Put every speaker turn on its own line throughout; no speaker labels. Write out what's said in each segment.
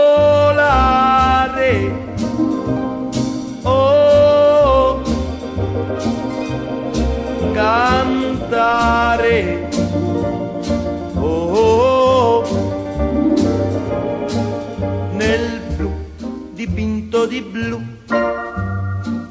Oh, Oh, di blu,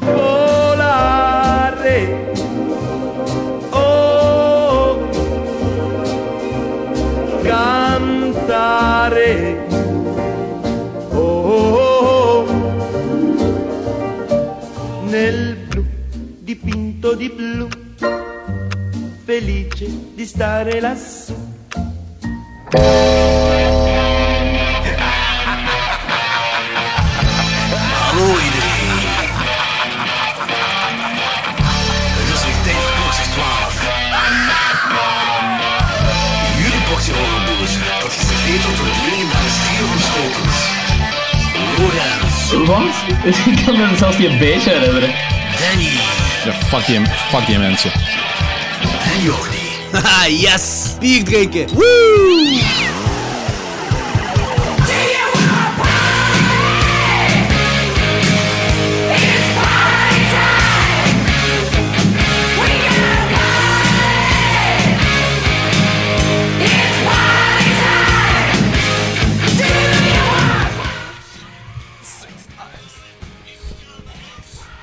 Volare, oh, cantare, oh, oh, oh. nel blu dipinto di blu, felice di stare lassù.
Je suis Dave pour ce soir. Jullie boksen over boers. Dat is de veto tot het dringen naar de stier van schotels. Lorenz,
Wat? Ik kan me zelfs niet een beetje herinneren.
Danny
Ja, fuck, die, fuck die mensen.
en Jordi. Ah,
Haha, yes! Bier drinken! Woo!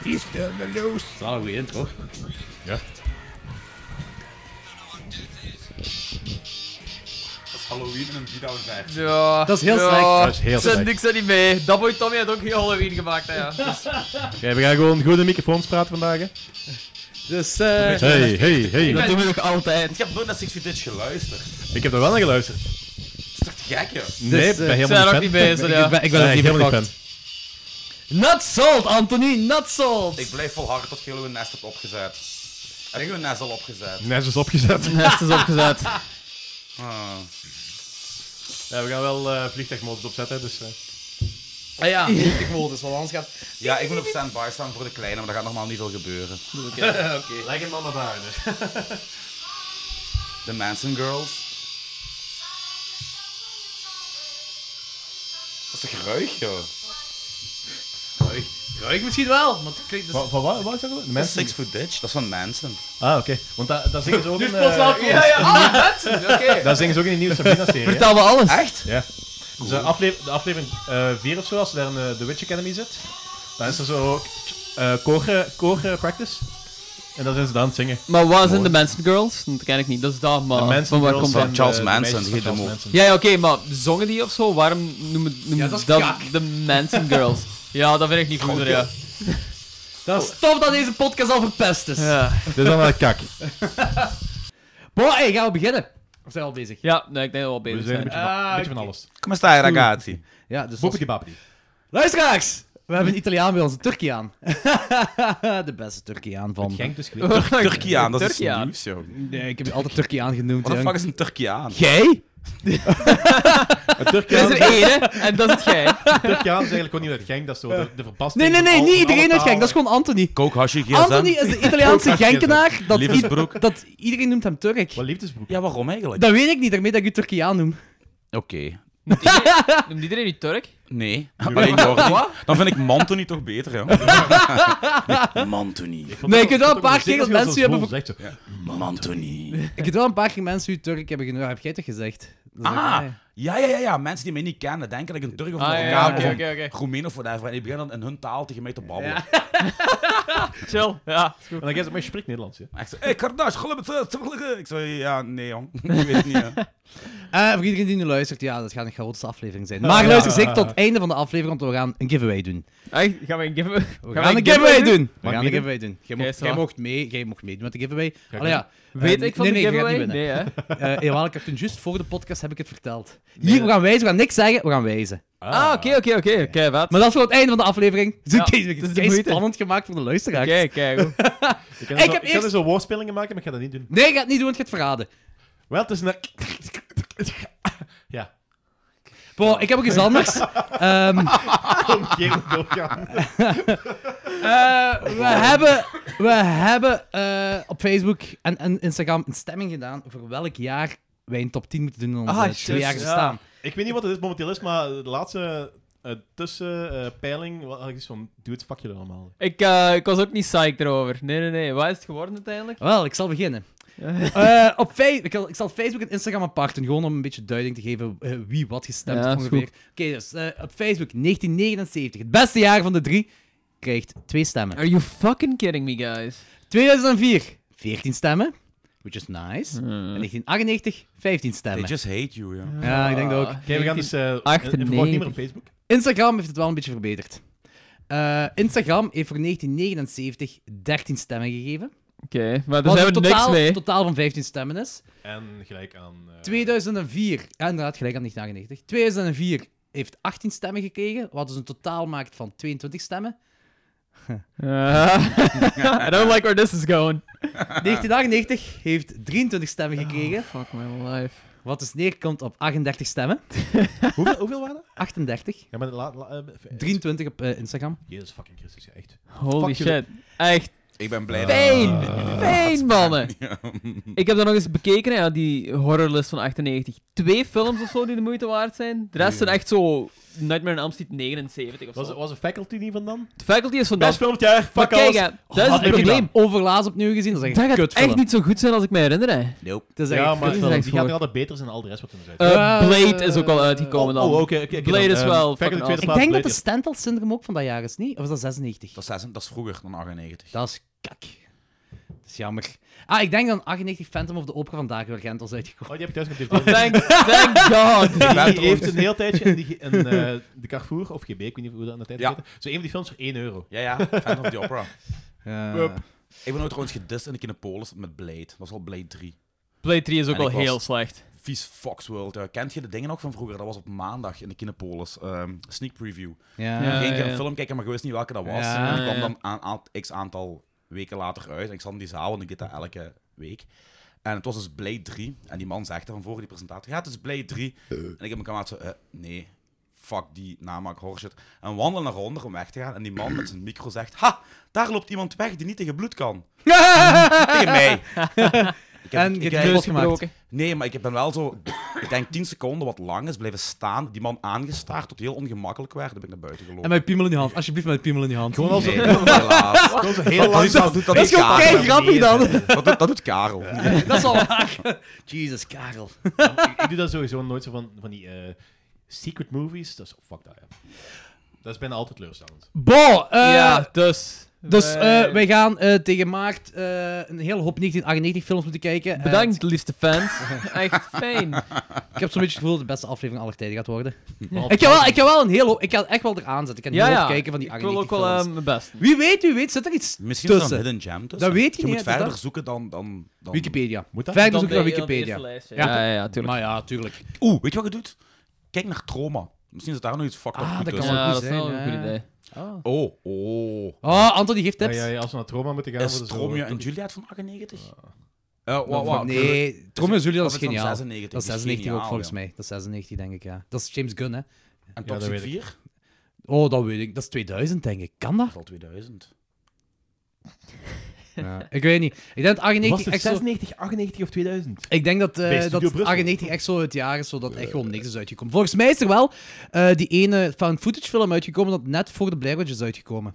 Dat is wel een goeie intro.
Ja.
Halloween en Vida 5.
Ja.
Dat is heel
ja.
slecht.
Dat is heel
Er zit
slecht.
niks aan die mee. Dat boy Tommy had ook heel Halloween gemaakt, hè, ja.
Oké, we gaan gewoon goede microfoons praten vandaag. Hè.
Dus, eh...
Hey, hey, hey.
doen we nog altijd.
Ik heb nooit naar Six Feet Ditch geluisterd. Dat
Ik heb er wel naar geluisterd.
is toch te gek, joh?
Nee,
eh,
ik ben
Ze zijn er
helemaal
ook niet
niet fan.
bij, zo, ja.
Ik ben, ik ben
Nee,
het
ik
niet
ben helemaal
verpakt.
niet fan.
Not sold, Anthony, not sold!
Ik blijf volharden tot jullie een nest hebt opgezet. Heb je een nest al opgezet?
Net is opgezet.
Nest is opgezet.
Ah.
Ja, we gaan wel eh vliegtuigmodus opzetten, dus... eh.
Ah ja.
modus, want anders gaat...
Ja, ik moet op stand-by staan voor de kleine, maar dat gaat normaal niet veel gebeuren.
Leg hem dan naar buiten.
De Manson Girls. Wat een geruig, joh.
Ruik misschien wel, want het klinkt dus...
Van, van wat? Wat is dat? De mensen?
Six Foot Ditch, dat is van Manson.
Ah, oké. Want daar daar zingen ze ook in... eh,
Ja, ja, ah, mensen! Oké.
daar zingen ze ook in die nieuwe Sabrina-serie. hè.
Vertel me alles.
Echt?
Ja. Dus eh, afle- de aflevering 4 of zo, als ze daar in eh, The Witch Academy zit, dan is er zo eh core, core practice. En dan zijn ze dan aan het zingen.
Maar wat zijn de Manson Girls? Dat ken ik niet, dat is dat, maar...
De
Ah,
mensen
van waar komt dat?
zijn-
eh,
Charles Manson, die demo.
Ja, ja, oké, maar zongen die of zo? Waarom noemen, noemen
dat is kak.
de Manson Girls? Ja, dat vind ik niet goed, ja. Oh.
Dat is tof dat deze podcast al verpest is.
Ja,
Dit is dan een kak.
Boah, hey, gaan we beginnen? Of zijn we al bezig?
ja nee, ik denk dat we al
Dus We
bezig
zijn een
zijn.
beetje, van, een beetje van alles.
Kom eens daar, ragazzi.
Ja, dus...
Boepity
Luisteraars! We hebben een Italiaan bij ons, een Turkiaan. de beste Turkiaan van...
Genk dus
Turkiaan, dat is
Turkiaan.
nieuws, joh.
Nee, ik heb je altijd Turkiaan genoemd.
Wat de
jong.
fuck is een Turkiaan?
Jij?
Er
Turkiaan,
is er één, hè, en dat is het jij.
Turkiaan is eigenlijk gewoon niet uit Genk, dat is zo de, de verpasting.
Nee, nee,
van
nee,
al-
niet
van
iedereen
alle
uit Genk, dat is
talen.
gewoon Anthony.
Kook Hashi
Anthony is de Italiaanse Genkenaar. Dat, i-
Lievensbroek.
dat iedereen noemt hem Turk.
Wat liefdesboek.
Ja, waarom eigenlijk?
Dat weet ik niet, daarmee dat ik u Turkiaan noem.
Oké.
Noemt iedereen nu Turk?
Nee, alleen Jordi. Dan vind ik Mantony toch beter, joh. Mantony.
Nee, ik weet wel een paar keer dat mensen u hebben... ver-
Zegt, zo.
Mantony.
Ik weet wel een paar keer mensen u Turk hebben genoemd. Heb jij toch gezegd? Dat is ook-
Ah,
nee.
ja, ja, ja, ja. Mensen die mij niet kennen, denken dat ik een Turk of een
Ah, ja,
Marokkaan
ja,
of
oké,
een
oké, oké.
Roemeen of whatever. En die beginnen dan in hun taal tegen mij te babbelen.
Chill, ja.
En dan gaat het, maar je spreekt Nederlands, ja.
Echt zo, hey, Kardash, geloof het, eh, tuurlijk, eh." Ik zei, ja, nee, jong. Ik weet het niet, hè.
Eh, voor iedereen die nu luistert, ja, dat gaat een chaotische aflevering zijn. Maar luister zeker tot het einde van de aflevering, want we gaan een giveaway doen.
Echt, gaan we een giveaway
We gaan, een giveaway doen. We gaan een
meedoen?
giveaway doen. Jij
Oké,
mocht,
is
jij
waar.
mocht mee, jij mocht meedoen met de giveaway.
ik
Allee, ja,
Weet
eh,
ik van
nee,
de
nee, je gaat
giveaway?
niet winnen.
nee, hè.
Eh, jawel, ik heb toen juist voor de podcast heb ik het verteld. Hier, we gaan wijzen, we gaan niks zeggen, we gaan wijzen.
Ah, oké, oké, oké. Oké, wat?
Maar dat is voor het einde van de aflevering. Dus
Ja,
het
dat is
is
de moeite.
spannend gemaakt voor de luisteraars.
Kijk, kijk. goed.
Ik kan,
Ik
er zo,
heb
ik kan er
eerst-
zo woordspelingen maken, maar ik ga dat niet doen.
Nee, ik ga het niet doen, want ik ga het verraden.
Wel, het is een... Ja.
Bo, ik heb ook iets anders. Ehm,
Geen doorgaan.
eh, we hebben We hebben eh, op Facebook en, en Instagram een stemming gedaan voor welk jaar wij een top 10 moeten doen in onze
Ah,
twee
juist,
jaar
ja.
bestaan.
Ik weet niet wat het momenteel is, maar de laatste eh, tussenpeiling wat had ik zoiets van, doe het vakje er allemaal.
Ik, eh, ik was ook niet psyched erover. Nee, nee, nee. Wat is het geworden uiteindelijk?
Wel, ik zal beginnen. Eh, op Fe- ik, zal- ik zal Facebook en Instagram apart doen, gewoon om een beetje duiding te geven eh, wie wat gestemd
Ja,
heeft
is
ongeveer. Oké,
goed.
dus eh, op Facebook 1979, het beste jaar van de drie, krijgt twee stemmen.
Are you fucking kidding me, guys?
2004, 14 stemmen, which is nice. En 1998, 15
They
stemmen.
just hate you, ja.
Ja, ik denk dat ook.
Ah,
Oké, we gaan dus... eh, in- in vervolg niet meer op Facebook.
Instagram heeft het wel een beetje verbeterd. Eh, Instagram heeft voor 1979 13 stemmen gegeven.
Oké, maar Dus daar
wat
zijn we
een totaal,
niks mee.
totaal van 15 stemmen is.
En gelijk aan... eh,
2004, ja, inderdaad, gelijk aan 1998. 2004 heeft 18 stemmen gekregen, wat dus een totaal maakt van 22 stemmen.
Eh, I don't like where this is going.
1998 heeft 23 stemmen gekregen,
Fuck my life.
wat dus neerkomt op 38 stemmen.
hoeveel, hoeveel waren dat?
38.
Ja, maar la, la, eh, v-
23 op eh, Instagram.
Jezus fucking Christus, ja, echt.
Holy
Fuck jullie.
shit. Echt
Ik ben blij
pijn.
dat...
pijn, mannen.
Ja.
Ik heb dat nog eens bekeken, ja, die horrorlist van 98. Twee films of zo die de moeite waard zijn. De rest zijn echt zo... Nightmare in Elm Street 79 of zo.
Was, was de faculty niet van dan?
De faculty is van
Best
dat...
film het jaar,
Maar
fuck
kijk,
alles.
hè, dat is
Had
het
ik
probleem.
Overlaatst opnieuw gezien, dat is echt
Dat
een
gaat echt
kutfilm.
niet zo goed zijn als ik me herinner, hè.
Nope.
Dat is echt
Ja,
een
maar
is
film,
echt
die gaat
voor.
er altijd beter zijn dan al de rest wat er zijn.
Eh,
Ja,
Blade is ook al
eh,
uitgekomen dan.
oh, oké. oké, oké,
Blade
dan,
is
eh,
wel
Faculty
fucking
tweede
awesome.
Ik
plaats,
denk dat
Blade
de
eerste.
Stendhal-syndroom ook van dat jaar is, niet? Of is dat 96?
Dat is, zes- dat is vroeger dan 98.
Dat is kak. Dat is jammer. Ah, ik denk dat een 98 Phantom of the Opera vandaag weer Gent was uitgekomen.
Oh, die heb ik thuis nog op DVD.
Thank, thank god.
Die heeft een heel tijdje in, die, in eh, de Carrefour, of GB, ik weet niet hoe dat aan de tijd
Ja.
heette. Zo een van die films voor 1 euro.
Ja, ja. Phantom of the Opera.
Ja.
Ik ben ooit trouwens gedist in de Kinepolis met Blade. Dat was al Blade 3.
Blade 3 is ook
En ik
al
was-
heel slecht.
Vies Foxworld. ja. kent je de dingen nog van vroeger? Dat was op maandag in de Kinepolis. Ehm, sneak preview.
Ja.
Ja.
Geen keer
ja.
een film kijken, maar je wist niet welke dat was.
Ja,
en die kwam
ja.
dan aan, aan- x aantal weken later uit. En ik zat in die zaal, want ik deed dat elke week. En het was dus Blade 3. En die man zegt er van voren, die presentator, ja, het is Blade 3. En ik heb mijn kameraad zo, eh, nee, fuck die namaak, horseshit. En we wandelen naar onder om weg te gaan. En die man met zijn micro zegt, ha, daar loopt iemand weg die niet tegen bloed kan. tegen mij. Ik heb-
En
ik
je
heb-
hebt
Keus
kapot gemaakt.
gebroken.
Nee, maar ik ben wel zo, ik denk 10 seconden wat lang is blijven staan. Die man aangestaard tot hij heel ongemakkelijk werd. Dan ben ik naar buiten gelopen.
En mijn piemel in je hand. Alsjeblieft, mijn piemel in je hand.
Gewoon als
Nee,
een
helaas.
gewoon zo heel
Dat
lang.
is- dat doet- dat
Dat is
doet
gewoon
Karel.
kei grappig dan.
Dat doet, dat doet Karel.
Dat is al waar. Jesus, Karel.
Ik, ik doe dat sowieso nooit zo van, van die eh, secret movies. Dat is, oh, fuck dat, ja. Dat is bijna altijd teleurstellend.
Bo, eh,
ja, dus.
dus eh,
wij-
wij gaan eh, tegen maart eh, een hele hoop 1998 films moeten kijken. Eh,
Bedankt, liefste fans. Echt fijn.
ik heb zo'n beetje het gevoel dat het de beste aflevering aller tijden gaat worden.
Behalve-
Ik ga wel, ik ga wel een hele hoop... Ik ga echt wel eraan zetten. Ik ga
Ja,
heel
ja.
kijken van die
Ik wil
98
ook wel
films.
eh, mijn best. doen.
Wie weet, wie weet, zit er iets
Misschien is er
tussen?
een hidden gem tussen.
Dat weet je niet,
moet
hè,
verder
dat-
zoeken dan... dan, dan...
Wikipedia.
Moet dat?
Verder
Dan
zoeken naar
de- dan de
Wikipedia.
eerste lijst,
Ja.
Ja, ja, ja, tuurlijk.
Maar ja, tuurlijk.
Oeh, weet je wat je doet? Kijk naar trauma. Misschien is daar nog iets fucked
Ah,
up
dat
goed
kan
tussen.
wel
Ja,
goed
dat is wel
zijn,
een
ja.
goed idee.
Oh, oh.
Oh, Anton die geeft
Ja,
tips.
ja, ja, als we naar trauma moeten gaan...
Is
worden, zo-
Tromia en Juliet van 98? Eh, wa- wa-
Nee, Tromeo en Julia, dat is
Of het van
geniaal.
96,
Dat is
die
96 ook
geniaal,
volgens
ja.
mij. Dat is 96 denk ik, ja. Dat is James Gunn, hè.
En
Ja, dat
Toxic
weet ik.
4? Dat
Oh, dat weet ik. Dat is 2000 denk ik. Kan dat?
is al 2000.
Ja. Ik weet niet. Ik denk dat 98 echt zo-
96, 98 of 2000?
Ik denk dat, eh,
Bij Studio
dat
Brussel.
98 echt zo het jaar is, zodat echt gewoon niks is uitgekomen. Volgens mij is er wel eh, die ene found footage film uitgekomen dat net voor de Blair Witch is uitgekomen.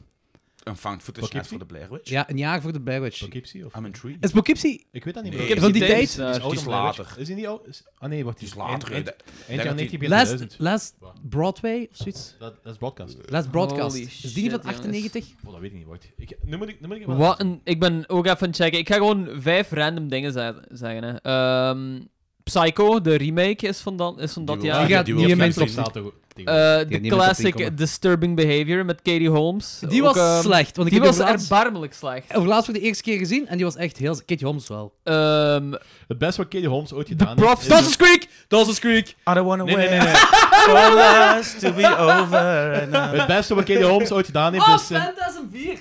Een found footage net
Poughkeepsie?
voor de Blair Witch.
Ja, een jaar voor de Blair Witch.
Poughkeepsie of...
I'm intrigued.
Is Poughkeepsie...
Ik weet dat niet
Nee.
meer.
Ik heb
van die tijd-
eh,
is ouder
is
dan Blair Witch.
later.
Is die niet oud? Is- Ah nee, wacht.
Die is
eind-
later.
eind-
hè.
Eind jaren 90, begin
Last,
2000.
last Broadway of zoiets?
Dat, dat is broadcast.
Last Broadcast.
Holy
is die niet van
shit, jongens.
98?
Oh, dat weet ik niet, wacht. Ik, nu moet ik... Nu moet ik even-
Wat een... Ik ben ook even aan het checken. Ik ga gewoon vijf random dingen ze- zeggen. Hè. Ehm, Psycho, de remake, is van, dan, is van dat
Die
jaar.
Die
Ja,
gaat
die
niet in
wil
mijn
ik
top
Die
graag zien.
10.
staat er-
Eh,
tegen-
die
de
moet op inkomen.
classic Disturbing Behavior met Katie Holmes.
Die
Ook,
was
ehm,
slecht, want ik
Die
heb
was
laatst-
erbarmelijk slecht.
Ik heb laatst voor de eerste keer gezien en die was echt heel... Katie Holmes wel.
Ehm
Het beste wat Katie Holmes ooit gedaan
prof-
heeft...
dat
is-
Creek! Dawson's Creek!
I don't wanna
Nee, nee, nee,
wait
nee.
for us to be over. and now.
Het beste wat Katie Holmes ooit gedaan heeft
Ah,
Oh,
is... eh,
Phantasm 4!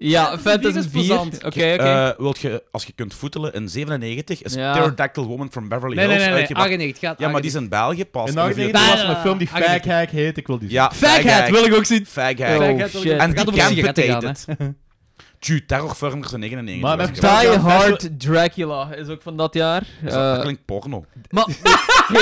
ja,
Phantasm Beat
Phantasm
is
4.
plezant.
Oké, oké.
Eh, wilt je, als je kunt voetelen, in 97 is
Ja.
Pterodactyl Woman from Beverly
Nee,
Hills
nee, nee, nee.
uitgebracht.
98 gaat
Ja, maar die is in België pas.
In
in de video-
1990 was er
Ah,
een film die
ah,
Fag Hack heet. Ik wil die zien.
Ja,
Faghead wil ik ook zien.
Faghead.
Oh,
Faghead wil ik
shit.
ook-
En
Het
die
gaat over sigaretten gaan,
campitated.
hè.
Tju, Terrorfilm is in 99.
Maar
Dat
met
is-
dat-
Die
Ja,
Hard Dracula is ook van dat jaar.
dat
Eh,
klinkt porno.
maar
Doe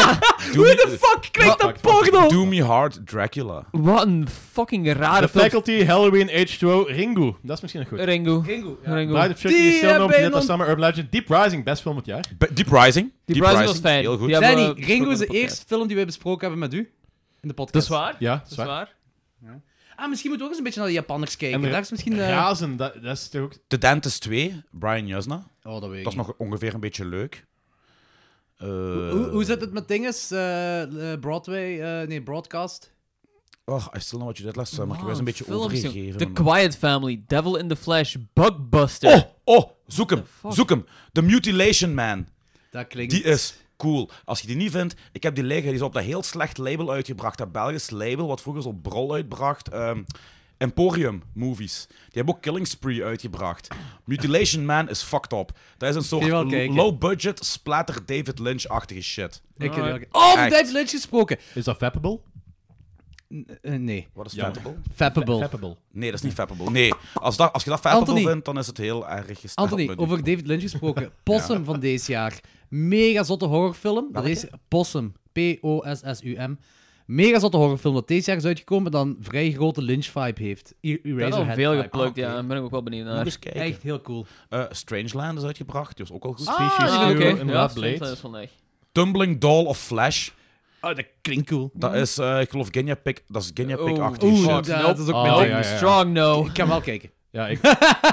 hoe de
me-
fuck klinkt
Wat?
dat porno?
Do me hard, Dracula.
Wat een fucking rare
The
film.
Faculty, Halloween, H2O, Ringu. Dat is misschien nog goed.
Ringo.
Ringo, ja.
Ringo.
Bride of Chucky,
Die
The Still No,
hebben
Planeta
een-
Summer, Urban Legend, Deep Rising, best film het jaar.
Be- Deep Rising.
Deep Rising was fijn.
Heel goed.
Die hebben we
Danny,
besproken
Ringo is de
op podcast.
eerste film die we besproken hebben met u. In de podcast.
Dat is waar.
Ja,
Dat is waar.
Ah, misschien moeten we ook eens een beetje naar de Japanners kijken.
En de-
Daar is misschien... eh,
Razen, dat, dat is toch ook...
The Dentist 2, Brian Jusna.
Oh, dat weet ik
Dat is
niet.
nog ongeveer een beetje leuk. Eh,
Hoe, hoe zit het met dinges? Eh, eh, Broadway... eh, nee, Broadcast.
Oh, I still know what you did last summer. ik
Wow,
was een beetje
films, jong. The
overgegeven.
Quiet Family, Devil in the Flesh, Bugbuster.
Oh, oh, zoek hem.
fuck?
Zoek hem. The Mutilation Man.
Dat klinkt...
Die eh, is cool. Als je die niet vindt, ik heb die liggen. Die is op dat heel slecht label uitgebracht. Dat Belgisch label, wat vroeger zo Brol uitbracht. ehm, Emporium Movies. Die hebben ook Killing Spree uitgebracht. Mutilation Man is fucked up. Dat is een
Kun je wel
soort
kijken.
low-budget, splatter David Lynch-achtige shit.
Ik ken die
Alright.
wel- Oh,
Echt.
Duits Lynch gesproken.
Is dat Fappable?
Eh, nee.
Wat is
Jammer.
fappable?
Fappable.
Fappable.
Nee, dat is niet fappable. Nee, als, dat, als je dat fappable
Anthony.
vindt, dan is het heel erg gesteld.
Anthony,
met u.
over David Lynch gesproken. Possum van deze jaar. Mega zotte horrorfilm. Dat is Possum. P-O-S-S-U-M. Mega zotte horrorfilm dat deze jaar is uitgekomen dan een vrij grote Lynch-vibe heeft. E-
Dat is al
Eraserhead
veel
vibe. Ah,
geplukt, ja. Daar ben ik ook wel benieuwd
Moet
naar.
eens kijken.
Echt heel cool.
Eh, Strangeland is uitgebracht, die was ook al goed.
Species
Ah,
2,
oké.
inderdaad,
Ja,
Blade.
dat is wel echt.
Tumbling Doll of Flash.
Oh, dat klinkt cool.
Dat is, eh, ik geloof, Genya Pick. Dat is Genya
Oh.
Pick-achtig.
Hmm. Oeh,
shit.
dat, dat is ook
Ah,
mijn
ja,
ding.
ja, ja.
Strong no.
Ik kan wel kijken.
Ja, ik...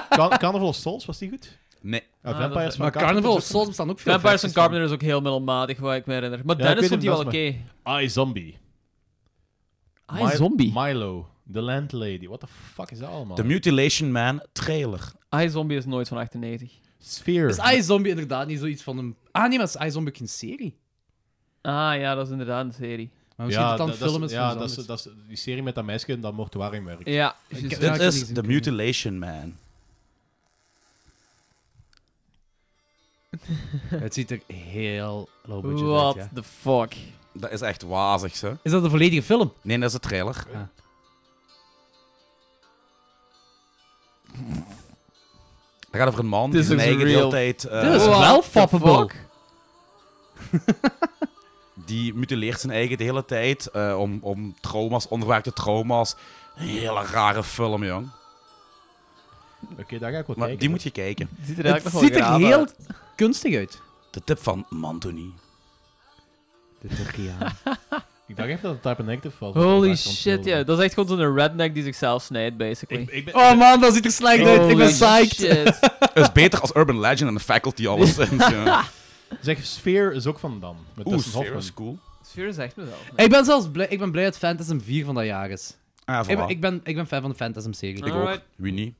Can- Carnival of Souls, was die goed?
Nee.
Ah,
Ah, dat
Vampires
is-
van
Maar Carnival of Souls bestaan ook veel.
Vampires and
versies
Carpenter is ook heel middelmatig, wat ik me herinner. Maar
Ja,
Dennis
ik weet
vond die wel
het
oké.
I, Zombie.
Ah,
Mi-
zombie.
Milo. The Landlady. What the fuck is dat allemaal?
The Mutilation Man trailer.
I Zombie is nooit van 98.
Sphere.
van. Is iZombie inderdaad niet zoiets van een... Ah nee, maar is iZombie ook een serie?
Ah ja, dat is inderdaad een serie.
Maar misschien dat dan
dat- dat
film is van
Ja, dat
zombies.
is, dat is die serie met dat meisje en dat mortuarium werkt.
Ja,
heb-
juist.
Ja,
Dit
heb
is
niet
The
gezien.
Mutilation Man.
Het ziet er heel low budget uit,
what
ja.
the fuck.
Dat is echt wazig, hè?
Is dat een volledige film?
Nee, dat is de trailer. Dat gaat over een man die
This
zijn
looks
eigen
real.
deeltijd... eh,
Dit is
What
wel
the
fappable.
fuck?
die mutileert zijn eigen de hele tijd eh, om, om trauma's, onverwerkte trauma's. Een hele rare film, jong.
Oké, daar ga ik wel
Maar
kijken.
die moet je kijken.
Het ziet er
Het
eigenlijk nog wel
ziet er
graaf
heel
uit.
kunstig uit.
De tip van Mantoni.
De Turkiaan.
Ik dacht even dat het Type Negative was.
Holy
Dat is
shit, ja. Dat is echt gewoon zo'n redneck die zichzelf snijdt, basically.
Ik, ik ben...
Oh man, dat ziet er slecht uit. Ik ben
Holy
psyched.
shit.
is beter als Urban Legend en de faculty alleszins. ja.
Zeg, Sphere is ook van Dam. Met
Oeh,
Dustin
Sphere
Hoffman.
is cool.
Sphere zegt me wel.
Ik ben zelfs blij, ik ben blij dat Phantasm 4 van dat jaar is.
Ah,
Ik ben,
voilà.
ik ben, ik ben fan van de Phantasm-serie.
Ik
Eh,
ook.
Oké,
Alright.
Wie niet?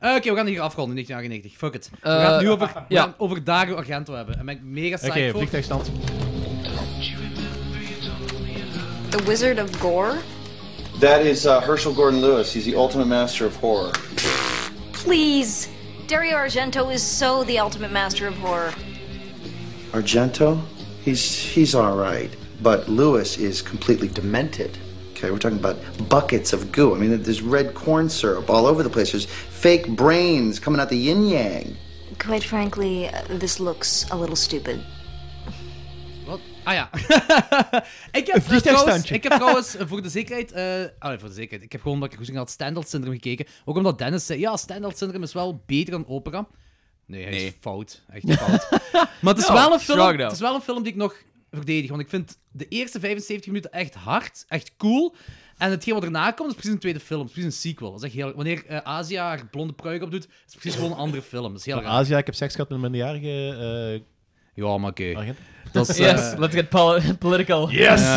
we gaan hier afronden, 1998. Fuck it. We
Eh,
gaan het nu over, we
ja.
gaan over Dario Argento hebben. En ben ik mega
Oké,
psyched voor.
vliegtuigstand.
The Wizard of Gore?
That is uh, Herschel Gordon Lewis. He's the ultimate master of horror.
Please! Dario Argento is so the ultimate master of horror.
Argento, he's he's all right, but Lewis is completely demented. Okay, we're talking about buckets of goo. I mean, there's red corn syrup all over the place. There's fake brains coming out the yin yang.
Quite frankly, uh, this looks a little stupid.
Wat? Ah ja. ik, heb, eh, trouwens,
vliegtuigstandje.
ik heb trouwens eh, voor de zekerheid... eh allee, voor de zekerheid. Ik heb gewoon dat ik goed had Standard Syndrome gekeken. Ook omdat Dennis zei, ja, Standard Syndrome is wel beter dan opera. Nee, hij is
Nee.
fout. Echt fout. maar het is, wel een film,
strong now.
het is wel een film die ik nog verdedig. Want ik vind de eerste 75 minuten echt hard, echt cool. En hetgeen wat erna komt, is precies een tweede film. Het is precies een sequel. Dat is echt heel... Wanneer eh, Asia haar blonde pruik opdoet, is het precies gewoon een andere film. Dat is heel raar.
Azië, ik heb seks gehad met een minderjarige
Ja, maar oké.
eh agent.
Dat is... eh,
Yes, let's get pol- political.
Yes!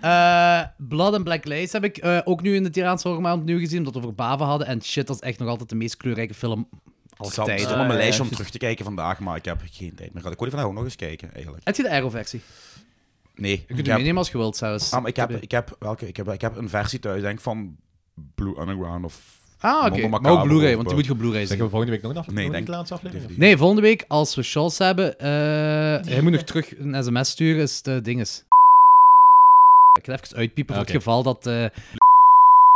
Eh, Blood and Black Lies heb ik eh, ook nu in de Tiraanse Horrormaand opnieuw gezien, omdat we over Bava hadden. En shit, dat is echt nog altijd de meest kleurrijke film aller
Het staat
tijden.
op mijn
ja,
lijstje om
juist.
terug te kijken vandaag, maar ik heb geen tijd meer gehad. Ik wil die vandaag ook nog eens kijken, eigenlijk.
Heb je de Arrow-versie? Je
Nee, ik
kunt
heb,
hem meenemen als je wilt, zelfs.
ah, maar ik, heb, ik, heb, welke, ik, heb, ik heb een versie thuis, denk ik, van Blue Underground of...
Ah, oké.
Mondo
Maar ook
Macabre
Blu-ray,
of,
want die
eh,
moet je op Blu-ray
Zeggen
zien.
we volgende week nog een aflevering?
Nee,
nog
denk-
een laatste aflevering?
DVD.
Nee, volgende week, als we shots hebben, eh hij moet nog terug een sms sturen, is de dinges. Ik ga het even uitpiepen voor
Oké.
het geval dat... eh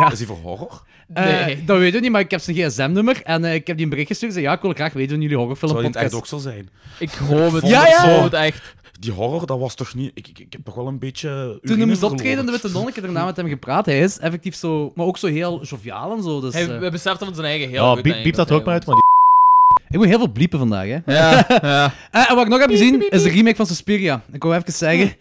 Ah. Is die voor horror?
Eh,
Nee.
dat weet ik niet, maar ik heb zijn gsm-nummer en eh, ik heb die een bericht gestuurd. Ik zei, ja, ik wil graag weten van jullie horrorfilm
Zou die in het echt
podcast.
ook zo zijn?
Ik hoop het.
Ja, ja.
Ik hoop het echt.
Die horror, dat was toch niet... Ik, ik, ik heb toch wel een beetje...
Toen hij
urine
moest optreden, de
verloren.
witte nonneke, daarna met hem gepraat. Hij is effectief zo, maar ook zo heel joviaal en zo. Dus,
Hij
eh,
we beseften van zijn eigen heel
Ja,
goed,
piep, piep dat er ook maar uit, maar die
ik moet heel veel bliepen vandaag, hè.
Ja, ja.
Eh, en wat ik nog heb gezien, is de remake van Suspiria. Ik wou even zeggen,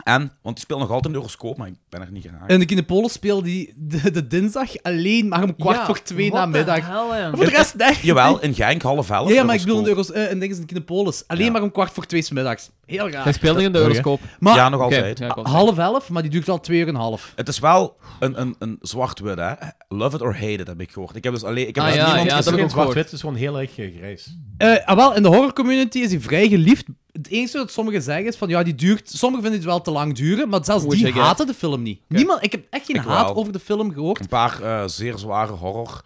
En, want die speelt nog altijd in de horoscoop, maar ik ben er niet geraakt.
in de Kinepolis speelde die de, de dinsdag alleen maar om kwart
Ja,
voor twee
what
na
the
middag.
hell, ja.
Maar voor de rest, nee.
Jawel, in Genk, half elf.
Ja, ja, maar ik bedoel
horoscoop.
in, de Euros, eh, in, dingen in Kinepolis. Alleen maar om kwart voor twee 's middags. Heel
Hij
raar.
speelde in de horoscoop. Ah.
Maar
Ja, nog
Oké,
altijd.
ja, ik was-
half elf, maar die duurt al twee uur en een half.
Het is wel een, een, een zwart-wit, hè. Love it or hate it, heb ik gehoord. Ik heb dus alleen... Ik
Ah,
heb dus
ja,
niemand
ja, dat
gezien.
heb
geen
ik ook gehoord.
zwart-wit, het is gewoon heel erg eh, grijs.
Eh, ah, wel, in de horrorcommunity is die vrij geliefd. Het enige dat sommigen zeggen is van ja, die duurt. Sommigen vinden het wel te lang duren, maar zelfs
Moet
die
zeggen.
haten de film niet. Niemand, ik heb echt geen
Ik
haat
wel.
over de film gehoord.
Een paar eh, zeer zware horror...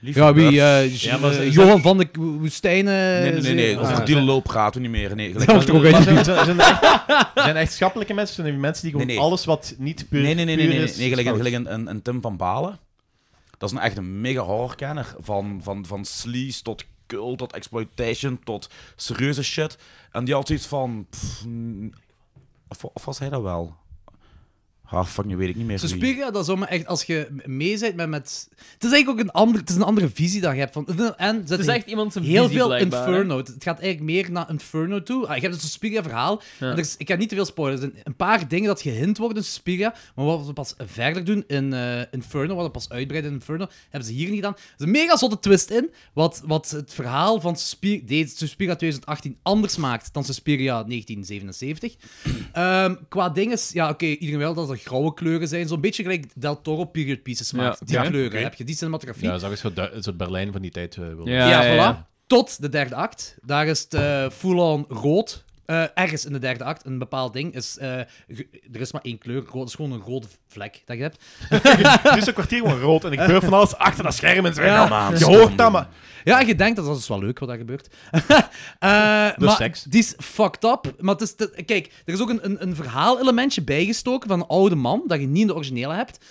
Ja, wie? eh,
Ja, maar
eh,
ze-
Johan van de Woestijnen.
Nee, nee, nee, nee. Over
Ah.
die loop praten we niet meer. Nee, gelijk-
eh, Dat wordt er ook
Maar
uit.
zijn, zijn, zijn, er echt, zijn er echt schappelijke mensen? Zijn er mensen die gewoon
Nee, nee.
alles wat niet puur,
nee, nee, nee, nee, nee,
puur
nee,
is...
nee, gelijk,
fout.
gelijk een, een, een Tim van Balen. Dat is een echt een mega horrorkenner. Van, van, van sleaze tot cult, tot exploitation, tot serieuze shit. En die had zoiets van... pff, mm, of, of was hij dat wel? Ah, fuck, nu weet ik niet meer. wie.
Suspiria, dat is zomaar echt als je mee bent met, met. Het is eigenlijk ook een, ander, het is een andere visie dat je hebt. Van, en zet
Het is
een-
echt iemand zijn
Heel
visie,
veel
blijkbaar, hè.
Inferno. Het het gaat eigenlijk meer naar Inferno toe. Ah, je hebt dus een Suspiria-verhaal.
Ja.
En er is- Ik ga niet te veel spoilers. Er zijn een paar dingen dat gehint worden in Suspiria. Maar wat we pas verder doen in eh, Inferno, wat we pas uitbreiden in Inferno, hebben ze hier niet gedaan. Er is een mega zotte twist in. Wat, wat het verhaal van Suspiria, deze Suspiria 2018 anders maakt dan Suspiria 1977. Ehm, qua dingen is, ja, oké, iedereen wel dat er grauwe kleuren zijn. Zo'n beetje gelijk Del Toro Period Pieces
Ja,
maakt. die
oké.
kleuren
Oké.
heb je, die cinematografie.
Ja, dat is ook zo du- het soort Berlijn van die tijd. eh, wil-
Ja,
Ja,
ja,
voilà.
ja.
Tot de derde act. Daar is het eh, full-on rood. Eh, ergens in de derde act, een bepaald ding, is... eh, ge- er is maar één kleur, rood, het is gewoon een rode vlek dat je hebt.
Nu is het kwartier gewoon rood en ik gebeurt van alles achter dat scherm en zo.
Ja.
Ja, je hoort dat, maar...
Ja, en je denkt, dat dat is wel leuk wat daar gebeurt. Eh, maar
seks.
die is fucked up. Maar het is te- kijk, er is ook een, een, een verhaalelementje bijgestoken van een oude man, dat je niet in de originele hebt.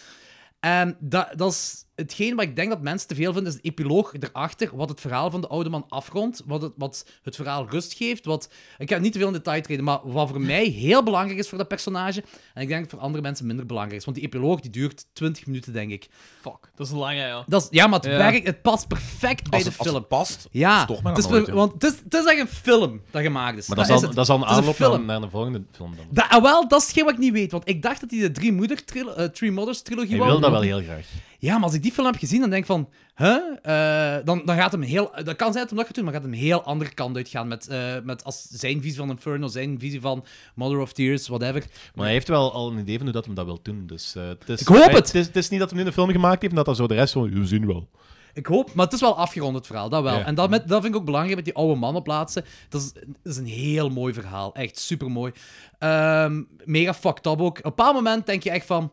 En dat, dat is hetgeen wat ik denk dat mensen te veel vinden, is de epiloog erachter, wat het verhaal van de oude man afrondt, wat het, wat het verhaal rust geeft. Wat, ik ga niet te veel in detail treden, maar wat voor mij heel belangrijk is voor dat personage, en ik denk dat voor andere mensen minder belangrijk is, want die epiloog die duurt 20 minuten, denk ik.
Fuck, dat is lang, hè, ja.
Dat is, ja, maar het,
Ja.
werkt, het past perfect bij
Als
de
het, als
film.
het past,
Ja,
stoort mij
het
dat
is,
nooit, hè.
want het is, het is echt een film dat gemaakt is.
Maar dat, is
is
al,
het.
dat is al een
Het is
aanloop naar,
film.
naar de volgende film dan.
Da- ah, wel, dat is hetgeen wat ik niet weet. Want ik dacht dat hij de Drie, moeder trilo- eh, Three Mothers trilogie
Hij
wou
wil dat wel
maken.
heel graag.
Ja, maar als ik die film heb gezien, dan denk ik van... Huh? Eh, dan, dan gaat hem heel... Dat kan zijn dat hem dat gaat doen, maar gaat hem een heel andere kant uitgaan. Met, eh, met als zijn visie van Inferno, zijn visie van Mother of Tears, whatever.
Maar hij heeft wel al een idee van hoe dat hem dat wil doen. Dus, eh, het is,
Ik hoop
hij-
het.
Het is, het is niet dat hij nu een film gemaakt heeft en dat dan zo de rest van... We zien wel.
Ik hoop, maar het is wel afgerond het verhaal, dat wel.
Ja.
En dat, met, dat vind ik ook belangrijk met die oude man op laatste. Dat is, dat is een heel mooi verhaal, echt super mooi. mega fucked up ook. Op een bepaald moment denk je echt van: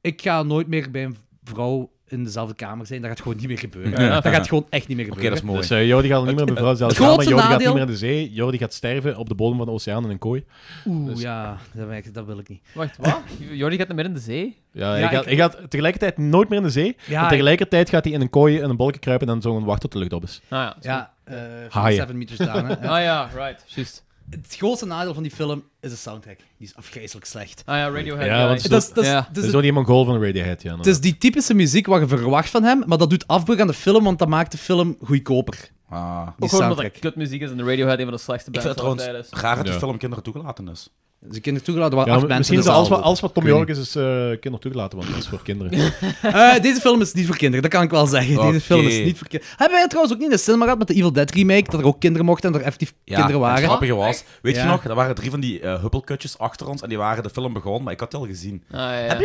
ik ga nooit meer bij een vrouw in dezelfde kamer zijn. Dat gaat gewoon niet meer gebeuren. Dat gaat gewoon echt niet meer
Oké,
gebeuren.
dat is mooi.
Dus eh, Jordi gaat niet meer mevrouw zelf
het
gaan, maar
grootste
Jordi gaat
nadeel-
niet meer in de zee. Jordi gaat sterven op de bodem van de oceaan in een kooi.
Oeh, ja, dat, ben ik- dat wil ik niet.
Wacht, wat? Jordi gaat naar midden in de zee?
Ja, hij,
Ja,
gaat,
ik-
hij gaat tegelijkertijd nooit meer in de zee.
Ja,
en
ik-
tegelijkertijd gaat hij in een kooi in een bolken kruipen en dan zo wachten tot de lucht op is.
Ah, ja. Ja.
Ja, eh
Haaien.
7 meters down. Hè.
Ah, ja, right. Juist.
Het grootste nadeel van die film is de soundtrack. Die is afgrijzelijk slecht.
Ah, ja, Radiohead.
Ja,
ja,
want
ja.
zo-
Dat is, dat is,
Ja.
dat
Dus
is
zo die Mongool van Radiohead, ja.
Het is die typische muziek wat je verwacht van hem, maar dat doet afbreuk aan de film, want dat maakt de film goedkoper. Die
Ah.
Ook gewoon omdat
soundtrack.
er kutmuziek is en de Radiohead een van de slechtste
Ik
bands
vind het
van alle tijden
trouwens
is.
raar dat die
Ja.
film kinderen toegelaten is.
Ze kinderen toegelaten waren
Ja,
acht
maar
mensen
misschien
in
is
de
alles
zaal.
wat, alles wat Tom
Ik weet
York is, is eh, kinderen toegelaten, want dat is voor kinderen.
Eh, deze film is niet voor kinderen, dat kan ik wel zeggen.
Oké.
Deze film is niet voor kinderen. Hebben wij trouwens ook niet in de cinema gehad met de Evil Dead remake, dat er ook kinderen mochten en er effectief
Ja,
kinderen
en Het
waren?
grappige was, weet
Ja.
je nog, er waren drie van die eh, huppelkutjes achter ons en die waren de film begonnen, maar ik had die al gezien.
Ah, ja.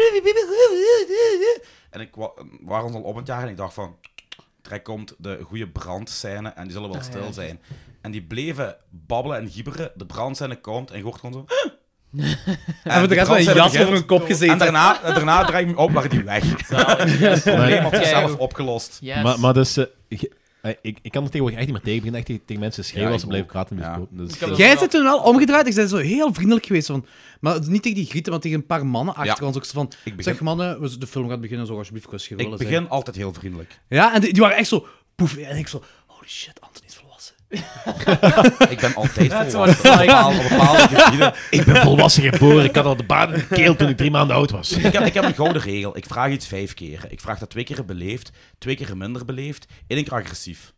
En ik wa waren ons al op het jaar en ik dacht van, trek komt de goede brandscène en die zullen wel
Ah,
stil
ja.
zijn. En die bleven babbelen en gieberen, de brandscène komt en je hoort gewoon zo... en
Hebben we de rest van een
brandscène
jas over
begint.
hun kop
En
gezeten?
daarna, en daarna draai ik me op, waren die weg. Het
Zalig.
probleem had
Kijk.
zichzelf opgelost.
Yes.
Maar, maar dus, eh, ge- eh, eh, ik, ik kan er tegenwoordig echt niet meer tegen. Ik begin echt tegen, tegen mensen te schreeuwen
Ja,
als ze
ik
blijven
ook.
praten. met
Ja.
kopen. Dus,
Ik heb
eh,
dat-
Jij bent toen wel omgedraaid. Ik zei zo heel vriendelijk geweest. Van, maar niet tegen die grieten, maar tegen een paar mannen achter ons. Ook zo van,
begin-
zeg mannen, we- de film gaat beginnen zo alsjeblieft kwestie
Ik
willen
begin altijd heel vriendelijk.
zijn. Ja, en die, die waren echt zo poef. En ik zo, holy shit, Anthony is volwassen.
Ik ben altijd
what it's
volwassen. Op bepaalde, op bepaalde gebieden.
ik ben volwassen geboren. Ik had al de baan in de keel toen ik drie maanden oud was.
Ik heb, ik heb een gouden regel. Ik vraag iets vijf keer. Ik vraag dat twee keer beleefd, twee keer minder beleefd, één keer agressief.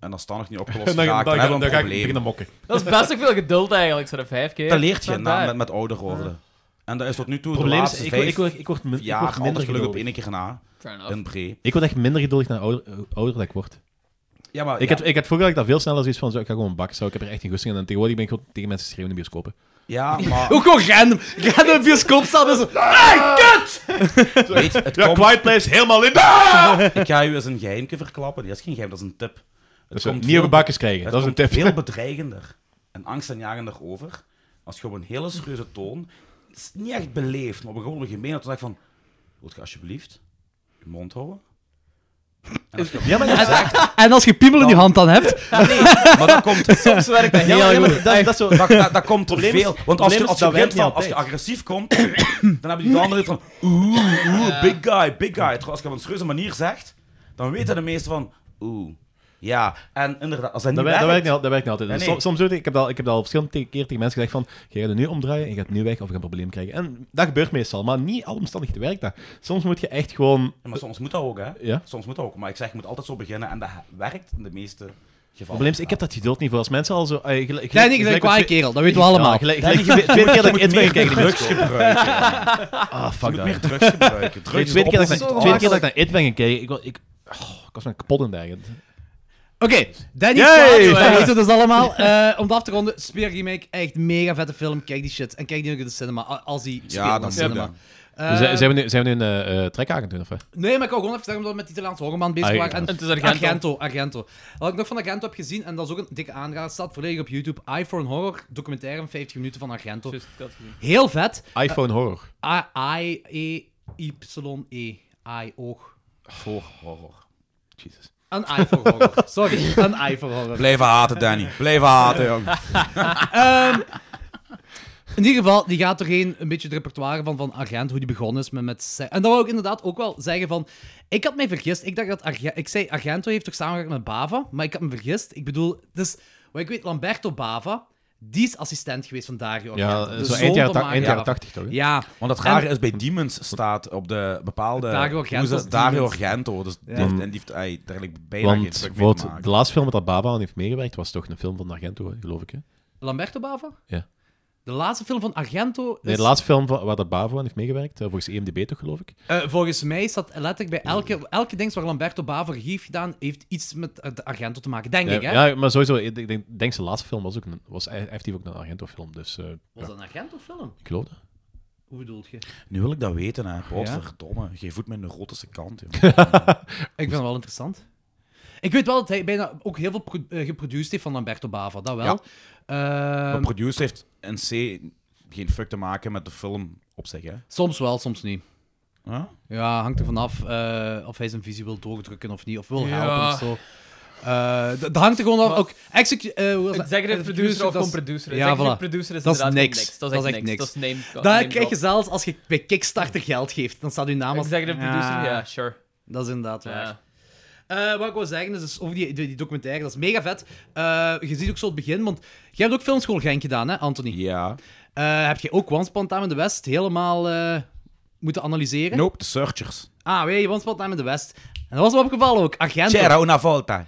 En als dat nog niet opgelost
En dan, dan,
raakt, dan,
dan,
hebben we
dan
een
ga ik beginnen
probleem.
mokken.
Dat is best ook veel geduld eigenlijk, zo'n vijf keer.
Dat leert je
Not
na,
bad.
met, met ouder worden. En dat is tot nu toe de
probleem is,
laatste
ik, word-
vijf
ik, word- ik, word, min- ik
jaar
word minder
anders geluk op
geduldig.
één keer na.
Fair enough.
In pre.
Ik word echt minder geduldig naar ouder, eh, ouder dat ik word.
Ja, maar
Ik,
ja,
had, ik had vroeger had ik dat veel sneller zoiets van, zo, ik ga gewoon een bak zo, ik heb er echt geen goesting in. En tegenwoordig ben ik gewoon tegen mensen schreeuwen in de bioscopen.
ja, maar
Ook gewoon random. Random bioscoopzaal. en Zo,
weet, het
Ja,
komt-
Quiet Place, helemaal in
ik ga u eens een geheimje verklappen. Dat is geen geheim, dat is een tip. Het
Dat
komt
nieuwe
veel-
bakjes krijgen,
Het
dat is een
komt
tip.
veel bedreigender en angstaanjagender over als je op een hele serieuze toon, het is niet echt beleefd, maar op een gewone gemeen toon zegt van, wilt je alsjeblieft je mond houden? En als je op-
Ja, maar, dat,
En als je piemel in die hand dan hebt.
maar dat komt,
Soms werkt dat
ja, maar- ja,
heel
maar
goed.
dat, dat is zo...
dat, dat, dat
Probleem
komt probleem
is-
veel. Want als
probleem
je,
is,
als, je
dat werkt
begint van,
niet
als je
altijd.
agressief komt, dan heb je die andere van, oeh, oeh, big guy, big guy. Terwijl als je op een serieuze manier zegt, dan weten de meesten van, oeh, ja. En inderdaad, als dat niet
Dat, werkt, dat, werkt
werkt,
niet, al- dat werkt niet altijd. Dus
Nee, nee.
Som- Soms, doe ik, ik heb dat, ik heb dat al verschillende te- keer tegen mensen gezegd van, ga je er nu omdraaien, je gaat nu weg of we gaan een probleem krijgen. En dat gebeurt meestal, maar niet alle omstandigheden werkt dat. Soms moet je echt gewoon...
Ja, maar soms moet dat ook, hè?
Ja.
Soms moet dat ook. Maar ik zeg, je moet altijd zo beginnen en dat werkt in de meeste gevallen.
Probleem is, ik heb dat geduld niet voor. Als mensen al zo... eh, gelijk- gelijk-
Nee, nee, je bent een
gelijk
kwaaie
met twee-
kerel. Dat weten we allemaal.
Ja, gelijk, gelijk, tweede keer dat ik iets ben
meer
gekeken,
drugs gebruiken.
Ah,
Je
fuck
moet
dat.
meer drugs gebruiken.
De
Drugs
tweede keer dat ik,
Zo
Oh,
naar- tweede keer dat ik
gemakkelijk.
naar It ben gekeken, ik, wa- ik, oh, ik was me kapot in de eigen.
Oké, Danny
Yay!
Staat, wij weten het dus allemaal. Eh, om het af te ronden, Spear Remake, echt mega vette film. Kijk die shit. En kijk die ook in de cinema, a- als die speelt in de
dan moet
cinema.
dat.
Eh,
Z- zijn, we nu, zijn we nu een eh, eh, trek aan het doen, of wat?
Nee, maar ik wou gewoon even zeggen omdat we met Italiaanse horrorman bezig
Ah, ja,
waren.
ja.
En
En het is Argento.
Argento, Argento. Wat ik nog van Argento heb gezien, en dat is ook een dikke aanrader, staat volledig op YouTube. Eye for an Horror, documentaire van 50 minuten van Argento.
Juist, ik had het gezien.
Heel vet. E,
iPhone horror.
A-I-E-Y-E. Eye, E. oog.
Voor horror.
Jesus.
Een eye for horror. Sorry, een eye for horror.
Blijven haten, Danny. Blijven haten, jong.
Ehm, in ieder geval, die gaat doorheen een beetje het repertoire van, van Argent, hoe die begonnen is met... met se- en dat wou ik inderdaad ook wel zeggen van... Ik had mij vergist. Ik dacht dat Arge- Ik zei, Argento heeft toch samengewerkt met Bava? Maar ik had me vergist. Ik bedoel, dus... Wat ik weet, Lamberto Bava, die is assistent geweest van Dario Argento.
Ja,
De
zo
zoon
eind jaren,
van
ta-
Mario
eind jaren
Bava.
80 toch? hè?
Ja,
Want het rare is, bij Demons staat op de bepaalde...
Dario Argento
hoe is dat?
is
Dario
Demons.
Argento. Dus die heeft- en die heeft ey, daar eigenlijk bijna geen
Want
druk mee te
bijvoorbeeld,
maken.
de laatste film met dat Baba aan heeft meegewerkt was toch een film van Argento, hè, geloof ik. Hè?
Lamberto Bava?
Ja.
De laatste film van Argento is...
Nee, de laatste film van- waar dat Bavo aan heeft meegewerkt, eh, volgens EMDB toch, geloof ik.
Eh, volgens mij staat letterlijk bij elke, elke ding waar Lamberto Bava regie heeft gedaan, heeft iets met eh, de Argento te maken, denk
Ja,
ik, hè?
ja, maar sowieso, ik denk, ik denk zijn laatste film was ook een, was effectief ook een Argento-film, dus eh,
Was dat een Argento-film?
ik geloof dat.
Hoe bedoel je?
Nu wil ik dat weten, hè. Godverdomme. Geef voet met een rotische kant, jong.
Ik vind het wel interessant. Ik weet wel dat hij bijna ook heel veel pro- eh, geproduceerd heeft van Lamberto Bava, dat wel. Ehm,
Maar producer heeft in C geen fuck te maken met de film op zich, hè.
soms wel, soms niet.
Huh?
Ja, hangt er vanaf eh, of hij zijn visie wil doordrukken of niet, of
Ja.
wil helpen of zo. Eh, d- dat hangt er gewoon af.
Maar-
Ook execu- eh, hoe was dat?
Executive
Eh,
producer of
dat is-
gewoon producer.
Ja,
Executive
voilà.
producer Oh, is
Dat is
inderdaad gewoon
niks.
Dat is echt niks. Dat is name
Daar
name
krijg je
drop.
zelfs als je bij Kickstarter geld geeft, dan staat uw naam als...
Executive producer,
Ah,
ja, sure.
Dat is inderdaad waar.
Ja.
Eh, wat ik wil zeggen is, dus over die, die, die documentaire, dat is mega vet. Eh, je ziet ook zo het begin, want jij hebt ook filmschool Genk gedaan, hè, Anthony?
Ja.
Eh, heb je ook Once Upon a Time in the West helemaal eh, moeten analyseren?
Nope, de Searchers.
Ah, weet je, Once Upon a Time in the West. En dat was me opgevallen ook. Argento.
C'era una volta.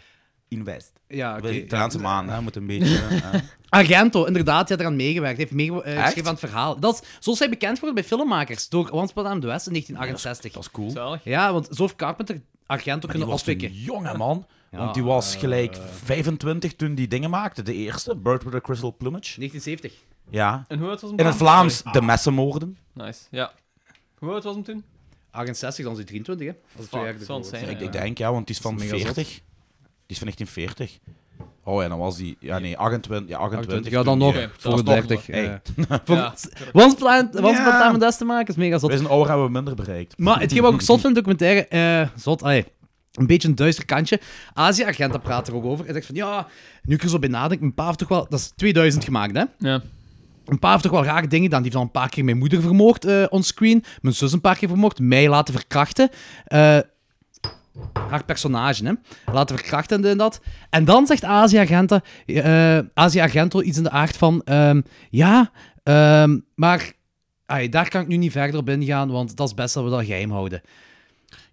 Invest.
Ja, oké.
De Italiaanse maan, hè, moet een beetje... eh, hè.
Argento, inderdaad, die had eraan meegewerkt. Hij heeft meegeschreven
Echt?
aan het verhaal. Dat is, zoals hij bekend wordt bij filmmakers, door Once Upon a Time in the West in 1968.
Dat is cool.
Zalig.
Ja, want zo heeft Carpenter Argento
Die
kunnen
was een
oppikken.
jonge man.
Ja, eh,
want die was gelijk 25 toen die dingen maakte. De eerste, Bird with a Crystal Plumage.
1970.
Ja.
En hoe oud was hem
In het
toen?
Vlaams, de messenmoorden.
Nice, ja. Hoe oud was hem toen?
68, dan is hij 23, hè? Dat is twee
Fuck,
jaar
zo'n
ervoor.
scène.
Ik, ik denk, ja, want die is van
Dat is mega
40. Die is van 1940. Oh ja, dan was die... Ja, nee, 28. Ja, 28
Ja, dan
toen
nog.
die- eh,
Oké, dat
voor
is
de
nog
30.
Hey.
eh.
Ja.
Once Upon Once Upon a
Ja.
Time in the West te maken is mega zot.
Wij zijn ouder hebben we minder bereikt.
Maar hetgeen wat ik zot vind in de documentaire... eh, zot, allee. een beetje een duister kantje. Azië-agenda praat er ook over. En zegt van, ja, nu ik er zo bij nadenk, een paar heeft toch wel... Dat is 2000 gemaakt, hè?
Ja.
Een paar heeft toch wel rare dingen gedaan. Die heeft al een paar keer mijn moeder vermoord eh onscreen. Mijn zus een paar keer vermoord. Mij laten verkrachten. Eh, haar personage, hè. Laten verkrachten en dit en dat. En dan zegt Asia Agenta... eh, Asia Argento iets in de aard van... ehm, ja, ehm, maar... ai, daar kan ik nu niet verder op ingaan, want dat is best dat we dat geheim houden.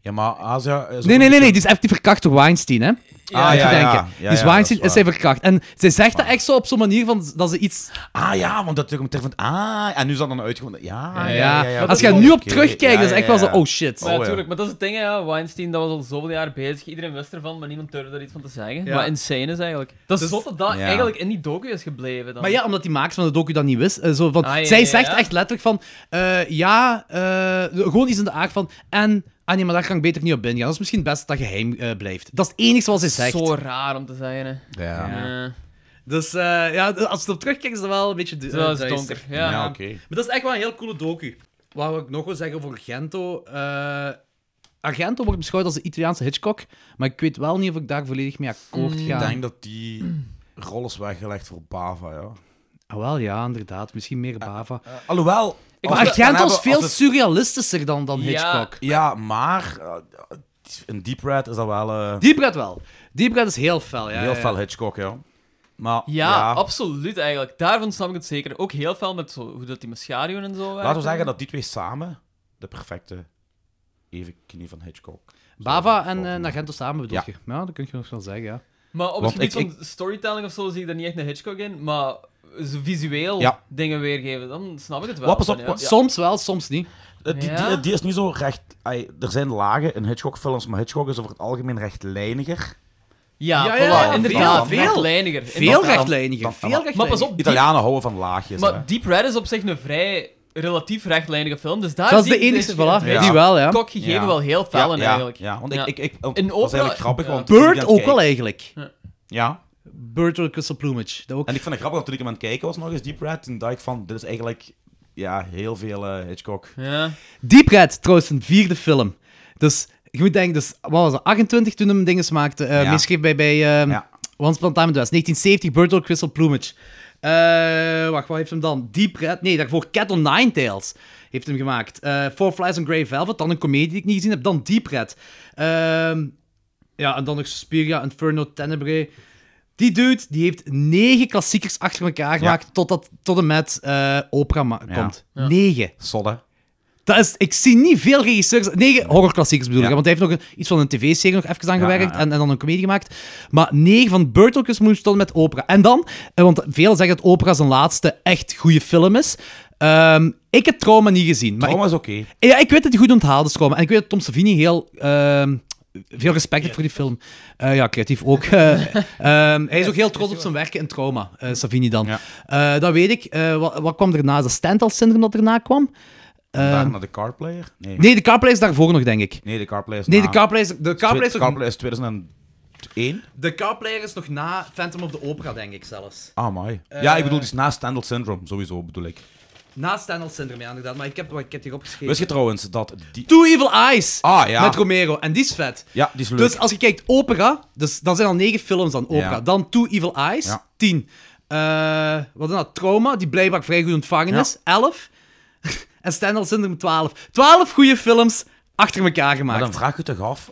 Ja, maar Azië... is ook
Nee, nee,
een
nee, nee.
beetje-
Die is echt die verkracht door Weinstein, hè?
Ah, ja,
te
ja,
denken.
ja.
die is
ja,
Weinstein
dat
is
is
zij
waar.
verkracht. En zij zegt dat echt zo op zo'n manier van, dat ze iets...
Ah ja, want dat documentaire van... Ah, en nu is dat dan uitgevonden. Ja, ja,
Ja,
ja. ja,
Als je
oké.
er nu op terugkijkt,
Ja,
dat is
ja,
echt wel zo...
ja.
Oh, shit.
Maar
Oh, ja.
natuurlijk, maar dat is het ding, hè, ja. Weinstein dat was al zoveel jaar bezig. Iedereen wist ervan, maar niemand durfde er iets van te zeggen.
Ja.
Wat insane is eigenlijk. Dat is zot dat dat
Dus- Ja.
eigenlijk in die docu is gebleven. Dan.
Maar ja, omdat die maakers van de docu dat niet wist. eh, zo van,
Ah, ja,
zij
ja,
zegt
ja.
echt letterlijk van... eh, ja, eh, gewoon iets in de aard van... En, ah nee, maar daar kan ik beter niet op ingaan. Dat is misschien best dat geheim eh, blijft. Dat is het enige wat zij zegt.
Zo raar om te zeggen, hè.
Ja, ja,
Ja.
Dus eh, ja, als je op terugkijkt, is dat wel een beetje du- eh,
Zo is het
duister.
donker. Ja, ja.
oké.
Maar dat is echt wel een heel coole docu. Wat wil ik nog wil zeggen over Argento? Eh, Argento wordt beschouwd als de Italiaanse Hitchcock, maar ik weet wel niet of ik daar volledig mee akkoord
Ik
ga.
Mm. denk dat die rol is weggelegd voor Bava, ja.
Ah, wel, ja, inderdaad. Misschien meer Bava.
Eh, alhoewel... als
maar
we het gaan
Argento is
hebben-
veel
als we
surrealistischer dan, dan
Ja.
Hitchcock.
het- Ja, maar... eh, in Deep Red is dat wel... eh,
Deep Red wel. Deep Red is heel fel, ja.
heel
ja.
fel Hitchcock, ja. Maar...
absoluut eigenlijk. Daarvan snap ik het zeker. Ook heel veel met zo, hoe dat die maschaduwen en zo werken.
Laten we zeggen dat die twee samen de perfecte evenknie van Hitchcock.
Bava en
Volgens
eh
mij.
Argento samen bedoel
Ja.
je? Ja, dat kun je nog wel zeggen, ja.
Maar op
Want
het gebied
ik-
van storytelling of zo zie ik daar niet echt een Hitchcock in, maar zo visueel
Ja.
dingen weergeven, dan snap ik het wel.
Wat, pas op,
Ja.
wat-
Soms wel, soms niet.
Eh, Die,
Ja?
die, die is niet zo recht. ai, er zijn lagen in Hitchcock-films, maar Hitchcock is over het algemeen rechtlijniger.
Ja,
Ja,
ja,
ja, ja,
inderdaad.
veel, veel.
rechtlijniger.
Veel
Inderdaad.
rechtlijniger.
dan-
Veel
maar-
Maar pas
rechtlijniger.
op, Deep,
Italianen houden van laagjes. hè.
maar Deep Red is op zich een vrij relatief rechtlijnige film, dus daar
Dat is
zie
de
ik
enige, voilà.
Hitchcock-
Ja.
Die wel, ja.
Hitchcock gegeven
Ja.
wel heel fel in
ja,
eigenlijk.
Ja, want
Ja.
ik. ik, ik
In
dat is
opera-
eigenlijk grappig.
ja.
Want toen ik
Bird
aan
ook
het
wel
kijken-
eigenlijk.
Ja.
Bird with Crystal Plumage. Dat ook.
En ik vind het grappig dat toen ik hem aan het kijken was nog eens Deep Red. Toen dacht ik van: dit is eigenlijk ja, heel veel eh, Hitchcock.
Ja.
Deep Red, trouwens, een vierde film. Dus je moet denken, dus, wat was dat, 28 toen hem dinges maakte? eh
Ja.
Meeschreef bij, bij eh,
Ja.
Once Upon a Time in the West. 1970, Bird with Crystal Plumage. Eh, wacht, wat heeft hem dan? Deep Red, nee, daarvoor Cat on Nine Tails heeft hem gemaakt. Eh Four Flies on Grey Velvet, dan een comedie die ik niet gezien heb, dan Deep Red. Ehm, ja, en dan nog Suspiria, Inferno, Tenebrae. Die dude, die heeft negen klassiekers achter elkaar gemaakt, totdat, tot en met eh, Opera ma-
Ja.
komt. Negen.
Sodde.
Dat is, ik zie niet veel regisseurs. Negen horrorklassiekers bedoel ik.
Ja.
hè, Want hij heeft nog een- iets van een tv-serie nog even aan
Ja,
gewerkt.
ja, ja.
En, en dan een comedie gemaakt. Maar negen van Burtlekus moest tot en met opera. En dan, eh, want velen zeggen dat opera zijn laatste echt goede film is. Ehm, ik heb Trauma niet gezien. Maar
Trauma
ik,
is oké.
ja, ik weet dat hij goed onthaald is, Trauma. En ik weet dat Tom Savini heel... ehm, veel respect heeft voor die film. Eh, ja, creatief ook. Eh, ehm, hij is ook heel trots op zijn werken in Trauma, eh, Savini dan.
Ja.
Eh, dat weet ik. Eh, wat, wat kwam daarna? Is dat Stendhal-syndroom dat erna kwam? Ehm,
Daarna naar de Carplayer? Nee.
Nee, de Carplay is daarvoor nog, denk ik.
Nee, de Carplayer is.
Nee, de
na-
Carplay is, de Carplay is,
Twi-
nog-
Carplayer is 2001.
de Carplay is nog na Phantom of the Opera, denk ik zelfs.
Ah, mooi. ja, ik bedoel, die is na Standard Syndrome, sowieso bedoel ik.
Na Standard Syndrome, ja, inderdaad. Maar ik heb, ik heb die opgeschreven.
Wist je trouwens dat die...
Two Evil Eyes
Ah, ja.
met Romero. En die is vet.
Ja, die is leuk.
Dus als je kijkt, opera, dus dan zijn al negen films dan opera.
Ja.
Dan Two Evil Eyes,
Ja.
tien. Eh, wat dan dat? Trauma, die blijkbaar vrij goed ontvangen
Ja.
is, elf. en Standard Syndrome, twaalf. Twaalf goede films achter elkaar
Maar
gemaakt.
dan vraag je toch af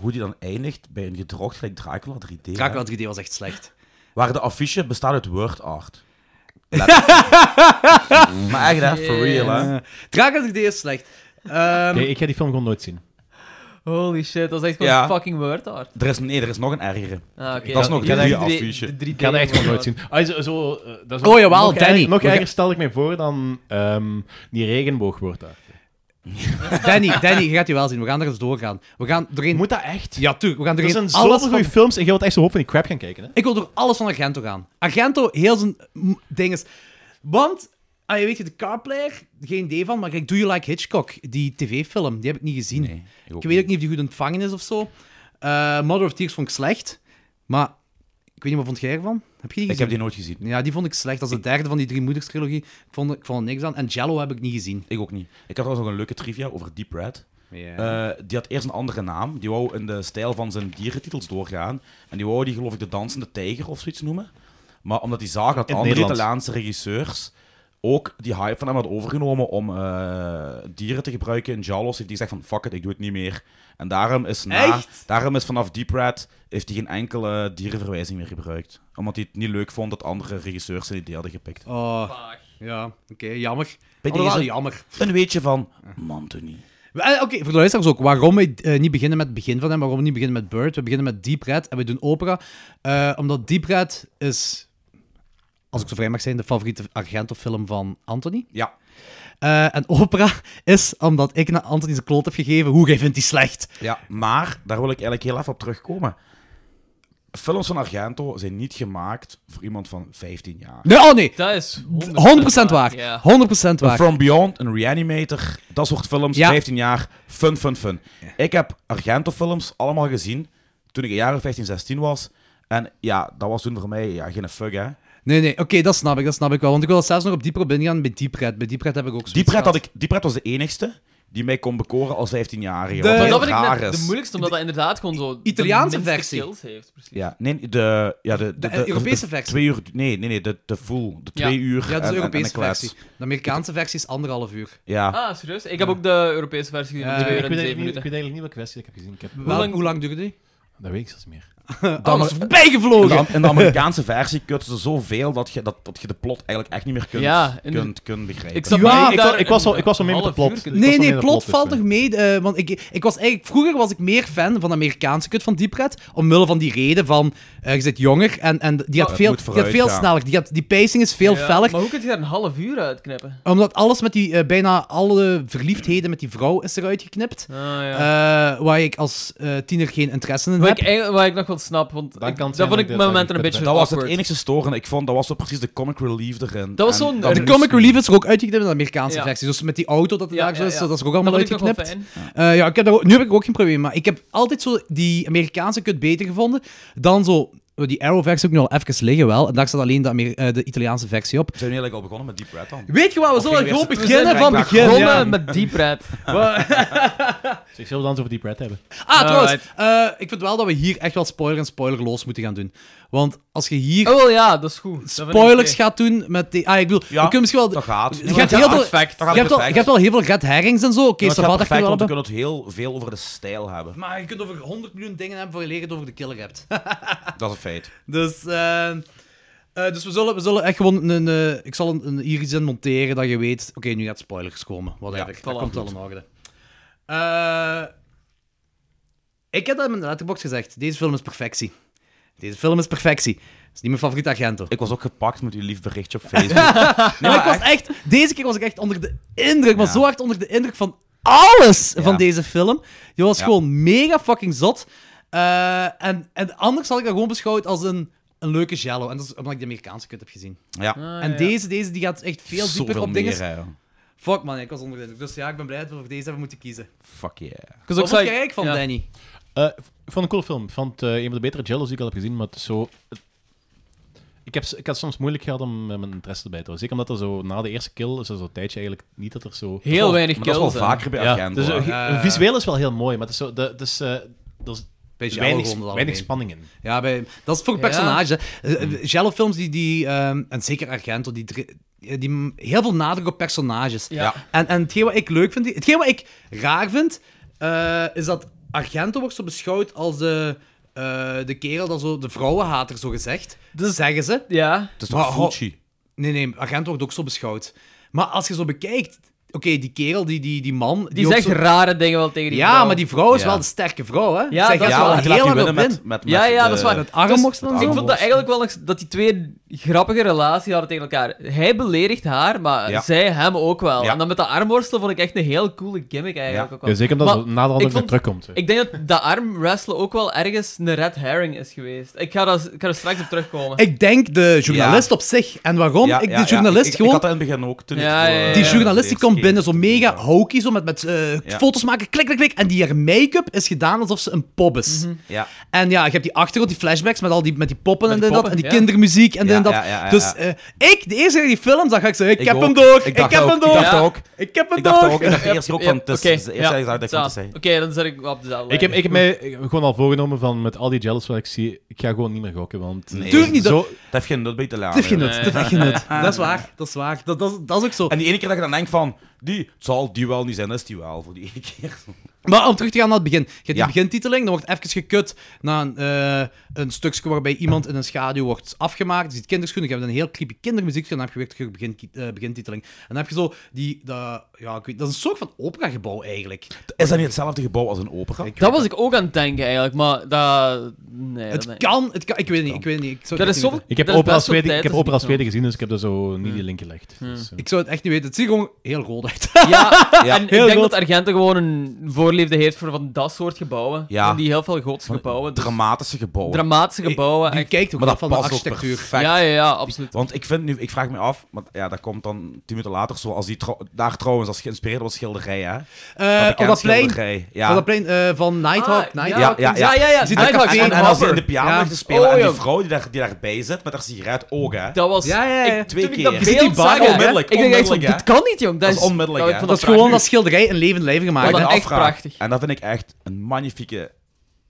hoe die dan eindigt bij een gedrocht gelijk Dracula 3D. hè?
Dracula 3D was echt slecht.
Waar de affiche bestaat uit word art. Let- maar echt, hè? For real, hè?
Dracula 3D is slecht. Ehm,
Oké, ik ga die film gewoon nooit zien.
Holy shit, dat is echt gewoon
Ja.
fucking word art.
Er is, nee, er is nog een ergere.
Ah, oké.
Dat is nog
Ik had
een goede
echt de drie-
affiche.
de drie
Ik ga dat echt
dingen
gewoon nooit
van-
zien. Ah, zo, zo, eh, dat is
Oh, jawel,
nog erger-
Danny.
Nog
Nog
erger stel ik mij voor dan ehm, die regenboog wordt daar.
Danny, Danny, je gaat die wel zien. We gaan er eens doorgaan. We gaan doorheen...
Moet dat echt?
Ja, tuurlijk. We gaan
Er
doorheen
zijn zoveel
alles
goede
van...
films en je wilt echt zo hoop van die crap gaan kijken. Hè?
Ik wil door alles van Argento gaan. Argento, heel zijn mm, ding is... Want, ah, je weet je, de carplayer, geen idee van, maar kijk, Do You Like Hitchcock, die tv-film, die heb ik niet gezien.
Nee, ik ook
ik weet ook niet of die goed ontvangen is of zo. Eh, Mother of Tears vond ik slecht, maar ik weet niet, wat vond jij ervan? Heb je die
Ik
gezien?
heb die nooit gezien.
Ja, die vond ik slecht. Dat is de derde van die drie moeders-trilogie. Ik vond, ik vond er niks aan. En Jello heb ik niet gezien.
Ik ook niet. Ik had trouwens nog een leuke trivia over Deep Red. Eh, die had eerst een andere naam. Die wou in de stijl van zijn dierentitels doorgaan. En die wou die, geloof ik, de Dansende Tijger of zoiets noemen. Maar omdat die zagen dat
In het
andere
Nederlands.
Italiaanse regisseurs ook die hype van hem hadden overgenomen om eh, dieren te gebruiken in Jalos, heeft hij gezegd van fuck it, ik doe het niet meer. En daarom is, na,
Echt?
daarom is vanaf Deep Red heeft hij geen enkele dierenverwijzing meer gebruikt. Omdat hij het niet leuk vond dat andere regisseurs zijn idee hadden gepikt.
Oh, ja, oké, jammer.
Bij
Alhoewel,
deze-
jammer.
Een weetje van Mantoni.
Eh, Oké, voor de luisteraars ook. Waarom we eh, niet beginnen met het begin van hem, waarom we niet beginnen met Bird, we beginnen met Deep Red en we doen opera. eh, omdat Deep Red is, als ik zo vrij mag zijn, de favoriete Argento-film van Anthony.
Ja.
Eh, en opera is, omdat ik naar Anthony zijn kloot heb gegeven, hoe jij vindt die slecht.
Ja, maar daar wil ik eigenlijk heel even op terugkomen. Films van Argento zijn niet gemaakt voor iemand van 15 jaar.
Nee, oh nee,
Dat is
100%
100%,
waar.
Ja.
100% waar.
From Beyond, een Reanimator, dat soort films,
Ja.
15 jaar, fun, fun, fun. Ik heb Argento-films allemaal gezien toen ik een jaar of 15, 16 was. En ja, dat was toen voor mij ja, geen fuck, hè.
Nee, nee, oké, dat snap ik, dat snap ik wel. Want ik wil er zelfs nog op dieper op ingaan bij Deep Red. Bij Deep Red heb ik ook zoiets
Die pret, had
gehad.
ik, die pret was de enigste die mij kon bekoren als 15-jarige.
De-
wat
Maar
heel
dat vind ik
raar
net de
is.
moeilijkste, omdat dat inderdaad gewoon zo... de
Italiaanse
minste
versie.
skills heeft, precies.
Ja, nee, de... Ja, de, de,
De Europese versie.
Twee uur... Nee, nee, nee, de, de full. De
Ja.
twee uur
Ja,
en-
dat is de
en- en
Europese
een kwets.
versie. De Amerikaanse versie is anderhalf uur.
Ja.
Ah, serieus? Ik heb ook de Europese versie gezien,
Eh,
op 2
Ik
uur
weet,
en 7
eigenlijk niet, ik
minuten.
weet eigenlijk niet welke kwestie ik heb gezien. Ik heb,
Wel- Hoe lang duurde die?
dat weet ik zelfs niet meer.
Eh,
Dan is
In
bijgevlogen!
de, in de Amerikaanse versie kutten ze zoveel dat je, dat, dat je de plot eigenlijk echt niet meer kunt,
Ja, en-
kunt, kunt begrijpen.
Ik zat
Ja,
mij
ik
daar
wa- ik was al- ik was al mee
een
met de
half
plot.
uur
was
Nee,
nog
nee,
meer de
plot
plot,
valt
dus,
nog mee. eh, want ik, ik was eigenlijk, vroeger was ik meer fan van de Amerikaanse kut van Deep Red. Omwille van die reden van, eh, je zit jonger en, en die had
het
veel,
moet
die had
vooruit
veel
gaan.
sneller. Die, had, die pacing is veel
Ja,
feller.
Maar hoe kun je daar een half uur uitknippen?
Omdat alles met die, eh, bijna alle verliefdheden met die vrouw is eruit geknipt.
Ah, ja.
Eh, waar ik als eh, tiener geen interesse in
Wat
heb.
ik, eigenlijk- wat ik nog wel snap, want
Dan
ik-
kan
dat vond
het zijn
ik
dat
mijn
ik
momenten een
dat-
beetje
dat was het
awkward.
enige storende. Ik vond dat was zo precies de comic relief erin.
Dat was
En
zo'n-
dat
de
er
is-
comic relief is er ook uitgeknipt in de Amerikaanse
Ja.
versie. Dus met die auto dat er
Ja,
daar zo
ja,
is,
ja.
dat is er ook
Dat
allemaal
vond ik nog wel
uitgeknipt.
fijn.
Eh, ja, ik heb daar ook- nu heb ik er ook geen probleem mee, maar ik heb altijd zo die Amerikaanse kut beter gevonden dan zo... Die Arrow-versie ook nu al even liggen wel. En daar staat alleen de, Amer- eh, de Italiaanse versie op.
Zijn we eigenlijk al begonnen met Deep Red dan?
Weet je wat, we
Of
zullen
gingen we
gewoon
eerst-
beginnen
We
van
zijn
begin.
begonnen
ja.
met Deep Red.
Dus ik zal het dan over die pret hebben.
Ah, trouwens.
Alright.
eh, ik vind wel dat we hier echt wel spoiler en spoilerloos moeten gaan doen. Want als je hier
Oh wel ja, dat is goed. Dat vind ik
spoilers
oké.
gaat doen met die... Ah, ik bedoel,
Ja,
we kunnen misschien wel...
Dat gaat.
Je hebt heel veel...
perfect.
Je hebt, wel, je hebt wel heel veel red herrings en zo. Oké,
dat
okay,
gaat
dat
perfect,
wel
want we
hebben.
kunnen het heel veel over de stijl hebben.
Maar je kunt over 100 miljoen dingen hebben voor je leger het over de killer hebt.
Dat is een feit.
dus eh, eh, dus we, zullen, we zullen echt gewoon een... een, eh, ik zal een, een, hier iets in monteren dat je weet... Oké, nu gaat spoilers komen. Whatever.
voilà,
dat komt wel in orde. Eh, ik heb dat in mijn letterbox gezegd. Deze film is perfectie. Deze film is perfectie. Het is niet mijn favoriete Argento.
Ik was ook gepakt met uw lief berichtje op Facebook.
Nee, maar ik was echt, deze keer was ik echt onder de indruk, maar zo hard onder de indruk van alles van
Ja.
deze film. Die was
Ja.
gewoon mega fucking zot. Eh, en, en anders had ik dat gewoon beschouwd als een, een leuke jello. En dat is omdat ik de Amerikaanse kut heb gezien.
Ah, Ja.
en deze, deze die gaat echt Ah, veel dieper
Zoveel
op
meer,
dingen.
hè.
Fuck man, ik was onder de indruk. Dus ja, ik ben blij dat we voor deze hebben moeten kiezen.
Fuck yeah.
Dus ook
Wat vond
zei-
jij eigenlijk van,
ja.
Danny?
Eh, ik vond het een coole film. Ik vond eh, een van de betere jellos die ik al heb gezien, maar het is zo... het- Ik, heb, s- ik had soms moeilijk gehad om eh, mijn interesse erbij te houden. Zeker omdat er zo, na de eerste kill is er zo'n tijdje eigenlijk niet dat er zo...
Heel weinig
Maar dat is wel
kills. hè.
vaker bij
Ja,
Argento.
dus,
hè.
eh,
Ja, ja.
visueel is wel heel mooi, maar het is zo, de, het is, eh, er is
Bij Jello
weinig,
gewoon dat
weinig
algemeen.
spanning in.
Ja, bij, dat is voor het
Ja.
personage. Eh, eh, Jello-films die, die ehm, en zeker Argento, die, dri- eh, die m- heel veel nadruk op personages.
Ja.
En, en hetgeen wat ik leuk vind, hetgeen wat ik raar vind, eh, is dat Argento wordt zo beschouwd als de, eh, de kerel, dat zo, de vrouwenhater, zo gezegd.
Dus-
zeggen ze.
Ja.
Het is
Maar
toch
ho-
Fulci?
Nee, nee, Argento wordt ook zo beschouwd. Maar als je zo bekijkt, oké, die kerel, die, die, die man.
Die
ook
zegt
zo-
rare dingen wel tegen die
Ja,
vrouw.
maar die vrouw is
Ja.
wel de sterke vrouw, hè?
Ja,
Zij
dat
gaat
is
wel
waar. een
Ja, die
heel
laat je
hard op
winnen
in.
met, met, eh, met
Ja, ja,
de-
dat is waar.
Met armworst en
met
zo.
Ik vond dat eigenlijk wel nog dat die twee grappige relatie hadden tegen elkaar. Hij beledigt haar, maar
Ja.
zij hem ook wel.
Ja.
En dan met dat armworstelen vond ik echt een heel coole gimmick eigenlijk.
Ja.
Ook wel.
Ja, zeker
Maar
omdat het naderhand
ik
weer
vond-
terugkomt. hè.
Ik denk dat dat armwrestelen ook wel ergens een red herring is geweest. Ik ga, dat, ik ga er straks op terugkomen.
Ik denk de journalist op zich. En waarom?
Ja,
ik,
ja,
de
ja.
journalist
Ik- ik,
gewoon...
had dat in het begin ook. Toen
Ja,
ik,
ja, ja.
die
eh,
journalist die
eerst
komt
keer-
binnen, zo mega hokey, zo met, met eh,
Ja.
foto's maken, klik, klik, klik. En die haar make-up is gedaan alsof ze een pop is.
Ja.
En ja, je hebt die achtergrond, die flashbacks met al die, met die poppen
Met
en
die
dit en dat. En
poppen,
die
ja.
kindermuziek en dit en dat.
ja, ja, ja,
dus
ja.
eh, ik, de eerste keer die film zag, ga ik zo, ik,
Ik
heb
ook.
hem door, ik,
Ik dacht
heb
ook,
hem
ik
door,
dacht ook.
ik heb hem
Ik dacht
door.
ook, ik dacht eerst ook van,
Yep,
het is
oké,
het is de eerste
ja,
dat ik
zaad.
dacht ik
Oké, dan zet ik wel op dezelfde
Ik heb,
lijn.
ik heb mij gewoon al voorgenomen van met al die gels wat ik zie, ik ga gewoon niet meer gokken, want...
Nee.
Tuurlijk niet, dat-
Zo,
Dat heeft geen nut bij te
Dat heeft geen
laten.
nut, dat heeft echt geen nut. Dat is waar, dat is waar. Dat, dat, is- dat is ook zo.
En die ene keer dat je dan denkt van, die het zal die wel niet zijn, dat is die wel voor die ene keer.
Maar om terug te gaan naar het begin. Je hebt die
Ja.
begintiteling, dan wordt even gekut naar een, eh, een stukje waarbij iemand in een schaduw wordt afgemaakt. Je ziet kinderschoenen, je hebt een heel creepy kindermuziek, en dan heb je weer terug een begin, eh, begintiteling. En dan heb je zo die, dat- ja, ik weet, dat is een soort van operagebouw eigenlijk.
Is dat niet hetzelfde gebouw als een opera?
Ik-
Dat was ik ook aan het denken eigenlijk, maar dat. Nee, dat
Het
nee.
kan, het kan, ik weet het niet, ik weet het niet. Ik zou
Dat
het
is
echt niet
zoveel.
ik heb
dat is
opera
best veel
Zweden, ik
tijd, dat
heb
is
opera
niet
Zweden gezien, dus ik heb daar zo niet die link gelegd.
Hmm.
Dus, eh.
weten. Ik zou het echt niet weten. Het ziet er gewoon heel rood uit.
zo. Ja, en ik
Heel
denk
goed.
dat Argento gewoon een voorliefde heeft voor van dat soort gebouwen.
Ja.
Van die heel veel godse gebouwen. dus
Dramatische gebouwen.
dramatische gebouwen.
Die
echt.
kijkt ook
maar
wel van
dat past
de
ook
architectuur.
perfect.
Ja, ja, ja, absoluut.
Want ik vind nu, ik vraag me af, want ja, dat komt dan tien minuten later zo. Als die trou- daar trouwens, als geïnspireerd was schilderij, hè?
Eh, op dat plein,
schilderij.
op
Ja.
dat plein eh, van Nighthawk.
Ah,
Nighthawk.
Ja, ja, ja. ja, ja.
Ziet er
Nighthawk
café-
En,
en
en als hij in
Hopper.
de piano
Ja.
ligt te spelen
Oh,
en
ja.
die vrouw die, daar, die daarbij zit met haar sigaret ook, hè?
Dat was.
Ja, ja, ja.
Ik,
Twee
toen ik dat
keer.
beeld
Je
ziet die
zag,
bar
hè,
onmiddellijk,
Ik denk echt zo,
onmiddellijk,
dit kan niet, jong. Dat
Dat
is,
is onmiddellijk,
dat- ik
hè.
vond
Dat is gewoon dat schilderij een levend lijf gemaakt.
Ja,
hè.
dat- echt prachtig.
En dat vind ik echt een magnifieke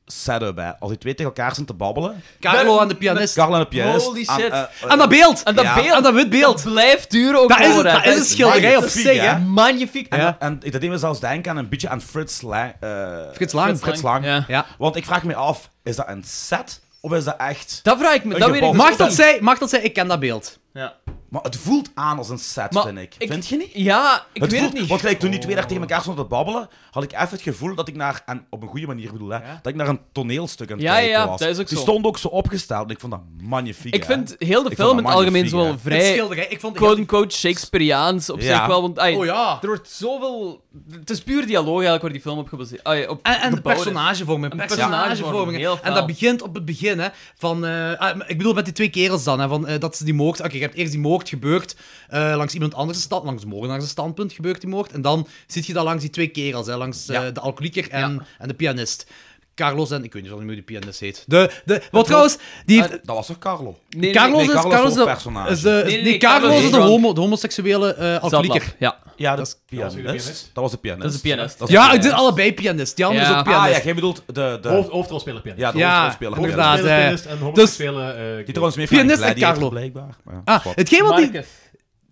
setup, hè? Als die twee tegen elkaar zijn te babbelen.
Carlo aan de pianist.
Carl en de pianist.
Holy
aan-
shit.
eh, eh,
Aan dat beeld!
En dat
Ja.
beeld.
Aan dat wit beeld.
Dat blijft duren ook
Dat is,
gewoon, hè.
dat is een schilderij op
magnifiek,
zich,
hè?
hè?
Magnifiek.
En,
Ja.
en dat deed me zelfs denken aan een beetje aan Frits Lang. eh,
Frits Lang.
Frits Lang.
Ja.
Ja.
Want ik vraag me af, is dat een set of is dat echt...
Dat vraag ik me.
Een
Dat weet ik
gebouw.
dus
Mag
ook
dat
niet.
zij, mag dat zij, ik ken dat beeld.
Ja.
Maar het voelt aan als een set,
Maar
vind ik. Vind je niet?
Ja, ik weet
voelt-
het niet.
Want gelijk, toen die twee daar tegen elkaar stonden te babbelen, had ik even het gevoel dat ik naar, en op een goede manier bedoel, hè, dat ik naar een toneelstuk aan het
Ja,
kijken
ja,
was.
dat is ook
die
zo.
stond ook zo opgesteld en ik vond dat magnifiek.
Ik
hè.
vind heel de
Ik
film
vond
in het
dat
algemeen
magnifiek,
zo wel
hè.
Het
vrij
schilderij, ik vond het
quote-unquote Shakespeareaans op
Ja.
zich wel. Want, ai,
Oh ja.
Er wordt zoveel... Het is puur dialoog eigenlijk waar die film op gebaseerd ai, op
En, en de
gebouwd is.
personagevorming.
personagevorming,
Personagevorming.
heel
En
fel.
dat begint op het begin, hè. Van, eh, ah, ik bedoel, met die twee kerels dan, hè. Van, eh, dat ze die moord... Oké, je hebt eerst die moord gebeurd eh, langs iemand anders' stand... Langs moordenaars standpunt gebeurt die moord. En dan zit je dat langs die twee kerels, hè. Langs eh, de alcoholieker en, en de pianist. Carlos en... Ik weet niet hoe die pianist heet. De, de, wat trouwens, die heeft...
Dat was toch Carlo?
Ah, Nee, nee,
Carlos,
nee,
nee,
is,
Carlos
Carlos
is
de-
hoofdpersonage.
is de,
Nee, nee,
nee,
nee,
Carlos
Carlos
is
is
de
drunk.
homo, de homoseksuele eh alcoholieker.
Zatlap, Ja.
Ja,
Dat
de
is-
pianist. Dat was de pianist.
Dat is de pianist.
Dat is de
Ja, ik
pianist.
deed allebei pianist. Die andere
Ja.
is ook
Ah
pianist.
ja, jij bedoelt de... de
Hoofd, hoofdrolspeler Pianist.
ja, de
Ja,
hoofdrolspeler.
inderdaad.
pianist.
eh,
eh, Hoofdrolspeler Pianist en
dus-
hoofdrolspeler eh,
Die trouwens meer
Pianist
van
en
Gladiator,
Carlo.
Blijkbaar. Maar ja,
Ah,
zwart.
hetgeen wat die...
Marcus.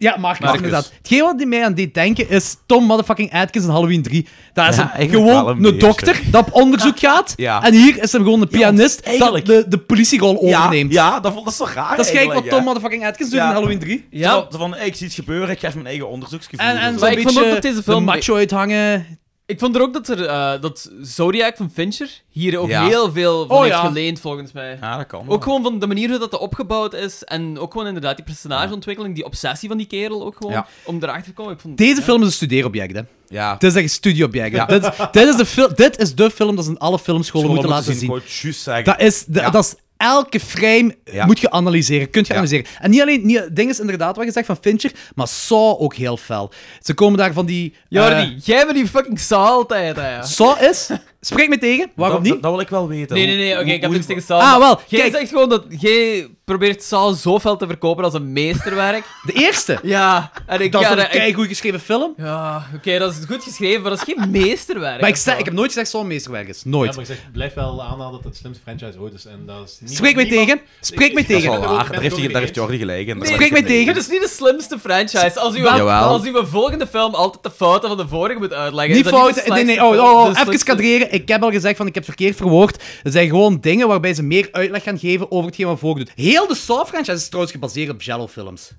Ja, Marcus,
Marcus.
inderdaad. Hetgeen wat die mij aan deed denken is Tom motherfucking Atkins in Halloween 3. Daar is
Ja,
hem
eigenlijk wel
gewoon
een
een
beetje.
dokter dat op onderzoek gaat.
Ja.
En hier is hem gewoon een pianist dat
eigenlijk-
de, de politierol
ja,
overneemt.
ja, dat vond ik zo raar
Dat is gelijk wat
eigenlijk,
Tom
hè.
motherfucking Atkins doet
Ja.
in Halloween 3.
Ja.
Zo van- zo van, hey, ik zie iets gebeuren, ik geef mijn eigen onderzoeksgevoel. Dus
En, en
Zo.
zo'n
ik vond
beetje
ook dat deze film-
de macho uithangen.
Ik vond er ook dat, er, eh, dat Zodiac van Fincher hier ook
Ja.
heel veel van
Oh,
heeft
ja.
geleend, volgens mij.
Ja, dat kan.
Ook gewoon van de manier hoe dat dat opgebouwd is. En ook gewoon inderdaad die personageontwikkeling, die obsessie van die kerel ook gewoon.
Ja.
Om erachter te komen. Ik vond,
Deze film is een studeerobject, hè.
Ja.
Het is echt een studieobject. hè. Dit, dit, is de fil- dit is de film dat ze in alle filmscholen moeten laten zien.
Gewoon juist zeggen.
Dat is, de-
Ja.
dat is elke frame
Ja.
moet je analyseren, kunt je
Ja.
analyseren. En niet alleen, niet, ding is inderdaad wat je zegt van Fincher, maar Saw ook heel fel. Ze komen daar van die...
Jordi,
eh,
jij bent die fucking saal altijd, hè. ja.
Saw is... Spreek me tegen, waarom
Dat-
niet?
Dat, dat wil ik wel weten.
Nee, nee, nee, oké,
Hoe-
ik heb
hoe-
niks tegen Saal.
Ah,
maar
wel,
Jij
kijk.
zegt gewoon dat jij probeert Saal zo veel te verkopen als een meesterwerk.
De eerste.
ja, en ik
Dat is
ja,
een
dat- ik-
keigoed geschreven film.
Ja, oké, dat is goed geschreven, maar dat is geen meesterwerk.
Maar ik, zeg,
of
ik
zo.
heb nooit gezegd Saw een meesterwerk is.
Ja,
Nooit.
maar ik zeg, blijf wel aanhalen dat het het slimste franchise ooit is. En dat is niet-
Spreek mij
niemand-
tegen. Spreek mij
Ik- ik-
Dat is
tegen.
ik
wel
ben het
waar,
ook-
daar
ben het
heeft,
ook
hij- daar
niet
heeft
eens.
Jordi gelijk in.
Nee,
Spreek mij tegen.
Het is dus niet de slimste franchise. Als u,
Jawel.
als u een volgende film altijd de fouten van de vorige moet uitleggen.
Niet
is dat Dus
fout.
de
Nee, nee, oh,
slechtste
oh,
film,
oh,
de
even
slechtste-
kadreren. Ik heb al gezegd van ik heb het verkeerd verwoord. Er zijn gewoon dingen waarbij ze meer uitleg gaan geven over hetgeen wat voordoet. Heel de Saw-franchise is trouwens gebaseerd op Jello-films.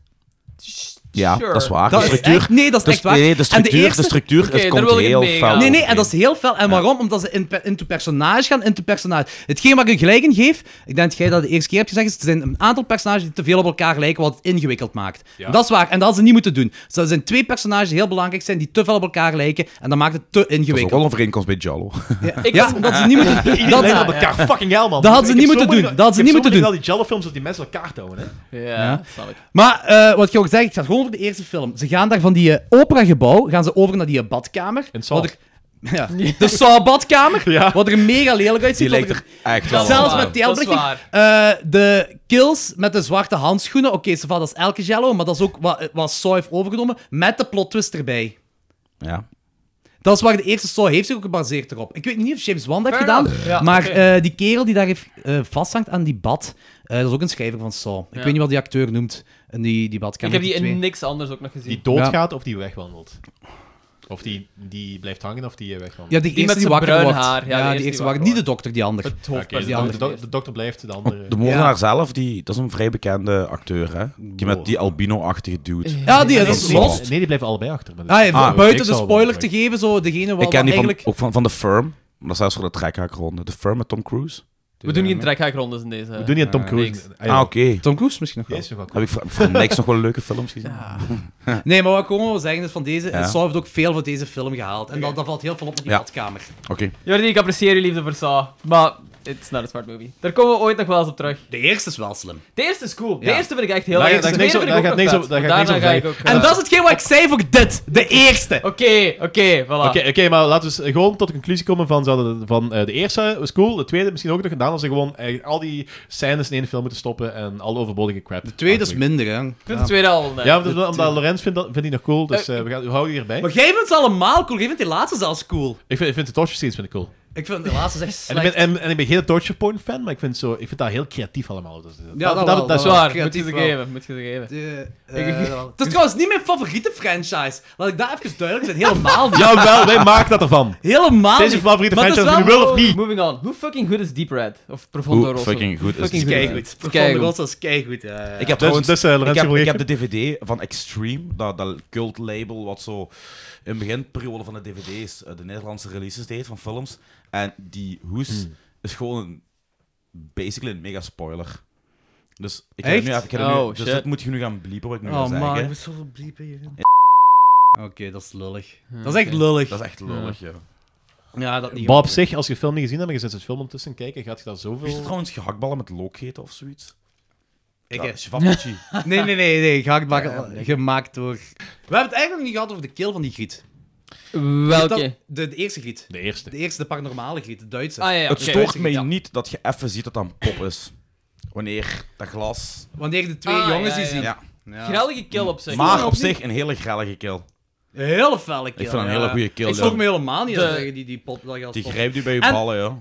Ja,
Sure.
dat is waar.
Dat
de
is
structuur,
echt- nee, dat is
de,
echt waar.
Nee, de structuur,
en de eerste...
de structuur
Oké,
het
daar
komt
wil ik
heel
mee
fel
gaan.
Nee, nee,
overeen.
en dat is heel fel. En waarom? Omdat ze in, pe- into personage gaan, into personage. Hetgeen waar ik u gelijk in geef, ik denk dat jij dat de eerste keer hebt gezegd, is er zijn een aantal personages die te veel op elkaar lijken, wat het ingewikkeld maakt. En Dat is waar, en dat hadden ze niet moeten doen. Dus er zijn twee personages die heel belangrijk zijn, die te veel op elkaar lijken, en dat maakt het te
Dat is ook
ingewikkeld.
wel een overeenkomst bij Jallo.
Ik
Ja,
was-
dat ze niet moeten doen.
Iedereen op
Dat,
elkaar, fucking hell, man.
Dat hadden ze
Ik
niet moeten
heb zo
doen.
moeilijk-
Dat hadden ze
ik heb
niet moeten
zo moeilijk
doen.
al die Jello-films dat die mensen elkaar te houden, hè.
Ja, snap ik.
maar eh, wat je ook zegt, ik ga gewoon op de eerste film. Ze gaan daar van die eh, operagebouw, gaan ze over naar die eh, badkamer.
In Saw.
Wat ik- Ja. De Saw-badkamer,
Ja.
wat er mega lelijk uitziet.
Die
wat
lijkt
ik-
er echt wel
Zelfs
op.
met die helmbelichting.
Dat is
Eh, de kills met de zwarte handschoenen. Oké, ze dat is elke jello, maar dat is ook wat, wat Saw heeft overgenomen. Met de plot twist erbij.
Ja.
Dat is waar de eerste Saw heeft zich ook gebaseerd erop. Ik weet niet of James Wan dat heeft
Fair
gedaan,
enough. Ah, Ja,
maar
oké.
eh, die kerel die daar heeft, eh, vasthangt aan die bad, eh, dat is ook een schrijver van Saw. Ik
Ja.
weet niet wat die acteur noemt, in die, die badkamer.
Ik heb die
twee.
in niks anders ook nog
Die
gezien.
doodgaat of die wegwandelt? Of die, die blijft hangen of die eh, wegwandelt?
Ja, die,
met
eerste die
zijn
wakker
bruin
wordt.
haar. Ja,
Ja,
de
die eerste wakker.
wordt.
Niet de dokter, die ander.
Het hoofd.
Oké, dus
die
de,
andere
de, de dokter blijft, de andere...
De moordenaar zelf, die, dat is een vrij bekende acteur, hè? Die met die albino-achtige dude.
Ja, die dat
Nee,
is
nee,
lost.
Nee, die blijven allebei achter. maar dat-
Ah, ja,
Ah,
buiten
ik
de
zal wel
spoiler te
zeggen.
geven, zo degene wat
Ik ken die van, Oh,
eigenlijk...
ook van, van The Firm. Maar dat is zelfs voor de trekhaakronde. The Firm met Tom Cruise.
We doen geen trekhaakrondes in deze.
We doen niet aan Tom
niks.
Cruise.
Ah, oké.
Tom Cruise misschien nog wel.
Jezus, wat
Heb ik voor, voor niks nog wel leuke films gezien?
Nee, maar wat ik gewoon wil zeggen is van deze...
Ja.
Saw heeft ook veel van deze film gehaald. En dat, dat valt heel veel op op die
Ja.
badkamer.
Oké.
Jordi, ik apprecieer je liefde voor Saw, maar it's not a smart movie. Daar komen we ooit nog wel eens op terug.
De eerste is wel slim.
De eerste is cool. De
Ja.
eerste vind ik echt heel
Daar
erg.
gaat- daar
De
gaat niks
tweede
op-
vind ik
daar
ook
gaat niks
nog
op-
vet.
daar gaat
Daarna
niks
ga
op
ik
zijn.
ook...
En
eh,
dat is hetgeen wat ik zei voor dit. De eerste.
Oké, oké, voilà.
Ah. Oké, oké, maar laten we eens eh, gewoon tot de conclusie komen van, zouden- van eh, de eerste was cool, de tweede misschien ook nog gedaan als ze gewoon eh, al die scènes in één film moeten stoppen en al overbodige crap.
De tweede is
min.
minder, hè.
Ik vind de tweede al... nee.
Ja, maar dat is wel omdat Lorenz vindt, dat- vindt die nog cool, dus eh, we, gaan, we houden hierbij.
Maar jij vindt ze allemaal cool. Jij vindt die laatste zelfs cool.
Ik vind, ik vind de torture scenes vind ik cool.
Ik vind de laatste echt
En ik,
slecht.
ben, en, en ik ben geen torture porn fan, maar ik vind, zo, ik vind dat heel creatief allemaal. Dus,
dat wel, dat
Dat is
wel.
waar, moet je
Creatief
ze
wel.
geven, moet je ze geven.
Eh, eh, het is trouwens niet mijn favoriete franchise. Laat ik daar even duidelijk zijn. Helemaal niet.
Jawel, wij maken dat ervan.
Helemaal
Deze
niet.
favoriete
Maar het is
franchise,
wel
nu wil of niet.
Moving on. Hoe fucking goed is Deep Red? Of Profondo
Hoe
Rosso?
fucking goed is
Fucking
die?
goed.
Keigoed.
Keigoed.
Profondo Rosso is keigoed. ja, ja, ja.
Ik heb,
Dus-
trouwens,
dus, eh, Lorenzo
ik, heb,
wil
ik
je-
heb de DVD van Extreme, dat, dat cult label wat zo in de beginperiode van de DVD's eh, de Nederlandse releases deed van films. En die hoes
Hmm.
is gewoon een, basically een mega spoiler. Dus ik heb
Echt?
nu, ik heb
Oh,
nu, dus
shit.
dat moet je nu gaan bliepen wat ik nu ga
Oh man, ik
zeggen.
moet zoveel bliepen hierin. Oké, dat is lullig. Ah, dat is echt
oké.
lullig.
Dat is echt lullig, ja.
Ja, dat niet.
Maar op zich, als je de film niet gezien hebt en je zet het film ondertussen kijken, gaat je daar
Is het
zoveel...
trouwens gehaktballen met look eten of zoiets?
Ik,
Ja,
eh,
Sjivapachi.
nee, nee, nee, nee. Gehaktbakken, gemaakt door... We hebben het eigenlijk nog niet gehad over de keel van die griet.
Welke?
Dat- de, de eerste griet.
De eerste.
De eerste, de paranormale griet, de Duitse.
Ah ja, ja.
Het
oké.
stoort mij
Ja.
niet dat je even ziet dat dat een pop is. Wanneer dat glas...
Wanneer de twee
Ah,
jongens
ja,
die zien.
ja.
Ja.
Ja.
Grellige kill op zich.
Maar op zich een hele grellige kill.
Een hele felle keel.
Ik vind een
ja.
hele goede kill.
Ik
ja.
schrok me helemaal niet
De-
als tegen die, die pot. dat gas
Die
pot.
grijpt u bij je
En-
ballen, joh.
Eh,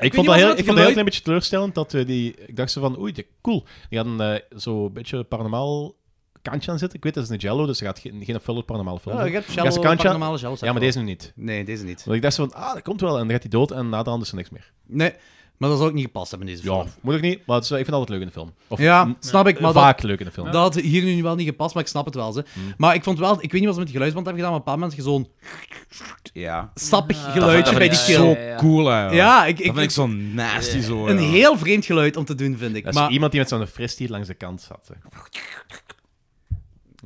weet
vond dat
niet
heel,
wat
ik
ze met
vond dat heel
geluid-
klein beetje teleurstellend dat we die... Ik dacht ze van, oei, die- cool. Die hadden eh zo'n beetje paranormaal kantje aan zitten. Ik weet, dat is een Jello, dus ze gaat geen, geen full paranormaal film
Ja,
zijn.
ik heb
Gaat
shallow,
ze kantje-
paranormale shallow.
Ja, maar deze nu niet.
Nee, deze niet.
Want ik dacht zo van, ah, dat komt wel. En dan gaat hij dood en naderhand is er niks meer.
Nee, maar dat zou ook niet gepast hebben in deze
Ja,
film.
moet ik niet, maar het is, wel- ik vind het altijd leuk in de film. Of
Ja,
m-
snap ik. Maar dat-
vaak leuk in de film.
Dat had hier nu wel niet gepast, maar ik snap het wel. Ze. Maar ik vond wel, ik weet niet wat ze met die geluidsband hebben gedaan, maar op een bepaald moment heb je
Ja.
zo'n sappig
Dat
geluidje
vind
bij
ik
die
ja,
kill.
zo
ja, ja.
cool, hè. joh.
Ja, ik,
Dat
ik,
vind ik zo nasty, zo.
een
joh.
heel vreemd geluid om te doen, vind ik.
Dat is
maar,
iemand die met zo'n fris die langs de kant zat. hè.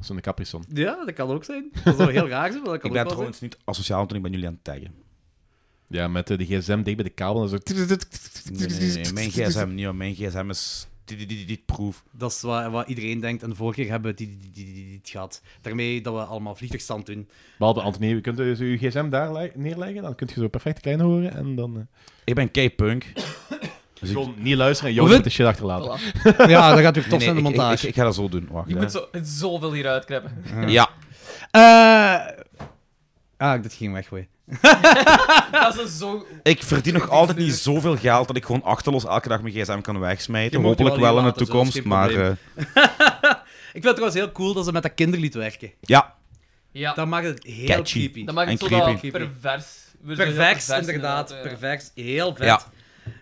Zo'n caprison.
Ja, dat kan ook zijn. Dat zou heel raar zijn, maar dat kan
Ik ben
ook wel
trouwens niet asociaal, want ik ben jullie aan het taggen.
Ja, met eh, de gsm dicht bij de kabel en zo.
Nee, nee, nee, nee, Mijn gsm niet, hoor. Mijn gsm is... dit- dit- dit- dit proef.
zijn. Dat is wat, wat iedereen denkt. En de vorige keer hebben we die, die, die, die, die- die- het gehad. Daarmee dat we allemaal vliegtuigstand doen.
Behalve Anthony, je kunt dus je gsm daar le- neerleggen, dan kun je zo perfect klein horen en dan... eh,
Ik ben K-punk.
gewoon niet luisteren en
Of
jou
het-
met de shit achterlaten.
Voilà.
Ja, dat gaat weer tof
Nee,
zijn, de
nee, ik-
montage.
Ik, ik, ik ga dat zo doen. Wacht,
Je
hè.
moet zo, zoveel hier uitknippen.
Ja.
Eh, Ah, dat ging weggooien.
Dat is zo...
Ik verdien nog altijd niet zoveel geld dat ik gewoon achterloos elke dag mijn gsm kan
Je
wegsmijten.
mag die
Hopelijk
wel
wel in de
laten, zo is
toekomst,
geen
maar...
probleem.
eh,
Ik vind het trouwens heel cool dat ze met dat kinderlied werken.
eh, Ja.
Ja,
Dat maakt het heel
Catchy.
creepy.
dat maakt het
en
zo dat
creepy.
pervers. We zijn eh, heel
Pervers, inderdaad.
ja.
Pervers, heel vet.
Ja.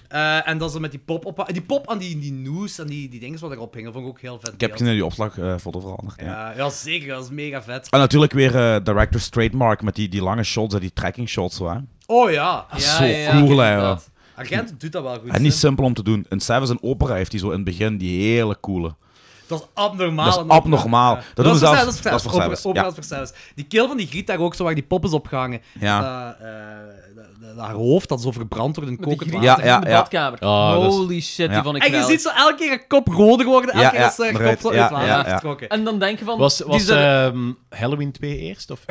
Eh, en dat ze met die pop op... Die pop aan die, die noes en die, die dingen wat erop hingen, vond ik ook heel vet.
Ik heb
beeld.
geen die opslagfoto veranderd. Ja.
ja. ja, zeker. Dat is mega vet.
En natuurlijk weer eh, Director's Trademark met die, die lange shots, en die tracking shots. Zo, hè.
Oh ja.
Zo cool, hè,
inderdaad.
Agent doet dat wel goed.
En niet
hè.
simpel om te doen. In Seven's en Opera heeft hij zo in het begin die hele coole.
Dat is abnormaal.
Dat
en
is abnormaal.
Ja.
Dat doen
is
we
voor
zelfs.
zelfs- Dat is voor zelfs. Opera-
Ja.
opera is voor zelfs. Die kill van die griet daar ook, zo waar die pop is opgehangen.
Ja.
Dat, eh, dat- dat- dat haar hoofd dat zo verbrand wordt in
Met die
kokend
griet
water.
Ja,
ja, ja,
ja,
in de
ja.
badkamer.
Oh, dat is-
Holy shit, die
Ja.
vond ik
En je
wel.
ziet zo elke keer haar kop roder worden, elke
Ja,
keer
ja,
als ze haar kop
eruit.
zo uit
Ja,
het water
ja,
heeft
ja.
getrokken.
En dan denk je van...
Was,
die
was
zijn-
ehm, Halloween 2 eerst? Of?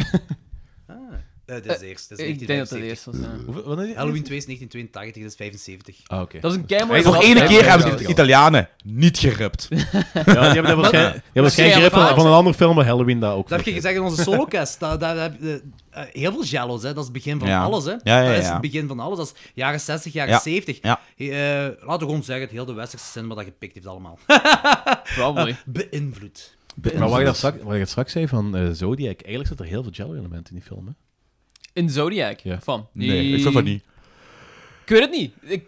Eh, dit is eerst. Dit is
Ik denk dat dat de
1975.
eerste was. ja.
Hoeveel- wanneer-
Halloween 2 is 1982, dit is 75.
Ah, oké.
Dat is een game.
Hey,
Voor
Voor
één
één
keer
Ja,
hebben
ja,
ze de
ja.
Italianen niet gerupt.
Ja, die hebben dat waarschijnlijk, die hebben waarschijnlijk
Waarschijnlijk
grip van,
wel.
van een andere film, maar Halloween daar ook.
Dat
voor.
heb je gezegd in onze solocast. Daar, daar heb je, eh, eh, heel veel jello's, hè. dat is het begin van
Ja.
alles. Hè.
Ja, ja,
Dat is
ja.
het begin van alles. Dat is jaren 60, jaren
Ja.
70.
Ja.
Eh, eh, laten we gewoon zeggen, het heel de westerse cinema dat gepikt heeft allemaal.
Probably.
Beïnvloed.
Maar wat je, daar straks, wat je straks zei van eh, Zodiac, eigenlijk zit er heel veel Jello-elementen in die film. Hè?
In Zodiac?
Ja.
Van?
Nee, ik vind dat niet.
Ik weet het niet. Ik...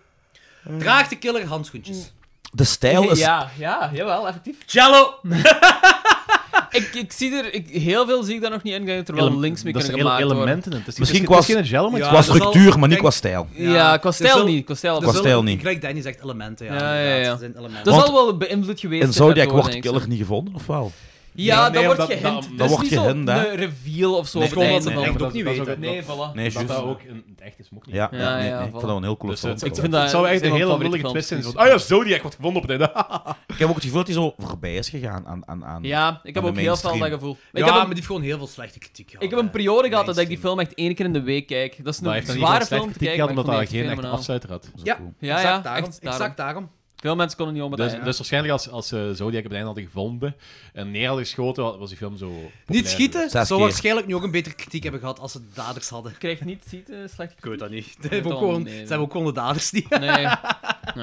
Eh.
Draag de killer handschoentjes.
Mm.
De stijl is...
Ja, ja, jawel, effectief.
Jello!
Ik, ik zie er... Ik, heel veel zie ik daar nog niet in, gaan, terwijl
Ele-
links mee
dat
kunnen
zijn ele-
gemaakt worden.
elementen in. Het is,
Misschien
Misschien het is,
was-
geen Jello, maar het
Ja,
is-
Qua
dat is wel-
structuur, maar niet
Kijk,
qua stijl.
Ja, qua
er
stijl
zullen-
niet. Qua stijl
er
niet.
Qua
zullen-
stijl niet.
Gelijk Danny zegt elementen, ja.
Ja, ja,
inderdaad,
ja. Dus
er zijn elementen.
Dat is
Want-
al wel beïnvloed geweest.
In Zodiac
daardoor,
wordt de
denk ik.
killer niet gevonden, of wel?
Ja,
Nee,
dat wordt
omdat- dat-
gehind.
dat
Dat is
wordt
niet zo'n
gehind, hè.
reveal of zo.
Nee,
op
nee,
het einde
nee,
van
nee,
de
dat- dat is ook-
film. Nee, voilà.
Nee,
Dat
juist.
dat ook in het echt is, mocht niet.
Ja,
Ja,
nee,
ja,
nee. ik
voilà.
vond dat wel een heel coole
Dus, eh,
film.
ik
vind
vind
dat-
het zou
dat
echt
zijn
een
mijn
hele
favoriete
lullige twist zijn.
films.
Zo van, Ah ja, Zodiac wordt gevonden op het einde.
Ik heb ook het gevoel dat hij zo voorbij is gegaan aan... aan, aan
Ja, ik heb
de
ook heel veel
mainstream.
dat gevoel. Maar
Ja,
ik heb
maar
een-
die heeft gewoon heel veel slechte kritiek gehad.
Ik heb een
hè.
periode gehad dat ik die
Mainstream.
film echt één keer in de week kijk. Dat is
Maar hij
een
heeft dan niet zo'n
zware
slechte
film te
kritiek
kijken,
gehad,
maar ik
omdat
vond die
daar
echt
geen echt
fenomenaal.
afsluiter had.
Ja,
Ja,
exact
ja,
daarom.
echt daarom.
Exact daarom.
Veel mensen konden niet om met
Dus,
dat, ja.
dus waarschijnlijk als, als eh, Zodiac op het einde hadden gevonden en neer hadden geschoten, was die film zo... populair.
Niet schieten zou
Zes keer.
waarschijnlijk nu ook een betere kritiek hebben gehad als ze de daders hadden.
Ik krijg niet ziet, eh, slecht
Ik weet dat niet. Ze
weet
hebben ook
dat
gewoon,
niet,
ze
nee.
hebben ook gewoon de daders niet.
Nee.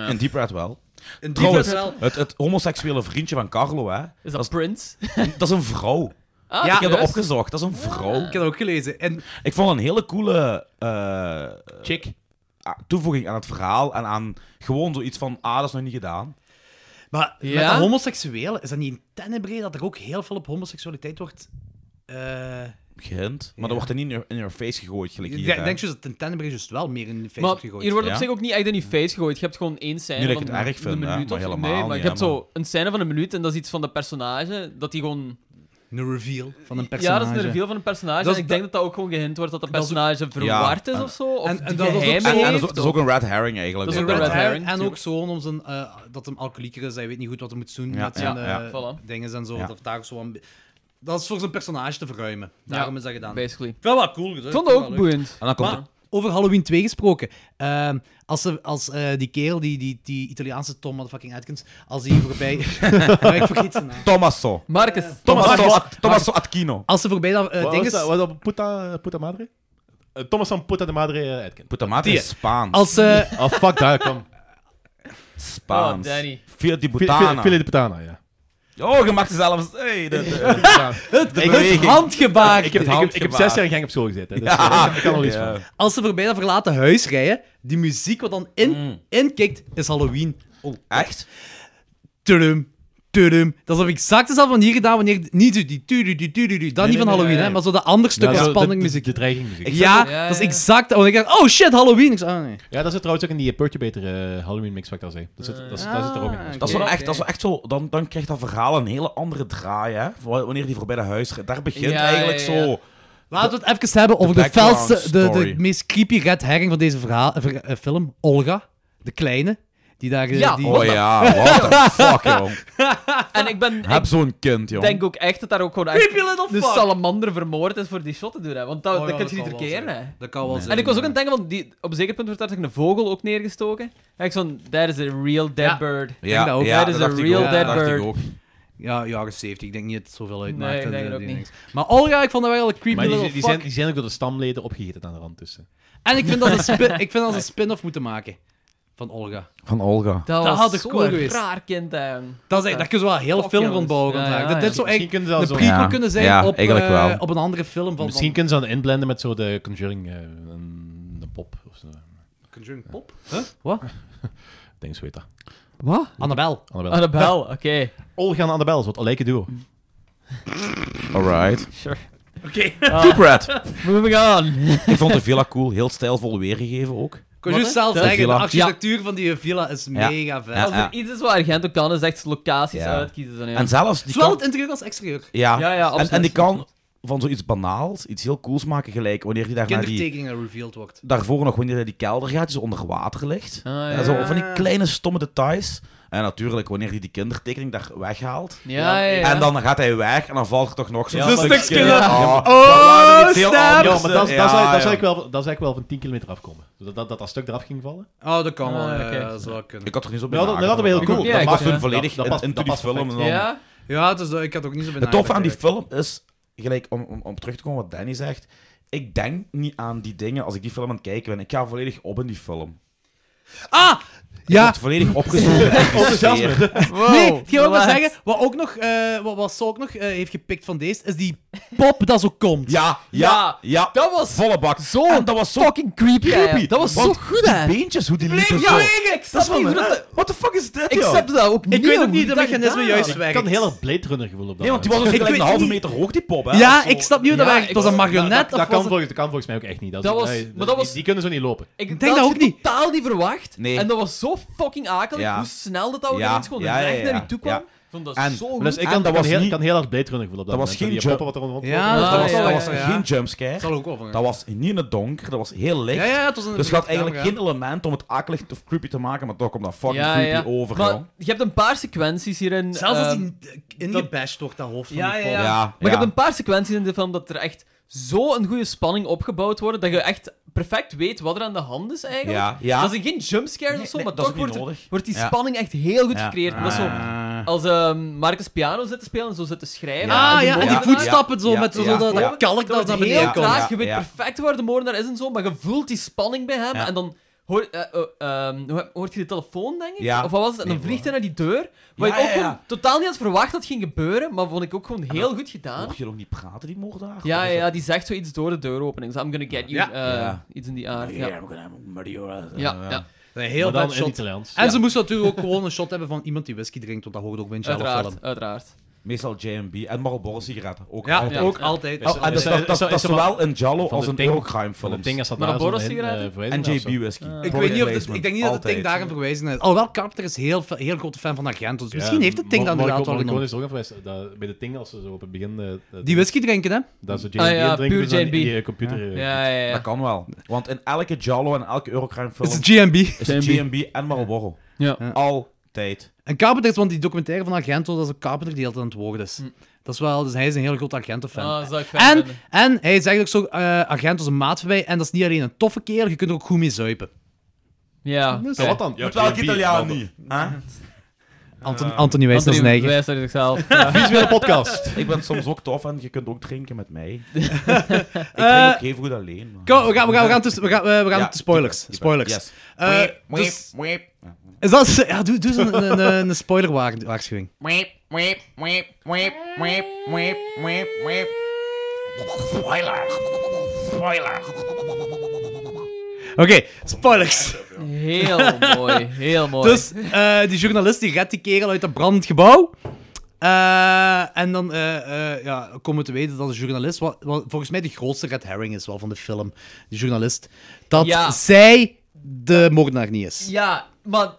In Deep Red wel.
Een
Trouwens,
wel.
het, het homoseksuele vriendje van Carlo, hè.
Is dat Prince?
Dat is een vrouw.
Ah,
Ja,
Ik heb dat
serieus?
opgezocht. Dat is een vrouw.
Ik heb dat ook gelezen. En
Ik vond een hele coole eh,
Chick.
a- toevoeging aan het verhaal en aan gewoon zoiets van, ah, dat is nog niet gedaan.
Maar met
Ja?
de homoseksuelen, is dat niet in Tenebrae dat er ook heel veel op homoseksualiteit wordt... eh,
Gehind. Maar dat wordt er niet in your, in your face gegooid, gelijk
ik
hier.
denk
hè.
ik denk dus dat het in Tenebrae juist wel meer in de face
Maar
wordt gegooid.
hier wordt op
Ja.
zich ook niet echt in je face gegooid. Je hebt gewoon één scène
Niet dat
van
ik het erg vind,
een
hè,
minuut
maar
of zo.
helemaal
Nee, maar
niet,
je hebt
hè,
zo een scène van een minuut en dat is iets van dat personage, dat die gewoon...
Een reveal van een personage.
Ja, dat is een reveal van een personage.
Dat is
en ik
dat-
denk dat dat ook gewoon gehind wordt dat dat
Dat is ook-
personage verward
Ja,
is
en-
of zo. Of
en-
en,
en
en
dat is ook
geheimen
zo-
En, en dat, is,
heeft.
ook- dat is ook een red herring, eigenlijk.
Dat is
ook
een red
Red
herring.
herring. En
Ja.
ook zo'n om zijn, eh, dat hem alcoholieker is, hij weet niet goed wat hij moet doen
Ja,
met zijn
ja,
eh,
ja, voilà.
dingen en zo.
Ja.
Dat, daar zo een- dat is voor zijn personage te verruimen. Daarom is dat gedaan.
Basically.
Ik vind dat wel cool. gezegd.
Ik vond dat
Ik vind
ook
dat leuk.
boeiend.
En dan komt
Maar-
de-
Over Halloween 2 gesproken. Ehm, als ze, als eh, die kerel, die, die, die Italiaanse Tom motherfucking Atkins, als die voorbij... maar ik vergeet zijn naam.
Tommaso.
Marcus.
Tommaso,
Marcus.
At- Tommaso Atchino.
Als ze voorbij dat eh,
Wat
ding
was
is-
dat? Was dat Puta, Puta Madre? Eh, Thomas van Puta de Madre eh, Aitken.
Putamate
Die-
is Spaans.
Als ze...
Oh, fuck dat, kom.
Spaans.
Oh, Danny.
Via die
Fi-
Butana.
fi- Fili de Putana, ja.
Oh, je mag er zelfs... Hey, de, de-
het, het
beweging.
handgebaar.
Ik heb, ik, heb, ik heb zes jaar in Genk op school gezeten, hè, dus eh, ik, ik kan er nog iets
Ja.
van.
Als ze voorbij dat verlaten huis rijden, die muziek wat dan in,
Mm.
inkikt, is Halloween. Oh,
Echt?
Tudum, tudum. Dat is op exact dezelfde manier gedaan wanneer... Niet die die tudu, die tudu, die- dat niet van
nee,
Halloween,
nee,
Hè,
nee.
maar zo dat ander stuk
Ja,
van
zo de-
spanning
de-
muziek.
De dreigingmuziek.
Ja,
Ja,
dat is
ja, ja.
exact... Want ik dacht, oh shit, Halloween. Ik zei, ah, nee.
Ja, dat zit trouwens ook in die eh, Perturbator eh, Halloween mix, wat ik al zei. Dat zit, dat, zit- dat zit er ook in.
Ah,
Dat is wel
Oké.
echt, dat is wel echt zo... Dan, dan krijgt dat verhaal een hele andere draai, hè. Voor- Wanneer die voorbij de huis... gaat. Daar begint
Ja,
eigenlijk
ja, ja.
zo...
Laten we het even hebben over
de
de,
background
felste, de, de
story.
meest creepy red herring van deze verhaal, eh, ver- eh, film. Olga, de kleine. Die daar... eh,
Ja,
die,
Oh ja, what the fuck, joh.
En ik ben...
Heb zo'n kind, joh.
Ik denk ook echt dat daar ook gewoon echt
Creepy little
de
fuck.
salamander vermoord is voor die shot te doen. Hè? Want dat,
Oh ja,
dat kun je
dat
niet
zal wel
verkeren.
zijn.
hè.
Dat kan wel zijn.
En ik was ook aan het denken, want die, op een zeker punt werd daar tegen een vogel ook neergestoken. En ik zo'n, that is a real dead
Ja.
bird.
denk dat ook.
ja,
That is
dat
a
dacht ik
real
ook,
dead
dat dacht ik
bird.
ook.
Ja, jaren 70. Ik denk niet dat het zoveel uitmaakt.
Nee, ik
en,
denk
eh,
dat ook
die
niet.
dingen. Maar Olga, ik vond dat wel een creepy
Maar die,
little
die,
fuck.
zijn, die zijn ook door de stamleden opgegeten aan de rand dus, eh. tussen.
En ik vind dat ze een spin- ik vind dat ze een spin-off moeten maken. Van Olga.
Van Olga.
Dat,
Dat
was
had ik
zo'n
cool geweest.
raar kind. ehm. hè.
Dat is echt, daar kun je wel een hele
Fuck,
film
jongens.
rond bouwen.
Ja,
vandaag.
ja,
Dat
ja.
dit zou
Misschien
eigenlijk
kunnen ze al
een
zo...
prequel
Ja,
kunnen zijn
ja,
op,
eigenlijk
eh,
wel.
op een andere film. Van,
Misschien kunnen ze dan inblenden met zo de Conjuring, eh, een, een pop of zo. Ik
Conjuring Pop?
denk zo heet dat.
Wat?
Annabel.
Annabel.
Annabel, oké.
Olga en Annabel, zo het lijken duo.
Alright.
Oké.
Deep Red.
Moving on.
Ik vond de villa cool. Heel stijlvol weergegeven ook.
Ik wil
Wat,
juist
hè?
zelf
De
zeggen, de
villa.
architectuur van die villa is
Ja.
mega vet.
Ja,
Als-
Als er iets is waar Argento kan, is echt locaties
Ja.
uitkiezen. Dan, ja. Ah,
En zelfs... Die
Zowel
kan-
het interieur als exterieur.
Ja,
Ja, ja,
en,
absoluut.
en die kan van zoiets banaals iets heel cools maken, gelijk wanneer hij daar naar die,
Kindertekening dat revealed wordt.
daarvoor nog, wanneer hij die kelder gaat, die zo onder water ligt.
Ah, ja.
En zo van die kleine stomme details. En natuurlijk, wanneer hij die kindertekening daar weghaalt.
Ja, ja, ja.
En dan gaat hij weg en dan valt er toch nog zo'n
Ja, maar-
Ja.
Oh,
Oh, snap.
Ja, maar dat, dat, zou,
ja.
dat, zou ik wel, dat zou eigenlijk wel van 10 kilometer afkomen. Dus Dat dat, dat, dat stuk eraf ging vallen.
Oh, dat kan wel.
Ah,
ja,
oké.
ja, dat zou kunnen.
Ik had er niet zo bij
Ja, dat- dat hadden we heel
nagedacht.
cool.
Ja,
Ik
ik
was
dacht,
toen
ja.
volledig
Dat- dat
in-
past-
in-
dat
into die
past
film. en
perfect.
dan-
Ja?
Ja, dus, ik had ook niet zo bij
Het toffe aan die
nagedacht,
film is, gelijk om, om, om terug te komen wat Danny zegt, ik denk niet aan die dingen als ik die film aan het kijken ben. Ik ga volledig op in die film.
Ah!
eigenlijk. Ja,
Het volledig opgezogen.
Enthousiasme.
Wow.
Nee, ik wil wel
relax.
zeggen, wat ook nog, eh, wat, wat Saul ook nog eh, heeft gepikt van deze, is die pop dat zo komt.
Ja, ja, ja.
Dat was
Volle bak.
zo
En dat was zo
fucking creepy.
creepy.
ja, ja. Dat was zo
Want
goed,
die
hè.
beentjes, hoe die liepen
ja,
zo.
ik
Dat is
snap
van,
niet hoe dat...
hè, what the fuck is dit,
Ik
joh?
snap dat ook niet.
Ik weet ook
hoe
niet
die
de
dat
mechanisme
gedaan
juist
hebben.
Ik
werkt.
kan een hele Blade Runner gevoel op dat
Nee, want die was
moment.
ook
Ik
gelijk
weet
een halve
niet.
meter hoog, die pop, hè.
Ja,
Zo-
ik snap niet hoe dat
Ja,
werkt.
ik
Het was een
snap-
Maar
marionet
dat, dat,
of
kan
was het-
volgens, dat kan volgens mij ook echt niet. Dat,
Dat
is-
was-
nee,
maar dat
die-
was-
die kunnen zo niet lopen.
Ik
denk dat
had
ook
je
niet.
totaal niet verwacht.
Nee.
En dat was zo fucking akelig
Ja.
hoe snel dat dat ook
Ja,
ineens gewoon
ja, ja,
recht
ja.
naar je toe kwam.
Ja.
Ik vond dat
En-
zo goed.
Dus ik
en
kan,
dat
kan,
was
heel,
niet-
kan heel hard Blade Runner gevoel op dat,
Dat was
moment.
geen
Die
jump.
poppen wat er rond
Ja,
Ah,
Dat was,
ja,
dat
ja,
was
ja.
geen
Dat zal
jumpscare.
ook wel van.
Dat was niet in het donker, dat was heel licht.
Ja, ja, het was een
Dus je had eigenlijk
camera.
geen element om het akelig of creepy te maken, maar toch komt dat fucking
ja,
creepy
ja.
over,
maar
joh.
je hebt een paar sequenties hierin.
Zelfs als
ehm,
die eh, ingebashed wordt, dat hoofd van
Ja,
die
ja,
pop.
ja.
Ja,
Maar
ja.
je hebt een paar sequenties in de film dat er echt zo'n goede spanning opgebouwd wordt dat je echt perfect weet wat er aan de hand is eigenlijk.
Ja, ja.
Dat zijn geen jumpscares of zo,
nee,
maar
dat is
toch
ook niet
wordt,
nodig.
wordt die
Ja.
spanning echt heel goed
Ja.
gecreëerd. Dat is zo, als ehm, Marcus piano zit te spelen en zo zit te schrijven.
Ah ja, en die
Ja,
voetstappen zo
ja,
met zo
ja,
dat, dat
ja.
kalk
dat
dat naar
wordt heel
beneden komt.
traag.
Ja,
Je weet
ja.
perfect waar de moordenaar is en zo, maar je voelt die spanning bij hem.
Ja.
En dan hoor, eh, eh, ehm, hoe- hoort je de telefoon, denk ik?
Ja.
Of wat was het? En dan vliegt hij naar die deur. Wat
Ja,
ik ook
ja,
gewoon
ja.
totaal niet had verwacht dat ging gebeuren, maar vond ik ook gewoon heel goed gedaan.
Mocht je nog niet praten, die moordenaar?
Ja,
Of
ja,
is
ja,
Oh, dat-
die zegt zoiets door de deuropening. So I'm gonna get you.
Ja.
eh,
Ja.
Iets in die aard. Ja,
Yeah, I'm gonna murder you. Eh,
ja. ja.
Een
Maar
heel
dan
vet
in het
shot.
Italiaans.
En ze moesten natuurlijk ook gewoon een shot hebben van iemand die whisky drinkt, want dat hoort ook bij een Jello film.
Uiteraard, uiteraard.
Meestal JB en Marlboro sigaretten. Ook
Ja,
altijd.
ook altijd.
Oh, en dat is- dat- dat-
Is er-
dat is
is er
zowel in Jallo
van
als
de
in
Ting-
Eurocrime
Van de
films.
ding als dat
Maar
daar
dat
zo'n
Boros-sigaretten?
eh,
En
verwijzing naar of zo.
JB whisky.
Ik
Product
weet niet of dat,
placement.
ik denk niet dat het
Altijd.
Ting daarin verwijzen is. Alhoewel, Carpenter is heel, veel- heel grote fan van Argento. Dus misschien heeft het Ting
Mor-
dan
Morricone-
inderdaad wel
Morricone
genomen.
is er ook aan verwijst. dat- Bij de ting als ze zo op het begin... eh, eh,
Die whisky drinken, hè?
Dat ze JB
Ah, ja,
drinken,
puur
dus dan
JB.
in die eh, computer... eh,
Ja, ja,
Dat
ja.
kan wel. Want in elke Jallo en elke Eurocrime
Het
film
is GMB.
is het
JB.
JB en Marlboro.
Ja.
Altijd.
En Carpenter is, want die documentaire van Argento, dat is een Carpenter die altijd aan het woord is. Dat is wel, dus hij is een heel groot Argento-fan.
Ah, dat zou ik fijn
en,
vinden.
en hij zegt ook zo, eh Argento is een maat voorbij, en dat is niet alleen een toffe kerel, je kunt er ook goed mee zuipen.
Ja.
Ja, wat dan? Ja,
Met welke
JB,
Italiaan
Marlboro.
niet? hè?
Anton, Ah. Anthony Wijs is neigen.
wijst naar zichzelf. Ja.
Visuele podcast.
Ik ben soms ook tof en je kunt ook drinken met mij. ik drink ook heel goed alleen. maar-
Kom, we gaan, we gaan, we gaan, tussen- we gaan, eh, we gaan
Ja,
de spoilers.
dieper, dieper.
spoilers.
Yes.
Eh, dus- is dat, ja, doe, doe eens een, een, een, een spoilerwaarschuwing. Oké, spoilers.
Heel mooi, heel mooi.
Dus eh, die journalist die redt die kerel uit dat brandend gebouw. Eh, en dan eh, eh, ja, komen we te weten dat de journalist, wat, wat volgens mij de grootste red herring is wel van de film, die journalist, dat
Ja.
zij de moordenaar niet is.
Ja, maar...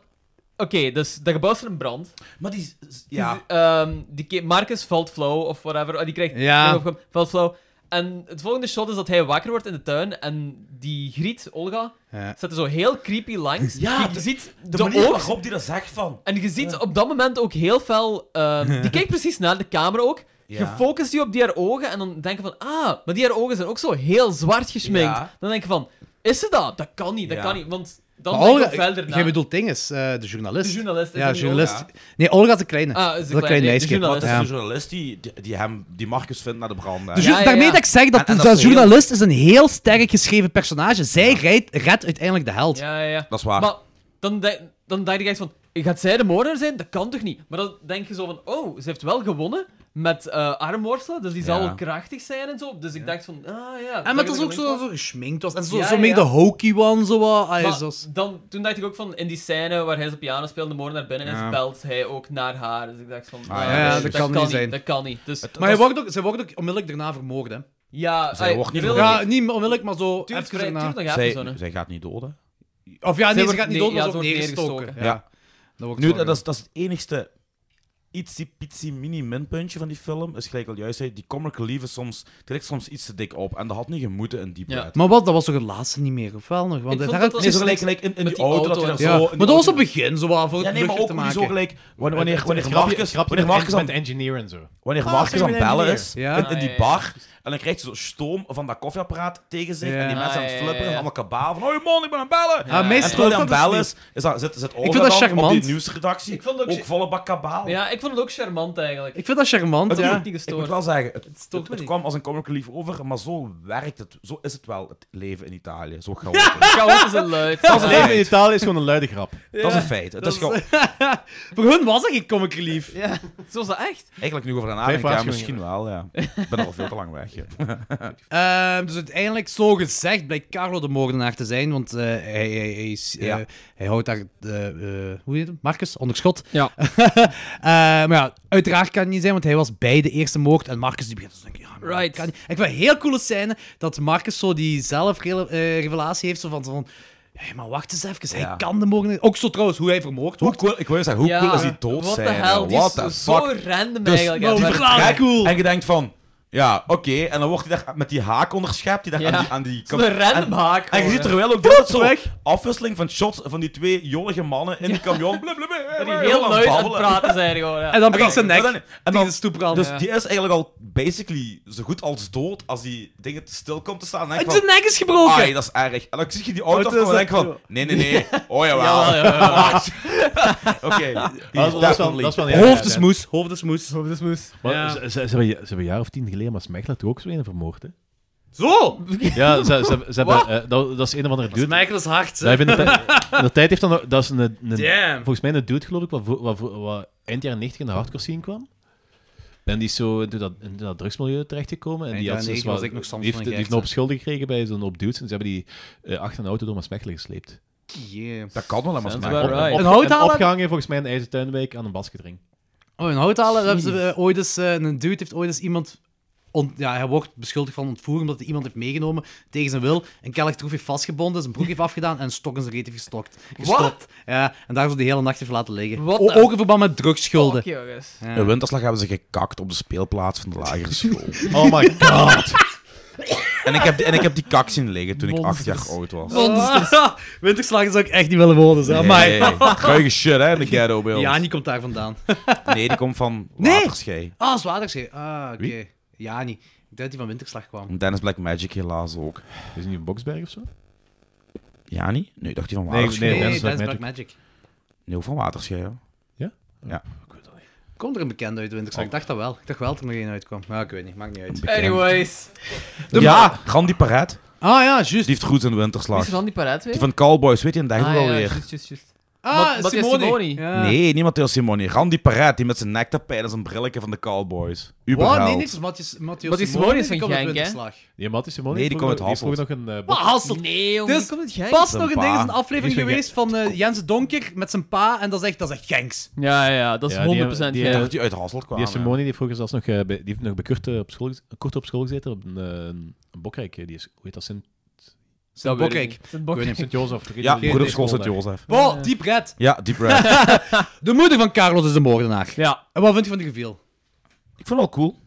Oké, dus dat gebouw is in brand.
Maar die... Ja.
Ehm, die ke- Marcus valt flauw of whatever. Ah, die krijgt...
Ja.
Valt flauw. En het volgende shot is dat hij wakker wordt in de tuin en die griet, Olga,
Ja.
staat er zo heel creepy langs.
Ja,
Je- je
de-
ziet de,
De manier
oog
waarop die dat zegt van...
En je ziet op dat moment ook heel fel. ehm, die kijkt precies naar de camera ook. Je
Ja.
focust je op die haar ogen en dan denk je van, ah, maar die haar ogen zijn ook zo heel zwart gesminkt.
Ja.
Dan denk je van, is ze dat? Dat kan niet, dat
Ja.
kan niet. Want dan
Maar
denk je
Olga,
ook verder na.
jij bedoelt Dinges, eh, de journalist.
de journalist. is
ja,
dat niet
de journalist.
Olga?
Nee, Olga is de kleine.
Ah, is
Dat
de kleine, nee,
meisje.
de
Dat
journalist.
is
Ja.
de journalist die, die, die hem, die Marcus vindt naar de brand. hè.
Ja,
De ju-
ja,
Dus daarmee
ja.
dat ik zeg dat
En- en
de
dat is heel-
journalist is een heel sterk geschreven personage. Zij rijdt, redt uiteindelijk de held.
Ja, ja, ja.
Dat is waar.
Maar dan, de- dan denk je echt van, gaat zij de moordenaar zijn? Dat kan toch niet? Maar dan denk je zo van, oh, ze heeft wel gewonnen met eh armworstelen, dus die zal
Ja.
wel krachtig zijn en zo. Dus ik dacht van, ah ja.
En maar het is ook
denk
zo
wel-
dat zo gesminkt was. En zo,
Ja,
zo meer
ja.
de hokey one, zo wat. Ah,
Maar
zoals-
dan, toen dacht ik ook van, in die scène waar hij zijn piano speelde, de naar binnen is,
Ja.
belt hij ook naar haar. Dus ik dacht van, ah,
ja, ja,
nee,
dat kan niet zijn.
Dat kan niet. Dus,
Maar hij wordt ook, zij wordt ook onmiddellijk daarna vermoord, hè.
ja,
Zij
ai,
wordt niet
wil
vermoord.
ik-
Ja, niet onmiddellijk, maar zo
Tuurlijk, vrij-
even daarna.
tuurlijk, dat gaat
zij,
niet zo, hè.
zij gaat niet doden.
Of ja,
Zij
nee, ze
wordt-
gaat niet
nee,
dood, maar
ja,
ze
ze
wordt
wordt
neergestoken.
neergestoken.
Ja.
Ja.
Dat wordt
Nu,
zo
dat
gedaan.
is, dat is het enigste ietsie pitsie mini minpuntje van die film is gelijk al juist zei, die comic relief is soms, die ligt soms iets te dik op. En dat had niet gemoeten in die
Ja.
bed.
Maar wat, dat was toch het laatste niet meer, of wel nog? Want
Ik vond
daar
dat
had ik
Nee,
dat-
zo
precies
gelijk,
niks-
gelijk in, in die
die
auto,
auto
dat je
en
Ja,
dat zo...
maar dat was op het begin, zo wat, voor
Ja,
het
nee, maar
luchtig
ook
te
niet
maken.
zo gelijk... Wanneer, wanneer,
Het- het
wanneer,
grapje-
Marcus,
het grapje
wanneer
met-
Marcus
met
aan
engineer en zo.
Wanneer
Ah,
Marcus
sorry,
aan het
meneer.
bellen is,
Ja.
in, in
Ah,
die
ja, ja.
bar, en dan krijgt hij zo stoom van dat koffieapparaat tegen zich,
Ja.
en die mensen aan het
Ah, ja, ja,
flipperen,
ja.
en allemaal kabaal van, oh man, ik ben aan het bellen!
Ah,
En
meestal
terwijl hij aan
ook dat
het bellen
dus
is, is dat, zit, zit
vind
Olga
dat
dan op
charmant.
die nieuwsredactie,
Ik vond
ook,
ook-
volle bak kabaal.
Ja, ik vond het ook charmant eigenlijk.
Ik vind dat charmant,
Het-
ja.
heb niet
Ik moet
gestoord.
wel zeggen, het, het,
stoort me
het
niet.
kwam als een comic relief over, maar zo werkt het, zo is het wel, het leven in Italië, zo chaotisch. Dat
Chaos is een luid.
Als het leven in Italië is gewoon een luide grap.
is een feit. Het is
dat
gewoon,
is- Voor hun was dat geen comic relief.
Ja, zo is dat echt.
eigenlijk nu over een
Vijf
nadenken, ja, misschien
waarschuwingen.
wel, ja. Ik ben al veel te lang weg. ja.
Ehm, dus uiteindelijk, zo gezegd, blijkt Carlo de moordenaar te zijn, want eh, hij, hij, hij, is, eh,
Ja.
hij houdt daar, eh, eh, hoe heet het, Marcus, onder schot.
Ja.
Eh, maar ja, uiteraard kan het niet zijn, want hij was bij de eerste moord en Marcus die begint te denken, ja, maar dat
Right.
kan niet. Ik vind het een heel coole scène dat Marcus zo die zelfrevelatie heeft, zo van, van hé, maar wacht eens even,
Ja.
hij kan de moordenaar... Ook zo trouwens, hoe hij vermoord
Hoe
wordt.
cool, ik wil zeggen, hoe
ja.
cool is die dood
What the
zijn?
hell, die
What
is
the
zo
fuck?
random
Dus-
eigenlijk. hè,
Nou, die
maar-
verklaar-
Trek,
cool.
En je denkt van, ja, oké. En dan wordt hij daar met die haak onderschept. Die daar
Ja.
aan die, aan die
Zo'n random
en,
haak.
En je
gewoon,
ziet
hè.
er wel ook dat zo
weg.
afwisseling van shots van die twee jolige mannen in die camion. Blub, blub, blub, blub,
Dat die
blub,
heel
aan
luid aan het
babbelen.
praten zijn gewoon. Ja.
En dan breekt zijn nek
en dan- en
tegen de stoeprand.
Dus
Ja.
die is eigenlijk al basically zo goed als dood als die dingen te stil komt te staan. En
En
ik
zijn
van,
nek is gebroken!
ai, dat is erg. En dan zie je die auto
Oh, dat is
afkomen en denk ik
echt
van, nee, nee, nee. Oh, jawel.
Jawel, jawel.
Wacht. Oké. die
Dat is- dat is wel-
definitely. Oh,
dat is wel-
Hoofd is moes, hoofd is moes. Hoofd is moes.
Maar ze, ze, ze hebben, ze hebben een jaar of tien geleden maar Smechla toch ook zo een vermoord, hè?
Zo!
Ja, ze, ze, ze hebben, eh, dat, dat is een of andere dude.
Michael is hard,
Dat, heeft in de, tijd- in de tijd heeft dan, nog- dat is een, een-
Damn.
volgens mij een dude, geloof ik, wat, vo- wat, vo- wat eind jaren 90 in de hardcore scene kwam. En die is zo in dat, in dat drugsmilieu terechtgekomen. En
Eind
die, had
jaren 90
dus wat,
was ik nog Samson
die heeft,
en
die heeft
Gert,
een
hè.
op schulden gekregen bij zo'n op dudes. En ze hebben die eh, achter een auto door Maaspechelen gesleept.
Dat kan wel, maar
Sounds
smaak.
about right.
Een houthalen?
En opgehangen volgens mij in IJzertuinwijk aan een basketring.
Oh, in Houthalen hebben ze eh, ooit eens... eh, een dude heeft ooit eens iemand... ont- ja, hij wordt beschuldigd van ontvoering omdat hij iemand heeft meegenomen tegen zijn wil. Een kelktroef heeft vastgebonden, zijn broek heeft afgedaan en een stok in zijn reet heeft gestokt. gestopt. Ja, en daar is hij de hele nacht heeft laten liggen.
What
O-
the-
ook in verband met drugsschulden.
Fuck, jongens.
In winterslag hebben ze gekakt op de speelplaats van de lagere school.
Oh my god.
en, ik heb, die- en ik heb die kak zien liggen toen ik acht
Monsters.
jaar oud was.
Ah, Winterslagen zou ik echt niet willen wonen, zeg. Amai.
Nee, Ruige shit, hè, in de ghetto bij ons.
Ja, die komt daar vandaan.
Nee, die komt van
Nee.
Waterschei.
Ah, Zwaarderszee. Ah, oké.
Wie?
Ja, niet. Ik dacht dat die van Winterslag kwam.
Dennis Black Magic helaas ook.
Is het niet een Boksberg of zo?
Ja, niet? Nee, ik dacht die van Waterschei.
Nee,
Nee,
Nee,
nee,
dat
dat
is
is
Black
Black Magic.
ook van Waterschei, hoor.
Komt er een bekende uit de Winterslag? Ik dacht dat wel. Ik dacht wel dat er nog één uitkwam. Nou, ik weet niet. Maakt niet uit.
Anyways.
ja, Randy Paret.
Ah ja, juist.
Die heeft goed zijn
Wie
winterslag.
is er dan die paraat weer?
Die van Cowboys, weet je, en dat
ah,
wel
ja,
weer.
juist, juist, juist.
Ah,
Mat- Matthias
Simone.
Simoni.
Ja.
Nee, niemand Theo Simoni. Randy Paret, die met zijn nektapijt en zijn brilletje van de Cowboys. Überhaupt.
Wow, nee, niks. Matthias, Matthias,
Matthias
Simone,
Simoni is
die
van
komt uit
Genk, hè?
Winterslag.
Ja, Matty Simone
Nee, die
heeft
komt
vroeger-
uit
heeft vroeger nog een eh,
Wat, Hasselt?
Nee, jongen,
Dus-
die komt uit Genk.
Pas nog
Zijn
een ding is een
pa.
aflevering
Die is van
geweest van eh Jens Donker met zijn pa. En dat is echt, dat is echt Genks.
Ja, ja, dat is
Ja, die
100%
hebben- die
Ik dacht
Genk.
dat die Oh, uit Hasselt kwam.
Die heeft Simone, die heeft vroeger zelfs nog, eh, bij, die heeft nog bij Kurt, eh, op school, gez- Kurt op school gezeten, op een, eh, een bokrijk. eh, Die is, hoe heet dat, Sint-
Dat weet ik
Bokrijk.
niet. Sint Bokrijk.
Sint-Jozef.
Ja,
Die-
broeder
die-
school
die-
Sint Jozef.
Wow, diep red.
Ja, Deep Red.
De moeder van Carlos is een moordenaar.
Ja.
En wat vind je van die geviel?
ik vond het wel cool.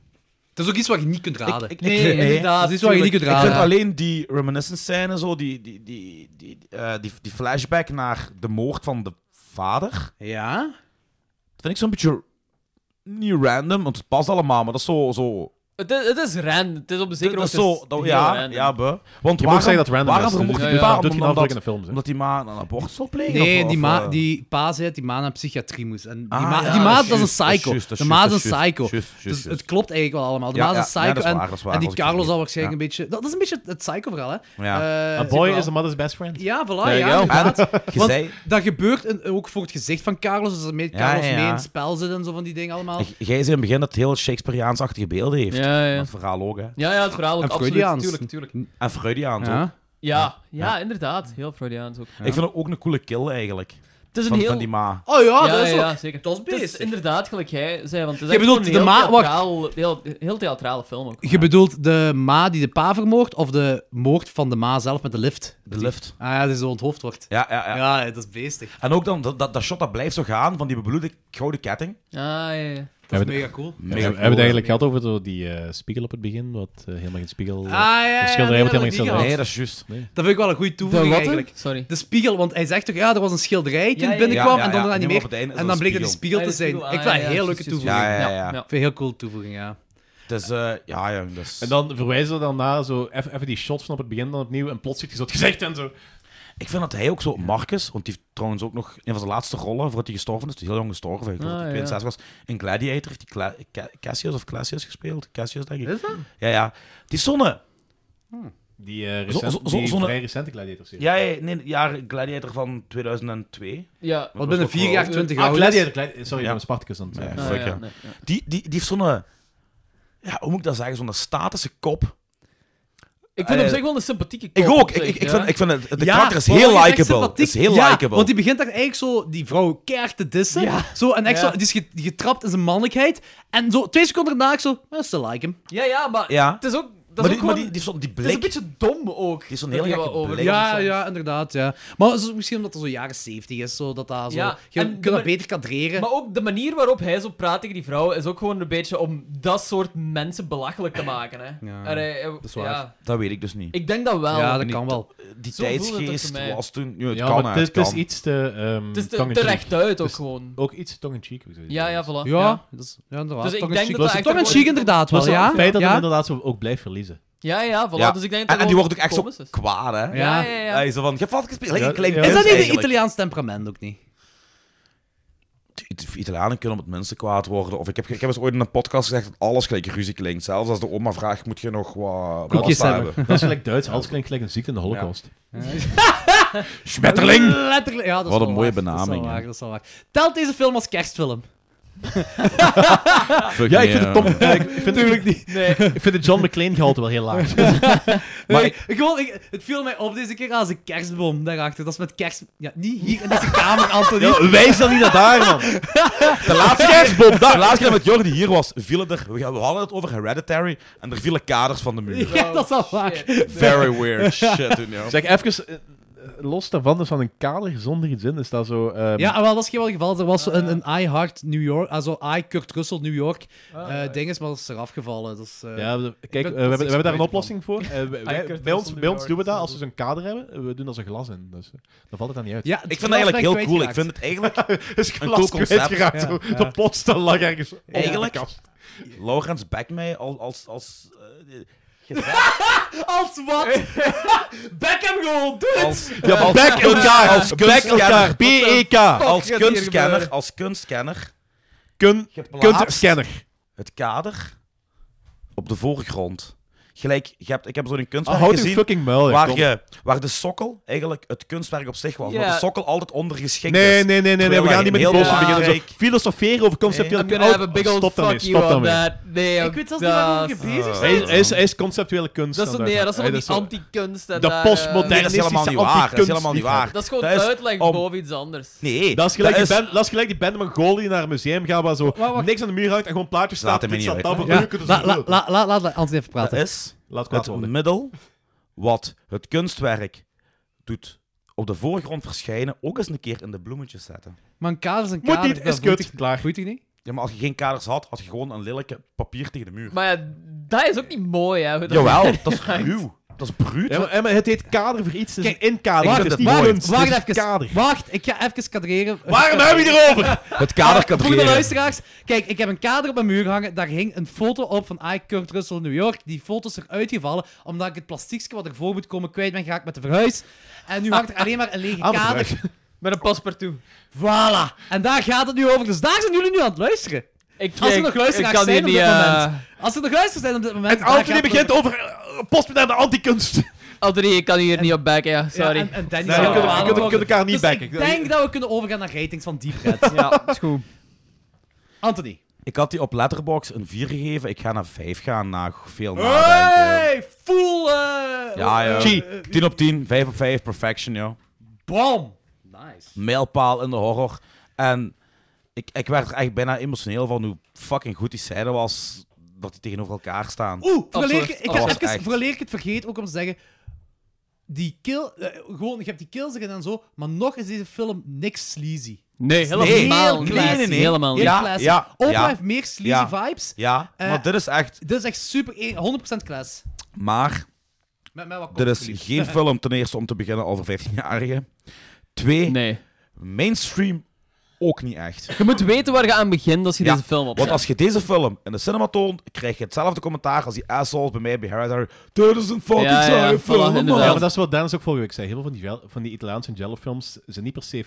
Dat is ook iets wat je niet kunt raden.
Nee,
vind-
inderdaad.
dat is iets wat je niet
tuurlijk.
kunt
Ik vind
raden.
alleen die reminiscence scène, zo, die, die, die, die, eh, die, die flashback naar de moord van de vader, dat
Ja?
vind ik zo'n beetje niet random, want het past allemaal, maar dat is zo... zo
Het is, het is random. Het is op een zekere
dat is
hoogte
zo, dat,
heel
ja,
random.
ja, be. Want
Je
waarom,
mag zeggen dat het random
waarom
is.
vermoord
Dus
die
je-
pa?
Dat doet
Omdat-
niet afdrukken in
omdat,
de films. hè.
omdat die ma een abortus wil plegen?
Nee,
of-
die,
of,
ma,
eh,
die pa zei dat die ma naar psychiatrie moest. En die
Ah,
ma,
ja,
die ma
dat
dat
is
is een
juist, dat is
psycho.
juist, dat
de
is
ma is
juist,
een
dat is juist,
psycho.
juist, juist,
dus
juist, juist.
het klopt eigenlijk wel allemaal. De
Ja,
ma is
ja,
een
ja, dat
psycho.
is
en,
waar, dat is waar,
en die
als ik het
Carlos
vergeet.
al waarschijnlijk een beetje... Dat is een beetje het psycho-verhaal, hè?
Ja.
Eh,
A boy
wel.
is a mother's best friend.
Ja, voilà,
There
ja,
you go.
inderdaad.
Je
Want
zei-
dat gebeurt in- ook voor het gezicht van Carlos, dus dat mee,
Ja,
Carlos
ja, ja.
mee in het spel zit en zo van die dingen allemaal.
J- Jij zei in het begin dat het heel Shakespeareaans-achtige beelden heeft.
Ja, ja.
Dat verhaal ook, hè.
Ja, ja, het verhaal ook
En
absoluut.
Freudiaans.
Tuurlijk, tuurlijk.
En Freudiaans ook.
Ja.
Ja, ja, inderdaad. Heel Freudiaans ook.
Ik vind het ook een coole kill, eigenlijk.
Het is een
Van,
heel...
van die ma.
Oh
ja,
ja, dat is
ja,
wel-
ja, zeker.
dat is
Het is
beestig.
inderdaad gelijk jij zei, want het is
Je
echt
bedoelt
gewoon
de
een heel,
ma- wacht.
theatraal, heel, heel theatrale film ook.
Je bedoelt de ma die de pa vermoordt of de moord van de ma zelf met de lift?
De lift.
Ah ja, dat is zo onthoofd wordt.
Ja, ja, ja.
Ja, dat is beestig.
En ook dan, dat, dat, dat shot dat blijft zo gaan van die bebloede gouden ketting.
ja, ja.
Dat is
Hebben-
mega cool.
We hebben we
cool,
het eigenlijk gehad over zo die eh, spiegel op het begin, wat eh, helemaal geen spiegel...
Ah, ja, ja,
dat
ja,
schilderij
nee,
wordt
dat hebben
helemaal geen
we niet
schilderij.
Nee, dat is juist.
Nee.
Dat vind ik wel een goede toevoeging eigenlijk.
Sorry.
De spiegel, want hij zegt toch, ja, er was een schilderij toen
Ja, ja,
het binnenkwam
ja.
en dan
Ja, ja,
niet
ja,
meer.
op het einde is
en
er
dan
een
bleek het een
spiegel.
spiegel te zijn. Ik vind dat een heel leuke toevoeging.
Ja, ja, ja.
Ik vind het heel cool toevoeging, ja.
Dus, eh ja, jong, dat is-
En dan verwijzen we dan naar zo even, even die shots van op het begin dan opnieuw en plots ziet je zo het gezicht en zo.
Ik vind dat hij ook zo, Marcus, want die heeft trouwens ook nog een van zijn laatste rollen voordat hij gestorven is, die is heel jong gestorven, ik geloof dat
Ah,
hij
ja.
62 was, in Gladiator heeft hij Cla- Ca- Cassius of Classius gespeeld. Cassius, denk ik.
Is dat?
Ja, ja. Die zonne.
Die, eh
Zo-
recent,
zo-
die
zo'n-
vrij recente Gladiator-serie.
Ja, ja, nee, ja, Gladiator van 2002.
Ja.
Want binnen
ook
vier
wel-
jaar 20
Ah,
gouden.
Gladiator, Gladi- sorry,
Ja.
ik ben Spartacus aan het zeggen.
Ja,
Ah,
fuck, ja. Die, die, die heeft zo'n... eh, Ja, hoe moet ik dat zeggen? Zo'n statische kop.
Ik vind hem
Eh,
zich wel een sympathieke
Ik
kop op
ook. Ik,
zich,
ik, ik
ja.
vind, ik vind het... De
Ja,
karakter is
maar
heel
wat je zegt,
likable. Het
sympathiek.
is heel
ja,
likable.
Want die begint daar eigenlijk zo die vrouw keihard te dissen.
Ja.
Zo, en echt
Ja.
zo, die is ge- die getrapt in zijn mannelijkheid. En zo twee seconden daarna ik zo, well, still like him.
Ja, ja, maar
Ja.
het is ook... Dat
Maar
is
die,
ook
maar
gewoon,
die, die, die
het is een
blik...
beetje dom ook.
Die is zo'n
dat
hele
die
gekke
wat over-
blik.
Ja, ja, inderdaad, ja. Maar zo, misschien omdat het zo jaren 70 is, zo, dat dat zo...
Ja,
je
en
je
de
dat
ma-
beter kadreren.
Maar ook de manier waarop hij zo praat tegen die vrouwen is ook gewoon een beetje om dat soort mensen belachelijk te maken. Hè. En
Ja,
hij- hij-
is waar.
ja.
Dat weet ik dus niet.
Ik denk dat wel.
ja,
het
dat kan wel.
Die
Zo voelde het ook
tijdsgeest
voor mij.
was toen... Ja, het
Ja,
kan,
maar
hè,
het,
het
is- het is
kan.
iets te... ehm,
is te,
tongue-in-cheek.
terecht uit ook
Dus-
gewoon.
Ook iets tongue-in-cheek. hoe ik zou
Ja, ja,
zeggen.
voilà.
Ja, Dat is, ja inderdaad.
Dus ik
Tongue in
denk
cheek.
dat
Was
dat
het tongue in
echt
cheek
gewoon-
inderdaad
Maar
wel,
zo,
ja.
het feit dat
ja?
hij inderdaad zo ook blijft verliezen.
Ja, ja, voilà.
Ja.
Dus ik denk dat
En, en die
gewoon
wordt ook echt
komisch
zo
is.
kwaad, hè?
Ja.
Ja, ja, ja.
Hij is zo van, je hebt altijd gespeeld. Like
Ja,
een klein
ja.
kind
Is
Is dat niet de
eigenlijk.
Italiaans temperament ook niet?
It- Italianen kunnen op het mensen kwaad worden. Of ik heb, ik heb eens ooit in een podcast gezegd dat alles gelijk ruzie klinkt. Zelfs als de oma vraagt, moet je nog wat
Koekjes
pasta
hebben.
Dat is gelijk Duits, alles klinkt gelijk een ziekte in de holocaust.
Schmetterling!
Letterlijk. Ja, dat is
Wat een
wel
mooie
waar. Dat is
benaming,
wel
hè.
waar, dat is wel waar. Telt deze film als kerstfilm?
Ja, ik vind het Tom... ja, ik vind het-
Nee.
Ik vind het John McClane gehalte wel heel laag.
Maar gewoon, ik, het viel mij op deze keer als een kerstboom daarachter. Dat is met kerst... Ja, niet hier in deze kamer, Anthony.
Wijs dan niet naar daar, man.
De laatste keer, Bob, de laatste keer met Jordi hier was, vielen er... We hadden het over Hereditary en er vielen kaders van de muur.
ja, dat is wel waar.
Very weird shit, you know.
Zeg, even... eh, eh, Los daarvan, dus van een kader zonder iets in, is dat zo... ehm,
Ja, ah, wel, dat is geen wel geval. Er was zo een, een I Heart New York, also I Kurt Russell New York eh ding is, maar dat is eraf gevallen. Dat is, eh,
Ja, we- kijk,
ben-
eh, we, hebben, we hebben daar een
van.
oplossing voor. Eh, wij- wij-
Kurt
bij ons,
Russell,
bij
New
ons
York,
doen we dat
dat
als we
is
zo'n kader hebben. eh, We doen er zo'n glas in. Dus, eh, dan valt het dan niet uit.
Ja,
Ik vind dat eigenlijk heel cool. Ik vind het eigenlijk...
Het is
cool glas concept.
geraakt.
kwijtgeraakt, zo. Ja, ja.
De
De
pot lag ergens
Eigenlijk- Laurens Bekmey als... als, als eh,
Als wat? Beckham gewoon, doe het!
als
Ja, bek elkaar.
als
Bek elkaar. E
kunstkenner.
B-E-K.
Als
gaat hier
kunstkenner,
gebeuren?
als kunstkenner,
Kun,
geplaatst
kunstscanner.
het kader op de voorgrond. Gelijk, je hebt, ik heb zo'n kunstwerk
Houd uw
gezien
fucking muil. hè,
waar,
kom.
je, waar de sokkel eigenlijk het kunstwerk op zich was.
Ja.
Maar de sokkel altijd ondergeschikt
Nee, nee,
is.
nee, nee, nee,
Terwijl
we gaan niet met die
dus heel
bossen
belangrijk-
beginnen. Zo filosoferen over conceptueel.
I'm gonna have a big old
Oh, stop daarmee,
fuck you
stop
on
daarmee.
that. Nee,
Ik weet zelfs niet waarom je
dat-
bezig
Ah.
Hij
bent.
is- hij is- hij is conceptuele kunst.
Dat is,
aan
nee, dat is
uitmaken.
allemaal die
Hij is zo-
anti-kunst. en
De
daar, eh,
Nee,
postmoderne-
dat is helemaal niet
Anarchistische
waar. Dat is helemaal niet
antikunst.
waar.
Dat is gewoon
Dat is
uitleg
om-
boven iets anders.
Nee,
Dat is gelijk, die band- dat is gelijk die band Mongolië naar een museum gaan waar zo
wacht.
niks aan de muur hangt en gewoon plaatjes staan.
Laat hem
Dit
niet
staat daar
uit.
voor
Ja,
u, kunt u
la,
zo-
la, la, la, laat Anthony even
dat
praten.
is
Laat kwaad
het
worden.
middel wat het kunstwerk doet op de voorgrond verschijnen, ook eens een keer in de bloemetjes zetten.
Maar een kader is een
Moet
kader.
niet, is
dat boeit
kut.
toch-
Klaar.
Boeit toch niet?
Ja, maar als je geen kaders had, had je gewoon een lelijke papier tegen de muur.
Maar ja, dat is ook niet mooi, hè. hoe dat-
Jawel, dat is ruw. Dat is bruut.
Ja, maar, ja, maar het heet kader voor iets, het is
Kijk,
een inkadering.
wacht,
Het is niet
wacht,
kunst, het is
Wacht
kader.
even. Wacht, ik ga even kadreren.
Waarom heb je het erover? Ah,
Het kader
Eh, Voor de luisteraars, kijk, ik heb een kader op mijn muur hangen. Daar hing een foto op van I. Kurt Russell in New York. Die foto is eruit gevallen, omdat ik het plastiekje wat ervoor moet komen kwijt ben geraakt met de verhuis. En nu hangt er alleen maar een lege
Ah,
kader.
verhuis.
Met een paspartout.
Voilà. En daar gaat het nu over. Dus daar zijn jullie nu aan het luisteren.
Ik,
Als er
ik-
nog luisteraars
ik kan
zijn op
die
dit
niet, eh,
moment. Als er nog luisteraars zijn op dit moment...
En
daar gaat
Anthony
het
begint
over.
over eh, postmoderne antikunst.
Anthony, ik kan hier niet op backen, ja.
Ja,
Sorry.
en, en Danny zal
Nee, je
er
kunt-
wel
je
aan
kunt- je
worden.
kunt elkaar niet
Dus
backen.
ik denk dat we kunnen overgaan naar ratings van Deep Red.
Ja, is goed.
Anthony.
Ik had die op Letterboxd een 4 gegeven. Ik ga naar 5 gaan na veel
Ah,
nadenken.
Hey, full... eh,
Ja, ja.
Gee.
10 op 10, 5 op 5, perfection, joh.
Bam. Nice.
Mijlpaal in de horror. En ik, ik werd er echt bijna emotioneel van hoe fucking goed die scène was. Dat die tegenover elkaar staan.
Oeh, vooraleer ik,
Absoluut.
ik, ga
Oh,
even,
echt.
vooraleer ik het vergeet ook om te zeggen. die kill, eh, gewoon, je hebt die kills erin en zo, maar nog is deze film niks sleazy.
Nee,
Nee,
helemaal
heel
niet.
classy.
Helemaal niet.
Heel
Ja,
classy.
ja,
Oprah
ja.
heeft meer sleazy
Ja.
vibes.
Ja,
Eh,
maar dit is echt...
Dit is echt super, eh, 100% class.
Maar
Met, met wat
dit
komt,
is
alsjeblieft.
geen film ten eerste om te beginnen al voor 15-jarigen. Twee,
Nee.
mainstream ook niet echt.
Je moet weten waar je aan begint als je
Ja,
deze film opzet.
Want als je deze film in de cinema toont, krijg je hetzelfde commentaar als die assholes bij mij bij Harry Potter. Dit is een fucking
Ja, ja,
saaie
voilà,
film, man.
inderdaad.
Ja, maar dat is wat Dennis ook vorige week zei. Heel veel van die, vel- van die Italiaanse Jello-films zijn niet per se...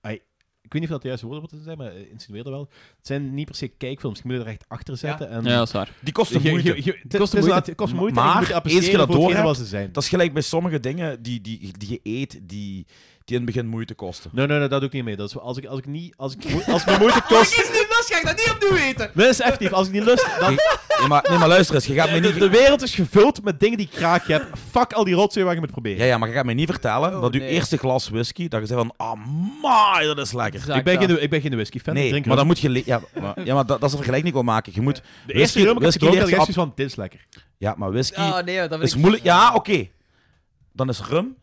Ai, ik weet niet of dat de juiste woorden moeten zijn, maar eh, insinueerde wel. Het zijn niet per se kijkfilms. Je moet er echt achter zetten. En
Ja, dat is waar.
Die kost
Je-
de
je-
moeite.
je- het-
kost
het is
moeite.
inderdaad- het kost moeite.
Maar
en je moet
eens je
appreciëren
dat
voor hetgene
doorhebt,
wat ze zijn.
Dat is gelijk bij sommige dingen die, die, die je eet, die, die in het begin moeite kosten.
Nee, nee, nee, dat doe ik niet mee. Dat is, als, ik, als ik niet... Als, ik, moe- als het me moeite kost...
Is niet lust, ga ik dat niet opnieuw eten.
Nee, dat is effectief. Als ik niet lust... Dan,
Nee, maar, nee, maar luister eens, je gaat mij
de,
niet...
de wereld is gevuld met dingen die ik graag heb. Fuck al die rotzooi waar je moet proberen.
Ja, ja, maar je gaat mij niet vertellen
Oh,
dat je
nee.
eerste glas whisky, dat je zegt van, "Ah, amai, dat is lekker.
Exact
ik, ben
dat.
geen, ik ben geen whisky-fan. ik
Nee,
drink
maar dan
rum.
moet je... le- Ja, maar, ja, maar dat, dat is een vergelijking die ik wil maken. Je moet...
dus- De eerste rum ik heb gedronken, had ik echt zoiets van, dit is lekker.
Ja, maar whisky
Ah, nee, dat vind
is
ik-
moeilijk. Ja, oké. Dan is rum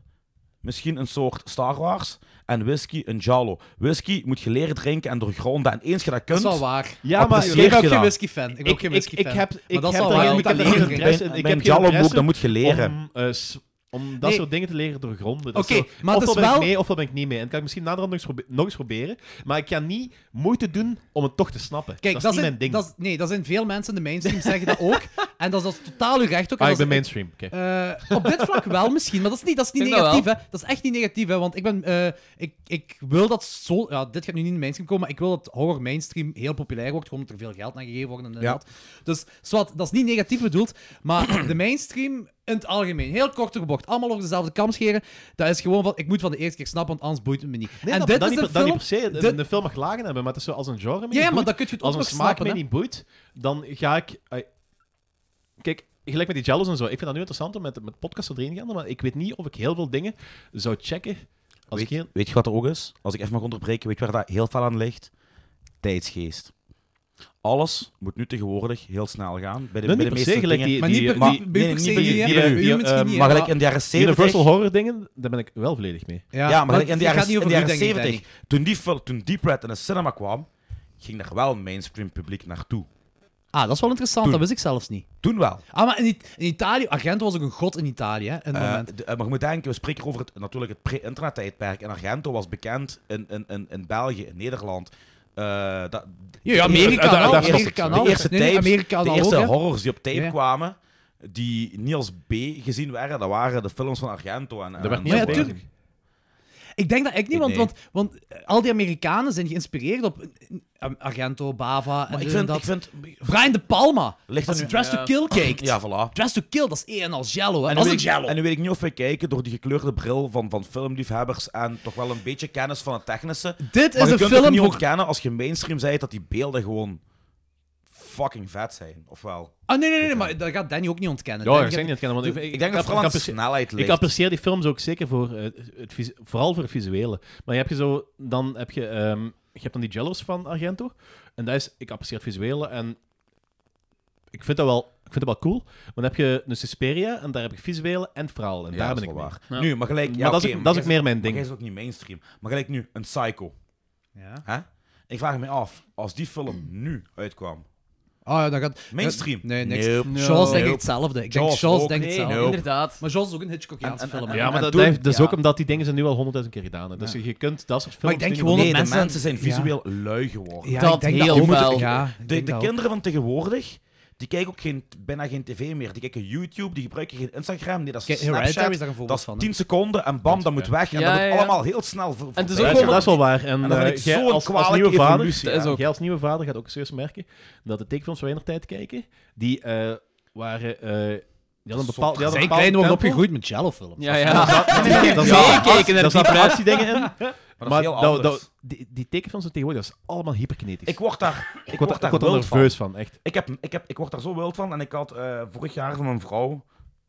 misschien een soort Star Wars en whisky een Jalo. Whisky moet je leren drinken en doorgronden. En eens je
Dat
dat kunt...
is wel waar.
Ja,
maar
maar...
Apprecieer
Ik ben ook
je
geen
dan?
whisky-fan. Ik ben ook geen whisky-fan.
heb, ik
maar dat
heb
zal
daar-
wel
ik heb daar geen
leren
interesse
Bij-
in. Ik
bij
heb
een
geen
Jalo-boek,
interesse
dan moet je leren.
om, eh, s- om dat
Nee.
soort dingen te leren doorgronden. Dat is
Oké,
zo-
maar het
ofwel
is
ben
wel-
ik mee, ofwel ben ik niet mee. En dat kan ik misschien naderhand nog eens, probe- nog eens proberen. Maar ik ga niet moeite doen om het toch te snappen.
Kijk,
dat is
dat
niet
zijn,
mijn ding.
Dat is- nee, dat zijn veel mensen in de mainstream zeggen dat ook. En dat is, dat is totaal uw recht ook. En
ah, ik
dat
ben
is-
mainstream. Oké.
eh, op dit vlak wel misschien, maar dat is niet, dat is niet
Ik denk dat
negatief. Hè. Dat is echt niet negatief, hè, want ik, ben, eh, ik, ik wil dat zo... Ja, dit gaat nu niet in de mainstream komen, maar ik wil dat horror mainstream heel populair wordt, gewoon omdat er veel geld naar gegeven wordt. En inderdaad. Dus zwart, dat is niet negatief bedoeld, maar de mainstream in het algemeen, heel kort door de bocht, allemaal over dezelfde kam scheren, dat is gewoon van, ik moet van de eerste keer snappen, want anders boeit het me niet.
Nee,
en
dat,
dit
dat
is
niet,
een
dat niet
film...
per se. De,
dit-
de film mag lagen hebben, maar het is zo als een genre me
Ja,
niet
ja, maar
boeit,
dan kun je het ook
Als een
nog
smaak
snappen.
mij
hè.
niet boeit, dan ga ik... ai, Kijk, gelijk met die jellos en zo. Ik vind dat nu interessanter met, met podcasts er erin gaan, maar ik weet niet of ik heel veel dingen zou checken als ik
Weet,
heel...
weet je wat er ook is? Als ik even mag onderbreken, weet je waar dat heel veel aan ligt? Tijdsgeest. Alles moet nu tegenwoordig heel snel gaan. Bij de,
Nee,
bij
niet
de
per
meeste
se, gelijk
dingen.
die,
Maar
die,
niet per-
die-
maar-
niet- niet per
nee,
se
niet bij
hier, hè.
die-
die-
Bij u
die-
misschien
eh,
niet,
maar
hè,
gelijk in de jaren 70...
Universal horror dingen, daar ben ik wel volledig mee.
Ja,
ja, maar, in
het
de jaren,
gaat niet
in
over
de
u,
jaren
denk ik,
70,
Danny.
toen, die, fil- toen Deep Red in de cinema kwam, ging daar wel mainstream publiek naartoe.
Ah, dat is wel interessant, dat wist ik zelfs niet.
Toen wel.
Ah, maar in, It- in Italië, Argento was ook een god in Italië, hè, in het
Eh,
moment.
de- eh, maar je moet denken, we spreken over het, natuurlijk het pre-internet-tijdperk. En Argento was bekend in, in, in, in België, in Nederland. Eh, dat,
Ja, ja, Amerika
de- de-
wel,
de-
Amerika
de,
wel.
eerste
Nee, nee,
tapes,
Amerika
de
wel
eerste
ook, hè.
horrors die op tape
Ja.
kwamen, die niet als B gezien werden, dat waren de films van Argento. En,
Dat werd niet
Maar
als
ja,
zo.
tuurlijk. Ik denk dat ik niet, want,
Nee.
want, want eh, al die Amerikanen zijn geïnspireerd op eh, Argento, Bava en
Maar ik
dit en
vind,
dat.
ik vind...
Brian De Palma,
Ligt
als
dat
hij
nu-
Dress
Ja.
to Kill kijkt.
Ja, voilà.
Dress to Kill, dat is één en al jello. Hè.
En nu,
dat is
weet
een
ik,
jello.
en nu weet ik niet of we kijken door die gekleurde bril van, van filmliefhebbers en toch wel een beetje kennis van het technische.
Dit
maar
is
je
een
kunt het
film
niet
voor...
ontkennen als je mainstream zei dat die beelden gewoon fucking vet zijn, ofwel?
Ah, nee, nee, nee, nee, maar dat gaat Danny ook niet ontkennen.
Ja,
Danny
ik zeg
gaat-
niet het kennen, want ik,
Ik denk dat
ik-
vooral
ik
aan
apprecieer-
snelheid ligt.
Ik apprecieer die films ook zeker voor, eh, het visu- vooral voor het visuele. Maar je hebt je zo, dan heb je, ehm, je hebt dan die jellos van Argento. En dat is, ik apprecieer het visuele en ik vind dat wel, ik vind dat wel cool. Maar dan heb je een Suspiria en daar heb ik visuele en verhaal. En
Ja,
daar
dat
ben
is
ik
wel
mee.
waar.
Ja.
Nu, maar gelijk... Ja,
maar dat,
oké,
is, ook-
maar
dat is ook
jij
meer mijn
zegt-
ding.
Maar jij is ook niet mainstream. Maar gelijk nu, een Psycho.
Ja.
Hè? Ik vraag me af, als die film nu uitkwam...
Ah, ja, dat gaat...
Mainstream.
Nee, niks.
Nope.
Jaws
Nope.
denkt hetzelfde. Ik denk
Jaws
Jaws
ook.
denkt
Nee,
hetzelfde.
nope.
Inderdaad.
Maar Jaws is ook een Hitchcockjaanse
En- en-
film.
en-
hè.
Ja, maar dat,
toen-
dat is
ja.
ook omdat die dingen zijn nu al honderdduizend keer gedaan. hè. Dus je kunt dat soort films...
Maar ik denk
nu-
gewoon-
Nee, de
mensen-
mensen zijn
Ja.
visueel lui geworden.
Ja,
dat
ik denk
heel
ook.
wel.
Ja, ik
De,
denk
de
dat ook.
kinderen van tegenwoordig, die kijken ook geen, bijna geen tv meer. Die kijken YouTube, die gebruiken geen Instagram. Nee, dat is
Kijk, Hereditary is
Snapchat.
daar een
Dat
voorbeeld
is
van. hè.
10 seconden en bam, dat moet weg. En
Ja,
dat
ja,
moet
ja.
allemaal heel snel ver-
het is
voorbij.
ook
Dat is-
gewoon-
dat is wel waar. En,
En dat
eh,
vind ik
jij
zo'n
als- als,
kwalijke
nieuwe vader,
evolutie,
ja. Dat is ook.
Jij als nieuwe vader gaat ook serieus merken dat de tekenfilms waar wij naar tijd kijken, die eh, waren... eh, die hadden een bepaald, die hadden
Zijn
een bepaald
klein wordt
tempo.
opgegroeid met jello-films.
Ja, ja.
Dat- nee, nee, Daar zaten-
gekeken naar
daar
die
zaten actiedingen in.
Maar dat
Maar
is
dat-
heel
dat-
anders.
die, die tekenfilms van tegenwoordig, dat is allemaal hyperkinetisch.
Ik word daar, ik
Ik word,
word daar
ik word er
wild van.
nerveus van, echt.
Ik, heb, ik, heb, ik word daar zo wild van. En ik had eh, vorig jaar van mijn vrouw,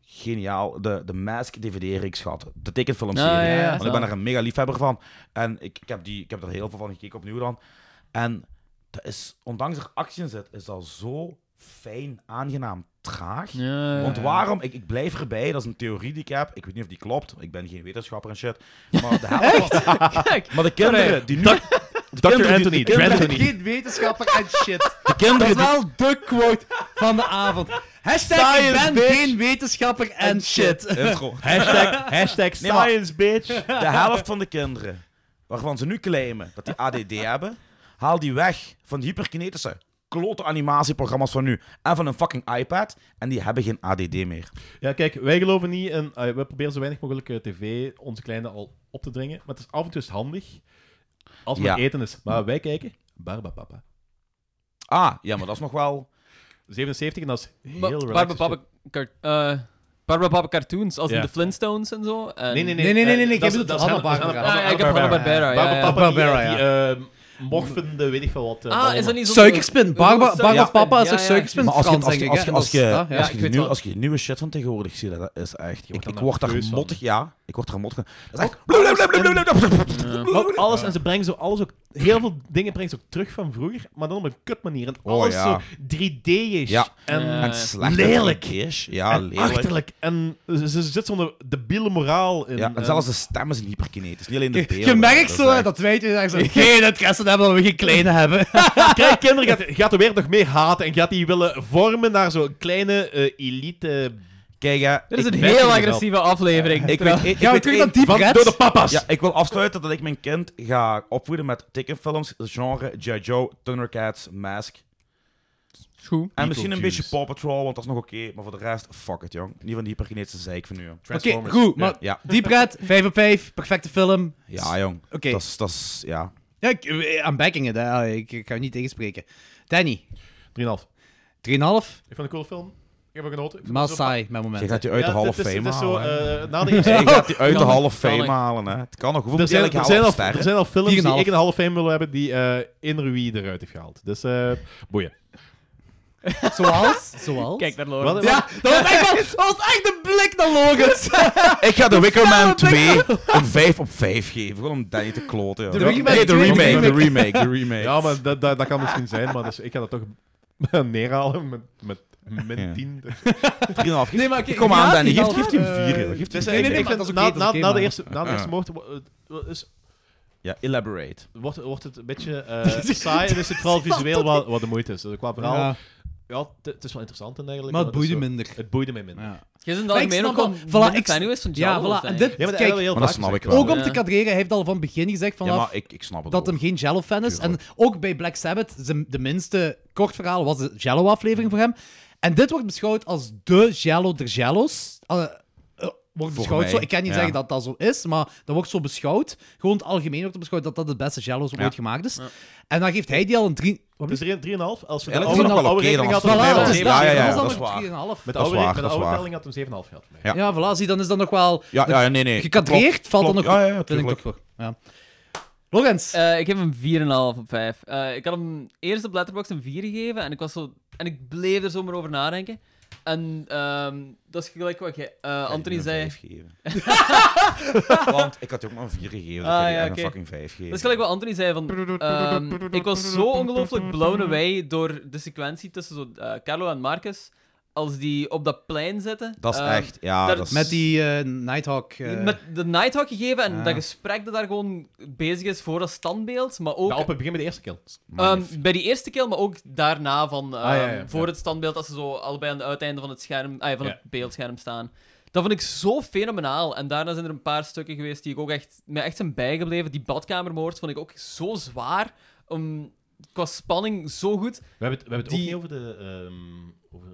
geniaal, de, de Mask DVD-reeks gehad. De tekenfilmserie.
Ah, ja, ja,
Want ik
zo.
ben er een mega liefhebber van. En ik, ik, heb die, ik heb er heel veel van gekeken opnieuw dan. En dat is, ondanks er actie in zit, is dat zo fijn, aangenaam, traag.
Ja,
Want waarom? Ik, ik blijf erbij. Dat is een theorie die ik heb. Ik weet niet of die klopt. Ik ben geen wetenschapper en shit. Maar de helft van-
Kijk,
maar de kinderen die nu... de
Dr.
kinderen die-
Anthony,
de kinderen-
Anthony.
Geen wetenschapper en shit.
De
Dat is
kinderen die...
wel de quote van de avond. Hashtag ik
Science,
ben
bitch.
geen wetenschapper en shit.
Intro.
Hashtag, hashtag
Nee, maar-
science, bitch.
De helft van de kinderen, waarvan ze nu claimen dat die ADD hebben, haal die weg van die hyperkinetische klote animatieprogramma's van nu en van een fucking iPad en die hebben geen ADD meer.
Ja, kijk, wij geloven niet in... eh, we proberen zo weinig mogelijk eh, tv onze kleine al op te dringen. Maar het is af en toe is handig als men
Ja.
eten is. Maar wij kijken Barbapapa.
Ah, ja, maar dat is nog wel...
77 en dat is heel
Ba-
relaxed.
Barbapapa car- eh, Barbapapa cartoons, als in
Ja.
de Flintstones en zo. En-
Nee, nee, nee.
Nee, nee, nee, nee,
eh,
ik
dat
bedoel
is- dat
het
is
Hanna-Barbera.
Hanna-
Ah, ja, ik heb
Hanna-Barbera.
Hanna-Barbera, ja, ja.
Barbapapa, die,
Barbara,
eh, die, eh, morfende, weet ik veel wat. eh,
Ah,
ballen.
is dat niet zo'n...
Suikerspin. Barba,
Suikerspin,
Barba
ja.
Papa is
Ja,
een
ja.
suikerspin
Maar als je,
Frans,
als je,
denk
als
ik.
je,
hè?
als je,
Dat is dat, ja.
als je
ik
de
weet
nieuw-
wel.
als je de nieuwe shit van tegenwoordig ziet, dat is echt... Ik,
wordt
ik
daar
word daar
nerveus van.
mottig, ja. Ik word daar mottig van. Dat is echt...
Ook alles, en ze brengen zo alles ook... Heel veel dingen brengen ze ook terug van vroeger, maar dan op een kut manier. En
Oh,
alles
ja.
zo 3D-ish.
Ja.
En,
Eh,
En slecht.
Lelijk.
is. Ja,
en
lelijk.
achterlijk. En ze, ze zit zo'n debiele moraal in. eh,
Ja, en zelfs de stemmen zijn hyperkinetisch. Niet alleen de beelden.
Je merkt
Dat
eh, zo
is
hè,
echt-
dat wij twee daar zo geen interesse in hebben dat we geen kleine hebben.
Krijg kinderen, gaat, gaat er weer nog meer haten en gaat die willen vormen naar zo'n kleine eh, elite... eh,
Kijk, hè,
Dit is
ik
een
merk
heel
het wel.
agressieve aflevering.
Ik
Terwijl-
weet, ik,
Gaan we
ik
terug
weet
naar
één-
Deep
Van,
Red?
door de papa's.
Ja, ik wil afsluiten dat ik mijn kind ga opvoeden met tekenfilms, het genre G.I. Joe, Thundercats, Mask.
Is goed.
En misschien een
Beetlejuice.
beetje Paw Patrol, want dat is nog oké. maar voor de rest, fuck it, jong. Niet van die hyperkinetische zeik van nu, jong.
Oké, goed. Maar
Ja,
Deep Red, 5 op 5, perfecte film.
ja jong.
Oké.
Dat is- dat is, ja.
Ja, ik, eh, I'm backing it. hè. Allee, ah, Ik, ik ga u niet tegenspreken. Danny,
3,5.
3,5.
Ik vond het een coole film. Ik heb er genoten. Ik vond
Maar
het zo-
saai, mijn
Je
moment.
gaat die uit
Ja,
de Hall
het
of
is-
Fame
Het is zo...
halen. hè.
eh, na die-
Je gaat die uit de
Kan
Hall
ik,
of Fame
kan ik.
halen, hè. Het kan nog. Hoeveel
Er zijn,
deel
er,
ik
zijn
haal
al,
op
er
sterren?
zijn al films die
4,5.
ik een half fame wil hebben die eh in Rui eruit heeft gehaald. Dus eh boeien.
Zoals? Zoals?
Kijk naar
Wat-
Loren.
wat-
Ja, dat was echt, wel- dat was echt de blik naar Logans.
Ik ga The Wicker
Felle
Man
blik-
2 een 5 op 5 geven. Gewoon om Danny te kloten, joh.
De remake
Nee, de
2.
remake, de remake, de remake.
Ja, maar dat, dat, dat kan misschien zijn, maar dus ik ga dat toch neerhalen met, met min
Ja.
10. Dus-
3,5.
Nee, maar oké,
Kom aan,
ja,
Danny.
die
Geef geef die een
halve-
4, joh. Geef die
Dus
een
nee,
ik-
nee,
ik
maar
vind
dat is oké,
na-
dat is
na-
oké,
Na de
maar- Ah.
eerste na de eerste moord wo- eh, is-
Ja, elaborate.
wordt wordt het een beetje eh, saai en is het vooral visueel wat, wat de moeite is. Dus qua verhaal, ja,
Ja,
het- het is wel interessant en dergelijke.
maar het
dat is
boeide
zo-
minder.
Het boeide mij minder.
Ja,
Je bent in het
Maar ik
algemeen ook
snap
al
wel- voilà,
voilà,
ik-
ik fan geweest van
ja
Jello,
voilà. En
zijn.
dit,
Ja, maar dat
kijk,
hebben we heel
Maar dat
vaak
snap ik
gezegd.
wel.
ook om
Ja.
te kadreren, hij heeft al van het begin gezegd
Ja,
vanaf
maar ik, ik snap het
dat
wel.
hem geen Jello-fan is. En
Tuurlijk.
ook bij Black Sabbath, zijn, de minste kort verhaal was de Jello-aflevering voor hem. En dit wordt beschouwd als de Jello der Jello's. Eh, eh, wordt beschouwd
mij,
zo. Ik kan niet
ja.
zeggen dat dat zo is, maar dat wordt zo beschouwd. Gewoon in het algemeen wordt er beschouwd dat dat de beste Jello's
Ja.
ooit gemaakt is. En dan geeft hij die al een drie... Wat
Dus 3,5. Als we de
Eigenlijk
oude,
is het nog wel
oude
oké, dan
rekening
was
hadden,
Voilà,
hadden
het wel
we
dat
oké.
is
hem
Ja,
dat.
ja, ja,
Dat is
dat
dan
is
maar
waar.
3,5.
Met de
Dat is
oude,
waar,
met de
dat is
oude
waar.
telling had hem 7,5 gehad.
Ja.
Ja, voilà, zie, dan is dat nog wel...
Ja, ja, nee, nee.
Gekadreerd valt
klopt.
dan nog...
Ja, ja, ja,
vind ik
tuurlijk.
toch voor. Ja. Lorenz.
Eh, ik heb hem 4,5 op 5. ik had hem eerst op Letterboxd een 4 gegeven en ik, was zo, en ik bleef er zomaar over nadenken. En ehm, dat is gelijk wat jij- eh, Anthony zei.
Ik wil een vijf geven. Want ik had je ook maar een 4 gegeven.
Ah,
Dan kan je
ja,
echt een
oké.
fucking 5 geven.
Dat is gelijk wat Anthony zei. Van, ehm, ik was zo ongelooflijk blown away door de sequentie tussen zo, eh, Carlo en Marcus. Als die op dat plein zitten.
Dat is
Ehm,
echt, ja.
daar-
dat is-
Met die eh, Nighthawk. eh,
Met de Nighthawk gegeven en
Ah.
dat gesprek dat daar gewoon bezig is voor dat standbeeld. Maar ook
Ja, op het begin bij de eerste kill.
Ehm,
Magnifiek.
bij die eerste kill, maar ook daarna van ehm,
Ah, ja, ja,
voor
ja.
het standbeeld, als ze zo allebei aan het uiteinde van het, scherm, ah, ja, van
Ja.
het beeldscherm staan. Dat vond ik zo fenomenaal. En daarna zijn er een paar stukken geweest die ik ook echt, mij echt zijn bijgebleven. Die badkamermoord vond ik ook zo zwaar. om qua spanning zo goed.
We hebben het, we hebben het
Die-
ook niet over de, ehm, over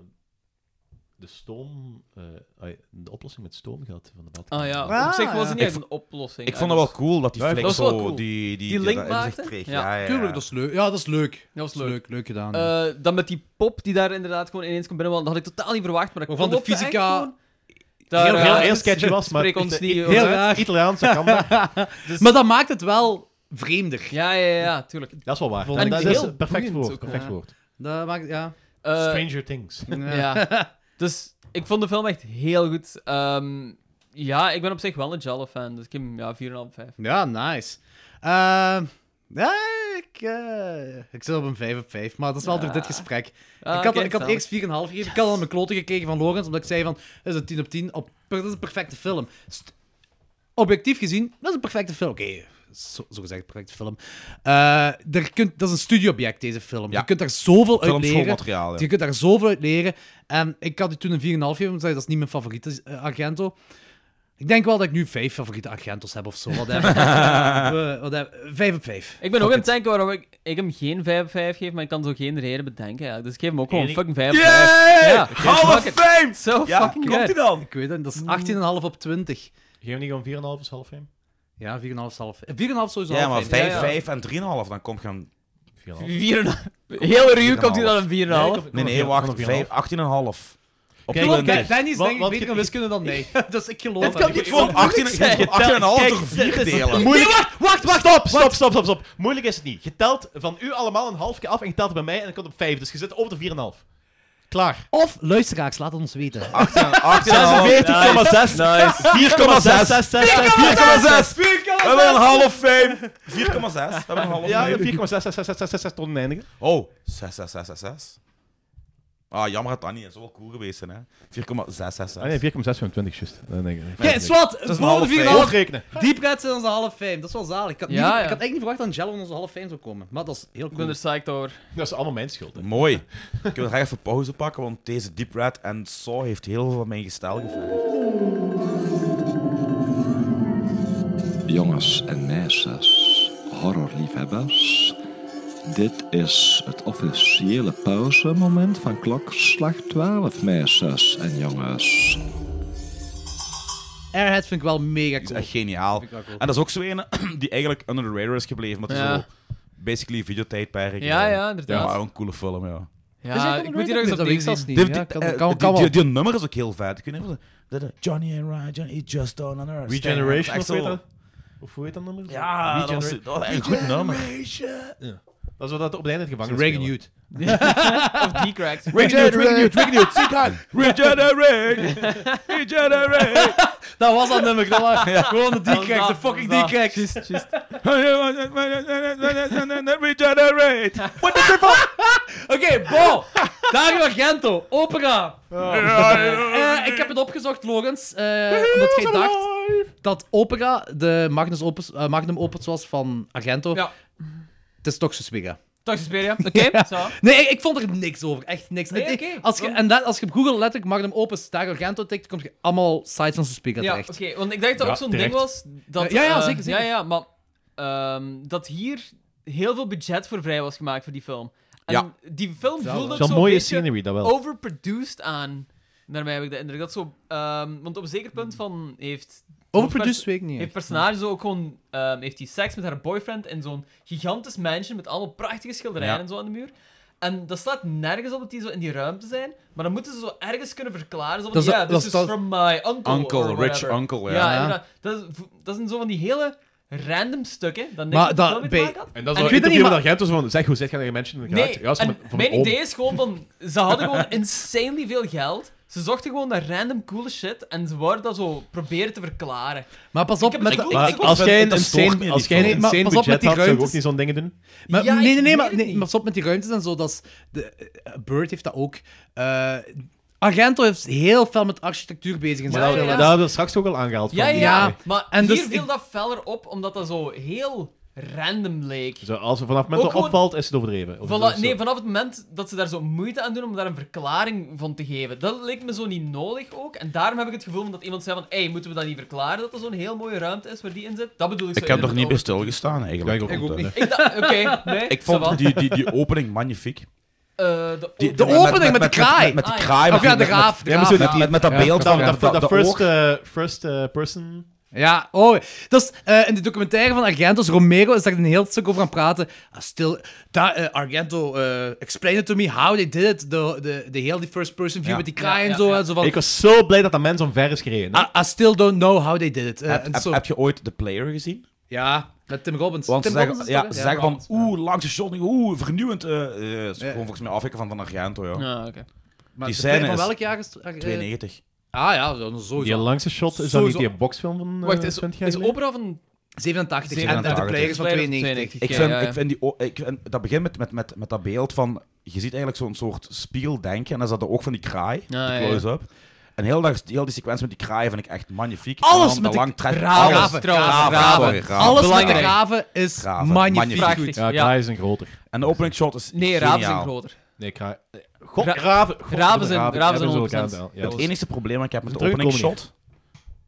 de stoom, eh, ai, de oplossing met stoom gehad van de badkamer.
Ah ja,
Ah,
op zich was
ja.
het niet echt een oplossing. dus,
Ik vond dat wel
Dat
cool dat die
Ja,
flik
dat is wel
zo
cool.
die, die,
Die link
dat inzicht
maakte?
kreeg.
Ja.
Ja, ja,
Tuurlijk,
ja.
dat is leuk. Ja, dat is leuk.
was
Dat
leuk.
is leuk. Leuk gedaan. ja.
Eh, dan met die pop die daar inderdaad gewoon ineens komt binnen, want dat had ik totaal niet verwacht. Maar dat
Waarvan de
klopte echt
fysica-
gewoon.
Heel, heel,
eh,
heel sketchy was, maar
spreek ons
het-
niet
het-
over
Heel
uit.
raar.
Italiaans, dat kan dat.
Maar dat maakt het wel vreemder.
Ja, ja, ja, tuurlijk.
Dat is wel waar.
Vond
En
ik
dat
heel
is perfect
boeiend
woord.
ook,
Perfect
ja.
woord.
Dat maakt, ja.
Eh,
Stranger Things.
Ja. dus ik vond de film echt heel goed. Ehm, ja, ik ben op zich wel een Jello-fan, dus ik heb hem ja, 4,5, 5.
Ja, nice. Eh, ja, Ik, eh, ik zit op een 5 op 5, maar dat is wel door dit gesprek.
Ah,
ik had,
kijk,
ik had
zelf.
eerst 4,5 gegeven. Ik had al mijn kloten gekregen van Lorenz, omdat ik zei van, dat is een 10 op 10. Op, dat is een perfecte film. St- objectief gezien, dat is een perfecte film. Oké, zo, zo gezegd, perfecte film. Eh, er kunt, dat is een studieobject, deze film.
Ja.
Je kunt daar zoveel uit
Film
leren.
schoolmateriaal, ja.
Je kunt daar zoveel uit leren. En ik had die toen een 4,5 gegeven, omdat ik zei, dat is niet mijn favoriete eh, Argento. Ik denk wel dat ik nu vijf favoriete Argentos heb of zo. Wat heb ik? Eh, wat heb ik? Vijf op vijf.
Ik ben ook
Fuck
aan het denken waarom ik, ik hem geen 5 op 5 geef, maar ik kan zo geen reden bedenken. Eigenlijk. Dus ik geef hem ook gewoon
Enig-
fucking 5 op 5. Ja,
Hall of
fuck it.
Fame!
Zo
Ja,
fucking
komt hij
good.
dan?
Ik weet het, dat is 18,5 op 20.
Geef hem niet gewoon 4,5 is half heen?
Ja, 4,5 is half. eh, 4,5 sowieso
Ja,
half
maar
heen.
ja.
5, 5 en 3,5, dan kom je aan...
4,5.
4,5. Heel ruw komt hij dan
Nee,
een 4,5.
ik-
Nee, nee,
Kom op,
wacht,
kom op,
5, 18,5. Op
Kijk,
Willem
Klopt,
Willem
Dan-
drie.
Dries.
Danny is
Wat-
denk ik
wat
beter
je-
in wiskunde dan mij. dus ik geloof
Dit
dat.
kan
Ik-
niet
Gewoon
zo moeilijk
18,5
zijn.
door 4 delen.
Moeilijk.
Wacht, wacht!
Stop, stop, stop, stop, stop. Moeilijk is het niet. Je telt van u allemaal een half keer af en je telt het bij mij en dan komt op 5. Dus je zit op de 4,5. Klaar.
Of luisteraars, laat het ons
Ah,
weten.
18,5.
46,6. Nice. 4,6.
4,6! We hebben een Hall of Fame! 4,6. We hebben een Hall of
Ja,
Fame.
4,666666 tot eindigen.
Oh, 6666. Ah, jammer dat dat niet is. Dat is wel cool geweest, zijn, hè. 4,666.
Ah nee, 4,625, juist. Dan denk ik.
Oké, Swat,
een
boven
half
de 4,5.
Hoofdrekenen.
Diep gaat in onze half fame. Dat is wel zalig. Ik had,
Ja,
niet,
ja.
ik had eigenlijk niet verwacht dat Jello in onze half fame zou komen. Maar dat is heel
Ik ben
cool.
er psyched over.
Dat is allemaal mijn schuld. hè.
Mooi. Ik wil graag even pauze pakken, want deze Deep Red en Saw heeft heel veel van mijn gestel gevraagd.
Jongens en meisjes, horrorliefhebbers. Dit is het officiële pauzemoment van klokslag 12, meisjes en jongens.
Airhead vind ik wel mega
Die is
cool.
echt geniaal.
Vind ik wel cool.
En dat is ook zo een die eigenlijk under the radar is gebleven, maar het is
Ja.
zo basically videotijdperk.
Ja,
Eh,
ja, inderdaad.
maar wel een coole film, ja.
Ja, ik moet hier nog eens
dat
opnieuw
weet ik
zien.
niet.
Die,
Ja,
die,
kan,
eh,
kan,
die-
kan wel.
die- die nummer is ook heel vet. Ik weet niet of dat- dat... dat- Johnny and Ryan, Johnny, it just don't understand.
Regeneration,
Echt
of
zo-
hoe heet dat? Of hoe heet dat nummer?
Ja, dat was,
Regeneration.
dat was echt een goed nummer.
Dat is wat dat op het einde het gevangen
Reagan Youth.
Of D-cracks.
Regenerate, regenerate, regenerate, ziek aan. Regenerate, regenerate.
Dat was dat nummer. Dat was gewoon de
Dat was
D-crack, de
dat,
fucking
dat was dat.
D-crack.
Just- just-
Regenerate. What the
Oké, Bo. Dario Argento, opera. Eh, ik heb het opgezocht, Logans. omdat jij dacht dat opera de magnus opus, eh, magnum opus was van Argento.
Ja.
Het is toch Suspiria.
Dag, Suspiria. Oké, zo.
Nee, ik, ik vond er niks over. Echt niks.
Nee,
Het-
oké.
als je, en dat, als je op Google letterlijk magnum opus Dario Argento tikt, kom je allemaal sites van Suspiria
Ja,
terecht.
oké. Want ik dacht dat
Ja,
ook zo'n
terecht.
ding was... Dat,
Ja, ja,
eh,
zeker, zeker.
Ja, ja, maar... ehm, dat hier heel veel budget voor vrij was gemaakt voor die film. En
Ja.
die film voelde
Het
ook
is
zo'n
wel Oh. mooie
beetje
scenery, dat wel.
overproduced aan. Naar mij heb ik de indruk. Dat zo, ehm, want op een zeker punt van heeft...
Hmm. Overproduced weet ik niet.
Heeft
echt.
personage zo ook gewoon... ehm, heeft hij seks met haar boyfriend in zo'n gigantisch mansion met allemaal prachtige schilderijen
Ja.
en zo aan de muur. En dat staat nergens op dat die zo in die ruimte zijn. Maar dan moeten ze zo ergens kunnen verklaren. Zo van,
Dat is-
ja,
dat
this
is
is
dat-
from my uncle. or
Uncle, rich
whatever."
uncle, ja.
Ja, inderdaad. Dat, is- vo- dat zijn zo van die hele random stukken. Dat
Maar
niks
dat-
dat, mee te
bij-
maken had.
En dat
En
is
ik
wel
weet
een
het
interview
niet,
met Argentus van, zeg, hoe zit je tegen mensen in de
Nee,
gaten? Ja, ze
en
met- van
mijn
oom.
idee is gewoon van... Ze hadden gewoon insanely veel geld. Ze zochten gewoon naar random coole shit. En ze wouden dat zo proberen te verklaren.
Maar pas op,
heb
met
het
de-
gevoel-
Maar
Ik-
als
ik-
jij
ik-
een
dat stoort me
insane,
niet
als jij een
veel.
Nee, maar
insane
pas op met
budget
die
had, zou ik ook
ruimtes.
niet zo'n dingen doen.
Maar,
Ja, ik
nee, nee, nee,
weet
maar,
het
nee,
niet.
maar stop met die ruimtes en zo. Dat is de, eh, Bird heeft dat ook. Eh, Argento is heel veel met architectuur bezig in zijn
Maar
Dat
ja,
film.
ja.
hebben we straks ook al aangehaald.
Ja, ja,
van-
ja.
Ja.
Maar
En
hier
dus
viel
ik-
dat feller op, omdat dat zo heel random leek.
Zo, als er vanaf het moment
Ook
dat
gewoon-
opvalt, is het overdreven. Of is
Voilà,
dat zo?
nee, vanaf het moment dat ze daar zo moeite aan doen om daar een verklaring van te geven, dat leek me zo niet nodig ook. En daarom heb ik het gevoel dat iemand zei van, hey, moeten we dat niet verklaren dat er zo'n heel mooie ruimte is waar die in zit? Dat bedoel ik zo
Ik heb nog
inderdaad
niet bij
ook.
stilgestaan, eigenlijk.
Ja, ik ook niet.
Ik dacht, oké, nee,
Ik
ça va.
vond die, die, die opening magnifiek.
Eh, de,
Die-
De opening met de kraai.
Met, met de
Ah, ja.
kraai.
Of
met-
ja, de
met-
raaf. De
Ja, maar
raaf.
zo
ja,
Met, met, met dat
Ja.
beeld
Dat,
van
dat, dat,
de
first,
oog.
eh, first eh, person...
Ja, oh. Dat is, eh, in de documentaire van Argento, Romero is daar een heel stuk over aan het praten. Ah, stil, da, eh, Argento, eh, explain it to me how they did it. De, de, de heel die first person view
Ja.
met die kraai
Ja,
en
ja,
zo.
ja.
En zo van,
Ik was zo blij dat dat mens omver is gereden. hè.
I, I still don't know how they did it. Eh,
Heb,
en
heb,
zo.
heb je ooit The Player gezien?
Ja, met Tim Robbins.
Want ze
Tim
zeggen,
Robbins is
ja,
toch,
ze
hè?
zeggen van,
Robbins.
oeh, langs de shot, oeh, vernieuwend. eh, eh, is
Ja.
Gewoon volgens mij afwijken van Van Argento, ja.
Ah, oké.
Maar
die
de-
scène
Van
is
welk jaar is het? Eh,
92.
Ah ja, zo- sowieso.
Die langste shot, is dat
Sowieso.
niet die boxfilm van eh,
Wacht, is,
20 jaar
is
geleden?
opera van
87. En, en de
87.
players van 92.
Ik vind, ik vind die, o- ik vind, dat begint met, met, met, met dat beeld van... Je ziet eigenlijk zo'n soort spiegel denken. En dan is dat de oog van die kraai,
ja, ja.
die close-up. En heel, dat, heel die sequentie met die kraai vind ik echt magnifiek.
Alles met
En dan dat
de
lang trek-
kraven,
alles.
trouwens,
Kraven,
kraven.
sorry, kraven.
Alles met de
Belangrijk.
graven is
Graven,
magnifiek.
Prachtig.
magnifiek.
Ja,
Ja,
kraai is een groter.
En de opening shot is
Nee,
geniaal.
raven zijn groter.
Nee, kraai... God,
Ra-
raven... God,
raven zijn-
hebben
raven zijn
ze
100%.
elkaar aan de- Ja,
Het
dat is-
enige probleem dat ik heb met de
Druk
opening
komen hier.
shot...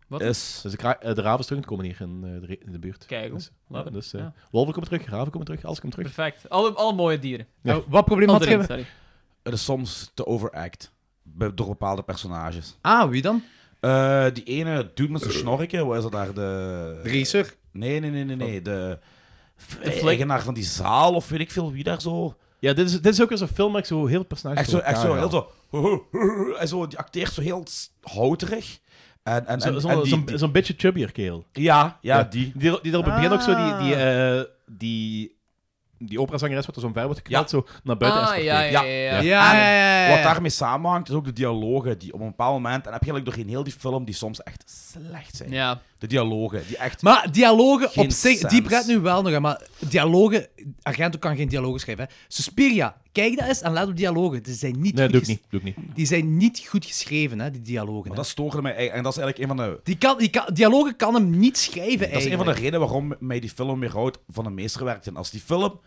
Wat?
Is...
Dus de, kra- eh, de raven terug komen hier in, eh, de, re- in de buurt.
Kijk,
Dus,
hoe-
ja, dus, eh,
ja.
Wolven komen terug, raven komen terug, alles komt terug.
Perfect. Alle, alle mooie dieren.
Ja.
Nou, wat probleem had
Al drie,
je?
sorry.
Het is soms te overact. Be- Door bepaalde personages.
Ah, wie dan?
Eh, die ene dude met zijn snorken, wat is dat daar? De...
De racer.
Nee, nee, nee, nee, nee. De, de
flik.
eigenaar van die zaal of weet ik veel wie daar zo.
Ja, dit is, dit is ook eens een film waar ik zo heel personages
Echt zo,
door
echt zo,
elkaar
heel
haal.
zo. En zo, die acteert zo heel s- houterig. En, en,
Zo-
en,
Zo'n
en die-
zo'n-
die-
zo'n beetje chubbier keel.
ja, ja, die.
Die, er- die er op het begin ook zo die, die,
Ah.
eh, die, die operazangeres wat er zo'n ver wordt geknald, zo naar buiten
Ah,
escorteert.
ja, ja, ja. ja.
Ja, ja, ja, ja.
Wat daarmee samenhangt, is ook de dialogen die op een bepaald moment, en heb je eigenlijk doorheen heel die film, die soms echt slecht zijn.
Ja.
De dialogen, die echt...
Maar dialogen
Geen
op zich,
sens.
die praat nu wel nog, hè, maar dialogen, Argento kan geen dialogen schrijven. Hè. Suspiria, kijk dat eens en laat op dialogen. Die zijn niet,
Nee,
goed
doe ik
ges-
niet. Doe ik niet.
Die zijn niet goed geschreven, hè, die dialogen.
Maar
hè.
dat stoorde mij, eigenlijk- en dat is eigenlijk een van de...
Die kan, die kan, dialogen kan hem niet schrijven,
Dat is een
eigenlijk.
van de redenen waarom mij die film weer houdt van een meesterwerk. En als die film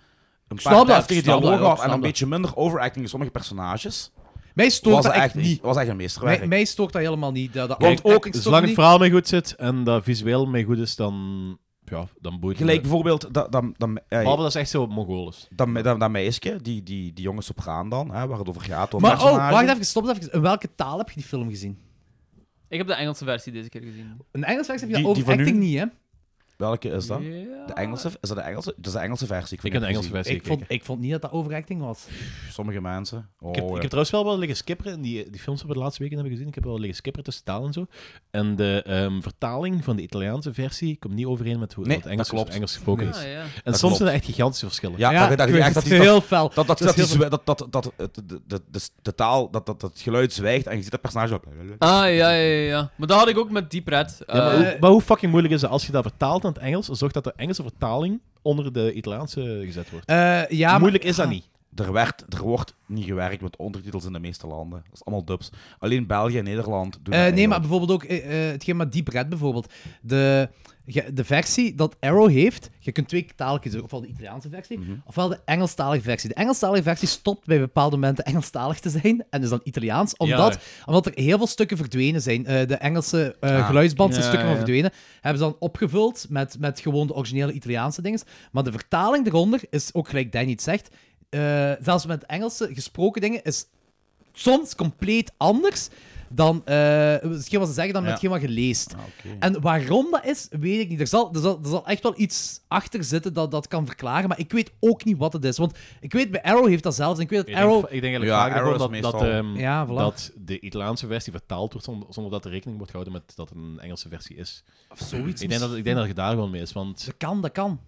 een
snap
paar
dat,
deftige
ik snap
dialogen
dat, ik
had en
snap
een
dat.
beetje minder overacting in sommige personages,
Mij stoort
was
dat
het
echt,
echt,
niet.
was echt een meesterwerk.
Mij, mij stoort dat helemaal niet. Dat, dat
Want
dat-
ook,
ik stoort
Zolang het
niet.
verhaal mee goed zit en dat visueel mee goed is, dan, ja, dan boeit het
Gelijk
me.
bijvoorbeeld dat, dat, dat, eh,
Behalve dat is echt zo dus. Mongolis.
dat, me- dat, dat meisje, die, die, die jonge sopraan dan, hè, waar het over gaat. dat
Maar oh,
personage.
wacht even, stop even. In welke taal heb je die film gezien?
Ik heb de Engelse versie deze keer gezien.
In Engels heb je dat
Die- die van
overacting
nu?
niet, hè?
Welke is dat?
Ja.
De Engelse? Is dat de Engelse? Dat is de Engelse versie.
Ik
weet
heb
niet
de Engelse
precies.
versie
Ik vond,
gekeken.
ik vond niet dat dat overacting was.
Pff, Sommige mensen. Oh,
Ik heb, ik
ja.
heb trouwens wel wat liggen skipperen. in Die, die films die we de laatste weken hebben gezien, ik heb wel liggen skipperen tussen taal en zo. En de ehm, vertaling van de Italiaanse versie komt niet overeen met hoe
Nee,
het Engels,
dat klopt.
Engels gesproken is.
Ah, ja.
En
Dat
soms
klopt.
zijn er echt gigantische verschillen.
Ja, dat, dat,
ik weet
echt, dat,
het,
die- dat,
heel fel.
dat, dat,
Dat is
dat, die
heel
zwa- dat, dat, dat, dat, de, de, de, de taal, dat, dat, dat het geluid zwijgt en je ziet dat personage op.
Ah, ja, ja, ja, ja. Maar dat had ik ook met die pret.
Ja, maar,
Eh,
hoe, maar hoe fucking moeilijk is dat als je dat vertaalt naar het Engels, zorg dat de Engelse vertaling onder de Italiaanse gezet wordt.
Eh, ja, maar-
moeilijk is
Ah.
dat niet.
Er, werd, er wordt niet gewerkt met ondertitels in de meeste landen. Dat is allemaal dubs. Alleen België en Nederland doen
Eh,
dat
nee, maar
eigenlijk.
bijvoorbeeld ook eh, eh, hetgeen met Deep Red bijvoorbeeld. De, ge- de versie dat Arrow heeft, je kunt twee talen kiezen. Ofwel de Italiaanse versie,
Mhm.
ofwel de Engelstalige versie. De Engelstalige versie stopt bij bepaalde momenten Engelstalig te zijn en is dan Italiaans, omdat, omdat er heel veel stukken verdwenen zijn. Eh, de Engelse eh, geluidsband zijn
Ah, Ja,
stukken van
ja.
verdwenen. Hebben ze dan opgevuld met, met gewoon de originele Italiaanse dingen. Maar de vertaling eronder is ook gelijk Danny het zegt. eh, zelfs met Engelse gesproken dingen is soms compleet anders dan eh, misschien wat ze zeggen dan
Ja.
met hetgeen wat je leest.
Ah, oké.
En waarom dat is, weet ik niet. Er zal, er zal, er zal echt wel iets achter zitten dat dat kan verklaren, maar ik weet ook niet wat het is. Want ik weet, bij Arrow heeft dat zelfs. En ik weet dat
Ik denk,
Arrow...
ik denk eigenlijk
Ja,
vaak
Arrow
dat,
is
dat, dat,
meestal-
ehm,
Ja, voilà.
dat de Italiaanse versie vertaald wordt zonder, zonder dat er rekening wordt gehouden met dat het een Engelse versie is.
Of zoiets.
Ik denk dat, ik denk dat je daar gewoon mee is, want,
Dat kan, dat kan.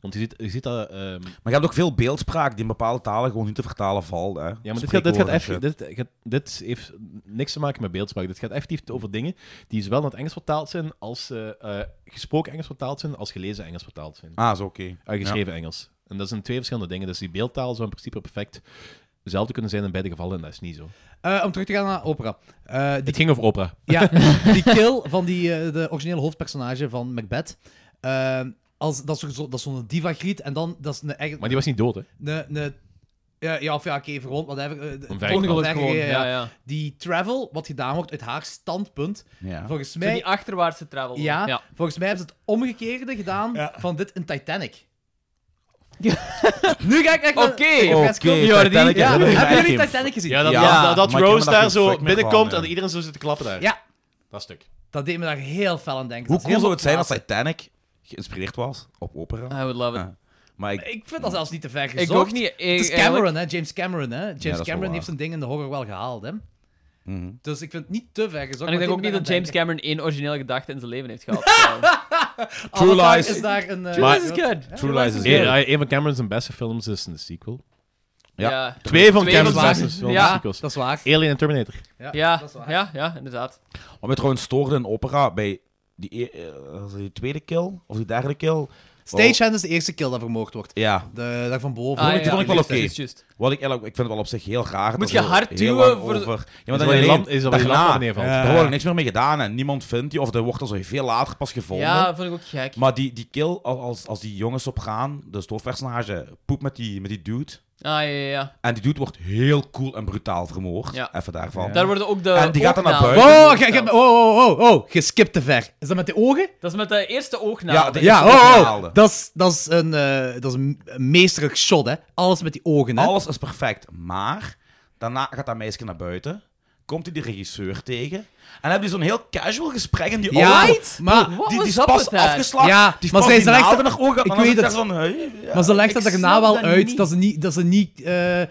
want je, ziet, je ziet dat... ehm,
Maar je hebt ook veel beeldspraak die in bepaalde talen gewoon niet te vertalen valt. Hè.
ja, maar dit, gaat, dit, gaat
Spreekwoorden en
echt,
shit.
dit, gaat- dit heeft niks te maken met beeldspraak. Dit gaat effectief over dingen die zowel naar het Engels vertaald zijn als eh, eh, gesproken Engels vertaald zijn als gelezen Engels vertaald zijn.
Ah, zo oké. Ja.
uitgeschreven Engels. En dat zijn twee verschillende dingen. Dus die beeldtaal zou in principe perfect hetzelfde kunnen zijn in beide gevallen. En dat is niet zo.
Eh, om terug te gaan naar opera. Eh, die,
Het ging over opera.
ja, die kill van die, eh, de originele hoofdpersonage van Macbeth. Eh, als, dat is zo'n zo, dat is zo'n diva-griet en dan... Dat is een, eigen-
Maar die was niet dood, hè?
Ne, ne, ja, ja, of ja, oké, verwond, whatever. eh, de-
Omver-
Ongeluk
Omver-
gewoon.
ja,
Ja,
ja.
ja.
Die travel, wat gedaan wordt uit haar standpunt,
Ja.
volgens
Zo die
mij...
achterwaartse travel.
Ja,
ja.
volgens mij hebben ze het omgekeerde gedaan van dit in Titanic. nu ga ik echt...
Oké.
Oké,
Jordi.
Titanic is
Ja, hebben jullie
een Titanic.
Titanic gezien?
Ja, dat,
Ja,
dat- dat,
maar ik
Rose
heb me daar
daar
geen
zo
fuck meer
binnenkomt
van,
en
ja.
iedereen zo zit te klappen daar.
Ja,
Dat stuk.
dat deed me daar heel fel aan denken.
Hoe
Dat is
cool zou het zijn
helemaal
als Titanic geïnspireerd was op opera?
I would love it.
Ja. Maar ik,
plaats. Ik vind dat zelfs niet te ver Ah. gezocht.
Ik ook niet. Eh, Ik,
Het is Cameron, hè, James Cameron. Hè. James
dat is wel
Cameron
waar.
heeft zijn ding in de horror wel gehaald. Hè.
mhm.
Dus ik vind het niet te ver gezocht.
En ik
maar
denk ook niet
het deed me
dat
daaraan
James
denken.
Cameron één originele gedachte in zijn leven heeft gehad.
True
Avatar
Lies.
is daar een... eh,
True Lies is
groot-
good.
Ja,
True Lies is
Eén-
good.
Een van Cameron's beste films is een sequel.
Ja.
ja.
Twee van
Twee
Cameron's
van
beste
zijn-
films
ja.
sequels.
Dat is waar.
Alien en Terminator.
Ja,
dat is waar.
ja, ja, inderdaad.
Wat mij trouwens stoorde in opera bij die, e- eh, was het die tweede kill of die derde kill.
Stagehand is de eerste kill dat vermoord wordt.
Ja,
De, daar van
Ah,
boven.
vond ik- die vond ik wel
juist,
oké.
juist, juist.
wat ik, eigenlijk- ik vind het wel op zich heel raar.
Moet
dat
je
er
hard
heel
duwen
lang
voor de-
over- Ja,
Is dat
maar dan
wat
je
je land-
land,
is dat wat je land
daarna-
neervalt?
daar wordt er niks meer mee gedaan en niemand vindt die, of er wordt er zo veel later pas gevonden.
Ja, vond ik ook gek.
Maar die, die kill, al- als, als die jonge sopraan, dus het hoofdpersonage, poept met die, met die dude.
Ah, ja, ja, ja.
En die dude wordt heel cool en brutaal vermoord.
Ja.
Even daarvan.
Daar worden ook de
En die gaat dan naar
oognamen
buiten.
Oh,
voorgesteld.
ge- ge- oh, oh, oh, oh, je skipt te ver. Is dat met de ogen?
Dat is met de eerste oognaam.
Ja, de-
Ja,
is
oh,
weghaalde.
oh. Dat is, dat is een, eh, dat is een meesterlijk shot, hè. Alles met die ogen, hè.
Alles is perfect, maar daarna gaat dat meisje naar buiten, komt hij de regisseur tegen en hebben die zo'n heel casual gesprek en die
Ja,
auto-
maar-
Die-
What
die,
was
is
up
pas
with that?
afgeslagen.
Ja,
die is
maar
pas
zij
die
is er echt-
naalden naar oog had,
ik
en dan
weet
zit
het.
daar Zo'n, hey, ja.
Maar ze legt dat
ik
daarna
snap
wel
dat
uit.
niet.
Dat ze niet... Dat ze, niet eh,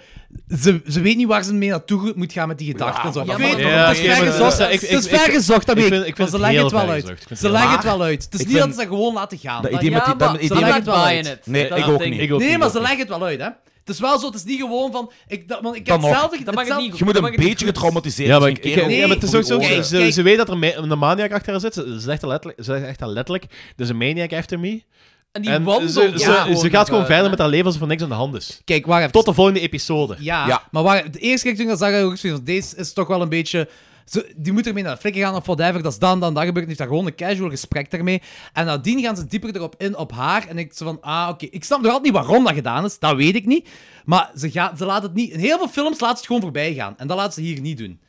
ze, ze weet niet waar ze mee naartoe moet gaan met die gedachten. en zo.
ja,
ik
maar-
weet het,
Ja,
dat is
oké,
ver
maar-
gezocht.
Ja, ik-
Het is
ik- ik-
ver gezocht, dat
ik
weet
vind-
ik.
ik vind
Maar ze
het
leggen
heel
het wel
ver
uit.
gezocht. Ik vind
Ze
het
leggen
heel
het
ver.
wel uit. Het is
Ik
niet dat
vind-
ze gewoon laten gaan.
Dat
Maar
idee
ja,
met die- dat-
maar
idee
ze
met-
leggen het wel in het.
Nee,
Dat
ik ook
ding.
niet.
Ik ook
Nee,
niet,
maar
ook
ze
niet.
leggen het wel uit, hè. Het is wel zo, het is niet gewoon van... Ik, dat, want ik
Dan
heb
nog.
hetzelfde...
Dat mag het
hetzelfde-
niet
Je moet
dat
een
mag ik niet
beetje
goed.
getraumatiseerd zijn.
Ja, maar,
als je
ik,
een kerel
ik- ja, maar het is
voor
ook
je
zo.
ogen-
Kijk,
ze,
kijk.
ze weet dat er me- een maniac achter haar zit. Ze zegt dat letterlijk. Ze zegt echt dat letterlijk. Er is een maniac after me.
En die
En
wandelt
ze, ze,
ja,
ze gaat gewoon
eh,
verder met haar leven alsof er niks aan de hand is.
Kijk, wacht even.
Tot de volgende episode.
Ja,
Ja.
maar waar, de eerste keer toen ik dat zag, had ik ook zoiets van, deze is toch wel een beetje... Ze, die moet ermee naar de flikken gaan of whatever, dat is dan, dan, dat gebeurt. En heeft daar gewoon een casual gesprek daarmee. En nadien gaan ze dieper erop in op haar. En ik zo van, ah, oké. Ik snap nog altijd niet waarom dat gedaan is, dat weet ik niet. Maar ze, gaat, ze laat het niet... In heel veel films laat ze het gewoon voorbij gaan. En dat laat ze hier niet doen.